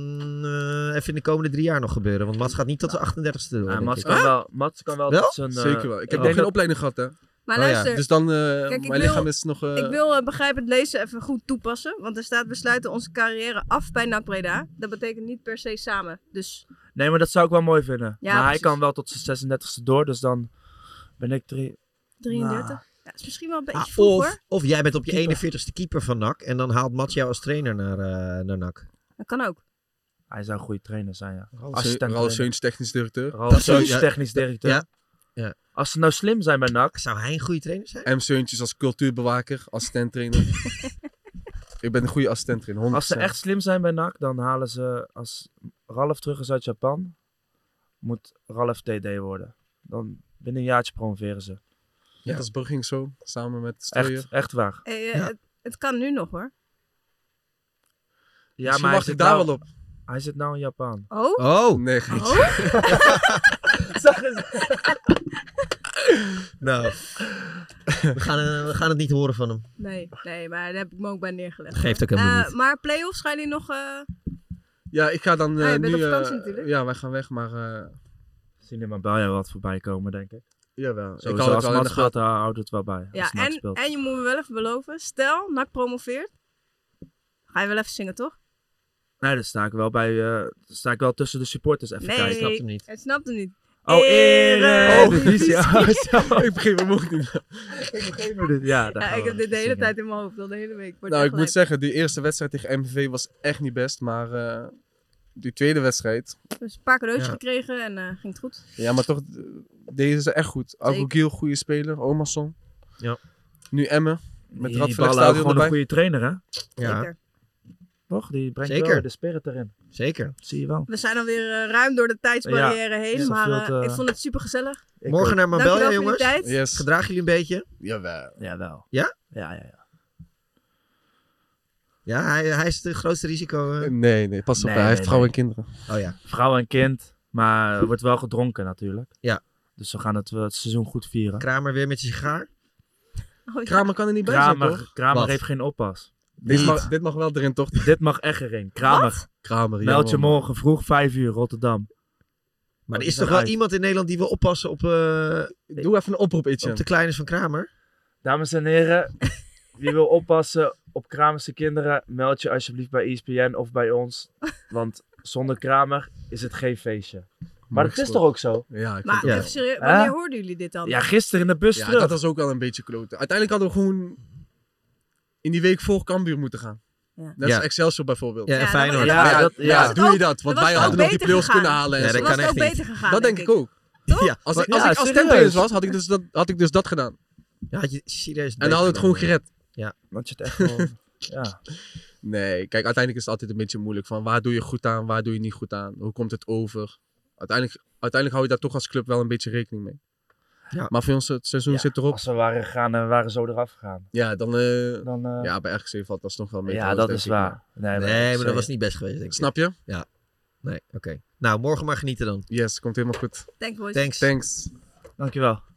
Speaker 7: eh, even in de komende drie jaar nog gebeuren. Want Mats gaat niet tot zijn 38ste door,
Speaker 6: Ja,
Speaker 7: denk
Speaker 6: Mats
Speaker 7: ik.
Speaker 6: kan, wel, Mats kan wel,
Speaker 7: Wel?
Speaker 6: tot zijn... eh,
Speaker 5: Zeker wel. Ik heb
Speaker 6: oh,
Speaker 5: nog geen
Speaker 6: dat-
Speaker 5: opleiding gehad, hè?
Speaker 8: Maar luister.
Speaker 5: Dus dan, eh,
Speaker 8: Kijk, ik
Speaker 5: mijn
Speaker 8: wil-
Speaker 5: lichaam is nog... eh,
Speaker 8: Ik wil eh, begrijp het lezen even goed toepassen. Want er staat, we sluiten onze carrière af bij NAC Breda. Dat betekent niet per se samen. Dus
Speaker 5: Nou.
Speaker 6: Nee, maar dat zou ik wel mooi vinden.
Speaker 8: Ja,
Speaker 6: maar
Speaker 8: precies.
Speaker 6: hij kan wel tot zijn 36e door, dus dan ben ik drie...
Speaker 8: 33.
Speaker 6: Nou,
Speaker 8: Ja, is misschien wel een beetje
Speaker 7: Ah,
Speaker 8: vroeg
Speaker 7: of,
Speaker 8: hoor.
Speaker 7: of jij bent op je
Speaker 6: Keeper.
Speaker 7: 41ste keeper van NAC. En dan haalt Mats jou als trainer naar, eh, naar NAC.
Speaker 8: Dat kan ook.
Speaker 6: Hij zou een goede trainer zijn, ja.
Speaker 5: Ralf
Speaker 6: Assistent
Speaker 5: Seu- Ralf
Speaker 6: trainer.
Speaker 5: Seuns, technisch directeur.
Speaker 6: Ralf
Speaker 5: Dat
Speaker 6: Seuns,
Speaker 5: zou- ja,
Speaker 6: technisch directeur.
Speaker 5: ja,
Speaker 6: Als ze nou slim zijn bij NAC...
Speaker 7: Zou hij een goede trainer zijn?
Speaker 5: M. Seuntjes als cultuurbewaker, assistent trainer. ik ben een goede assistent trainer, 100%.
Speaker 6: Als ze echt slim zijn bij NAC, dan halen ze... Als Ralf terug is uit Japan, moet Ralf TD worden. Dan binnen een jaartje promoveren ze.
Speaker 5: Net als Brugging zo, samen met Steyer.
Speaker 6: Echt, echt waar.
Speaker 8: Eh, eh, het, het kan nu nog hoor.
Speaker 6: Ja,
Speaker 5: Misschien
Speaker 6: maar hij
Speaker 5: wacht
Speaker 6: zit
Speaker 5: ik daar
Speaker 6: nou-
Speaker 5: wel op.
Speaker 6: Hij zit nou in Japan.
Speaker 8: Oh?
Speaker 7: Oh!
Speaker 5: Nee, geen
Speaker 6: Zag eens.
Speaker 7: Nou, we gaan, eh, we gaan het niet horen van hem.
Speaker 8: Nee, nee, maar daar heb ik me ook bij neergelegd.
Speaker 7: Geeft ook helemaal
Speaker 8: Eh,
Speaker 7: niet.
Speaker 8: Maar play-offs gaan die nog... eh,
Speaker 5: Ja, ik ga dan
Speaker 8: Ah,
Speaker 5: eh,
Speaker 8: je bent
Speaker 5: nu...
Speaker 8: op vakantie
Speaker 5: eh,
Speaker 8: natuurlijk.
Speaker 5: ja, wij gaan weg, maar... eh
Speaker 6: Zien in mijn buien eh, wat voorbij komen, denk ik.
Speaker 5: Jawel.
Speaker 6: Sowieso,
Speaker 5: ik hou het
Speaker 6: als
Speaker 5: wel in de
Speaker 6: Mats gaat,
Speaker 5: gaten.
Speaker 6: eh, houdt het wel bij.
Speaker 8: ja,
Speaker 6: als Mats
Speaker 8: en,
Speaker 6: speelt.
Speaker 8: en je moet me wel even beloven. Stel, NAC promoveert. Ga je wel even zingen, toch?
Speaker 6: Nee, daar sta ik wel bij. eh, sta ik wel tussen de supporters even
Speaker 8: nee,
Speaker 6: kijken.
Speaker 8: Het snapt hem niet.
Speaker 6: Oh, Eredivisie.
Speaker 8: Eredivisie.
Speaker 6: Oh, zo.
Speaker 5: ik begreep hem ook niet.
Speaker 6: Ja, daar
Speaker 8: Ja,
Speaker 6: gaan
Speaker 8: ik
Speaker 6: we
Speaker 8: heb dit de hele
Speaker 6: zingen.
Speaker 8: tijd in mijn hoofd, al de hele week. Wordt
Speaker 5: Nou, ik
Speaker 8: echt
Speaker 5: moet
Speaker 8: lijp.
Speaker 5: zeggen, die eerste wedstrijd tegen MVV was echt niet best, maar... eh, die tweede wedstrijd...
Speaker 8: Dus een paar cadeautjes
Speaker 5: Ja.
Speaker 8: gekregen en eh, ging het goed.
Speaker 5: Ja, maar toch, eh, deze is echt goed. Algogiel, goede speler. Omerson.
Speaker 7: Ja.
Speaker 5: Nu Emmen.
Speaker 6: Die-
Speaker 5: Met
Speaker 6: die
Speaker 5: Radverleg
Speaker 6: Ballau
Speaker 5: Stadion
Speaker 6: gewoon
Speaker 5: erbij.
Speaker 6: een goede trainer, hè?
Speaker 7: Ja. Zeker.
Speaker 6: Toch? Die brengt
Speaker 7: Zeker.
Speaker 6: wel de spirit erin.
Speaker 7: Zeker.
Speaker 6: Zie je wel.
Speaker 8: We zijn alweer eh, ruim door de tijdsbarrière
Speaker 6: Ja,
Speaker 8: heen,
Speaker 6: is
Speaker 8: maar
Speaker 6: dat veel
Speaker 8: eh,
Speaker 6: te-
Speaker 8: ik vond het super gezellig.
Speaker 6: Ik
Speaker 7: Morgen
Speaker 6: ook.
Speaker 7: naar Marbella,
Speaker 8: Dankjewel voor
Speaker 7: jongens.
Speaker 8: jullie tijd.
Speaker 7: Gedragen jullie een beetje?
Speaker 5: Jawel.
Speaker 6: eh, Jawel.
Speaker 7: Ja?
Speaker 6: Ja, ja, ja.
Speaker 15: Ja, hij, hij is het grootste risico. eh.
Speaker 5: Nee, nee, pas op. hij heeft vrouw en kinderen.
Speaker 15: Oh ja.
Speaker 6: Vrouw en kind, maar er wordt wel gedronken natuurlijk.
Speaker 15: Ja.
Speaker 6: Dus we gaan het, eh, het seizoen goed vieren.
Speaker 15: Kramer weer met zijn sigaar?
Speaker 8: Oh,
Speaker 5: Kramer kan er niet bij
Speaker 6: Kramer,
Speaker 5: zijn, toch?
Speaker 6: Kramer
Speaker 5: Wat?
Speaker 6: heeft geen oppas.
Speaker 5: Dit mag, dit mag wel erin, toch?
Speaker 6: Dit mag echt erin. Kramer.
Speaker 5: Kramer, ja,
Speaker 6: Meld je
Speaker 5: man.
Speaker 6: morgen vroeg 5 uur Rotterdam.
Speaker 15: Maar er
Speaker 6: Dat
Speaker 15: is toch wel
Speaker 6: uit.
Speaker 15: iemand in Nederland die wil oppassen op... Doe
Speaker 5: even een oproep, Itje.
Speaker 15: Op de kleines van Kramer?
Speaker 6: Dames en heren, wie wil oppassen op Kramerse kinderen, meld je alsjeblieft bij E ESPN of bij ons. Want zonder Kramer is het geen feestje. Maar
Speaker 5: Mooi
Speaker 6: dat is
Speaker 5: gesproken.
Speaker 6: toch ook zo?
Speaker 5: Ja, ik
Speaker 8: Maar
Speaker 5: vind het
Speaker 8: even
Speaker 5: wel.
Speaker 8: serieus, wanneer hoorden jullie dit dan?
Speaker 6: Ja, gisteren in de bus
Speaker 5: Ja,
Speaker 6: terug.
Speaker 5: dat was ook wel een beetje kloten. Uiteindelijk hadden we gewoon in die week voor Cambuur moeten gaan. Net
Speaker 15: Ja.
Speaker 5: als Excelsior bijvoorbeeld.
Speaker 15: Ja, en Ja, dan- Feyenoord.
Speaker 5: Ja,
Speaker 15: dan- dan-
Speaker 5: dat-
Speaker 15: dan-
Speaker 5: ja,
Speaker 15: dan-
Speaker 5: doe je dat?
Speaker 15: dan
Speaker 5: Want
Speaker 15: was
Speaker 5: wij
Speaker 15: het
Speaker 5: hadden
Speaker 15: ook
Speaker 5: nog die
Speaker 15: beter
Speaker 5: play-offs
Speaker 15: gegaan.
Speaker 5: kunnen halen.
Speaker 15: Ja,
Speaker 5: en
Speaker 15: dat
Speaker 5: zo.
Speaker 15: kan echt niet.
Speaker 5: Dat denk ik ook.
Speaker 15: Ja,
Speaker 5: Als,
Speaker 15: was-
Speaker 5: ik, als
Speaker 15: ja,
Speaker 5: ik als
Speaker 15: serieus.
Speaker 5: temtrainer was, had ik, dus dat, had ik dus dat gedaan.
Speaker 15: Ja, had je serieus
Speaker 5: En dan hadden we het gewoon gered.
Speaker 15: Ja.
Speaker 6: Want je het echt wel... ja.
Speaker 5: Nee, kijk, uiteindelijk is het altijd een beetje moeilijk van waar doe je goed aan, waar doe je niet goed aan, hoe komt het over. Uiteindelijk, uiteindelijk hou je daar toch als club wel een beetje rekening mee.
Speaker 15: Ja.
Speaker 5: Maar voor ons het seizoen zit erop.
Speaker 6: Als we waren gegaan en we waren zo eraf gegaan.
Speaker 5: Ja, dan, eh,
Speaker 6: Dan, eh,
Speaker 5: ja, bij RGC valt dat nog wel mee.
Speaker 6: Ja,
Speaker 5: trouwens,
Speaker 6: dat
Speaker 5: denk
Speaker 6: is
Speaker 5: ik.
Speaker 6: waar. Nee, maar-
Speaker 15: Nee, maar dat was niet best geweest, denk ik.
Speaker 5: Snap je?
Speaker 15: Ja. Nee, oké. Nou, morgen maar genieten dan.
Speaker 5: Yes, komt helemaal goed.
Speaker 8: Thanks, boys.
Speaker 15: Thanks.
Speaker 5: Thanks.
Speaker 6: Dankjewel.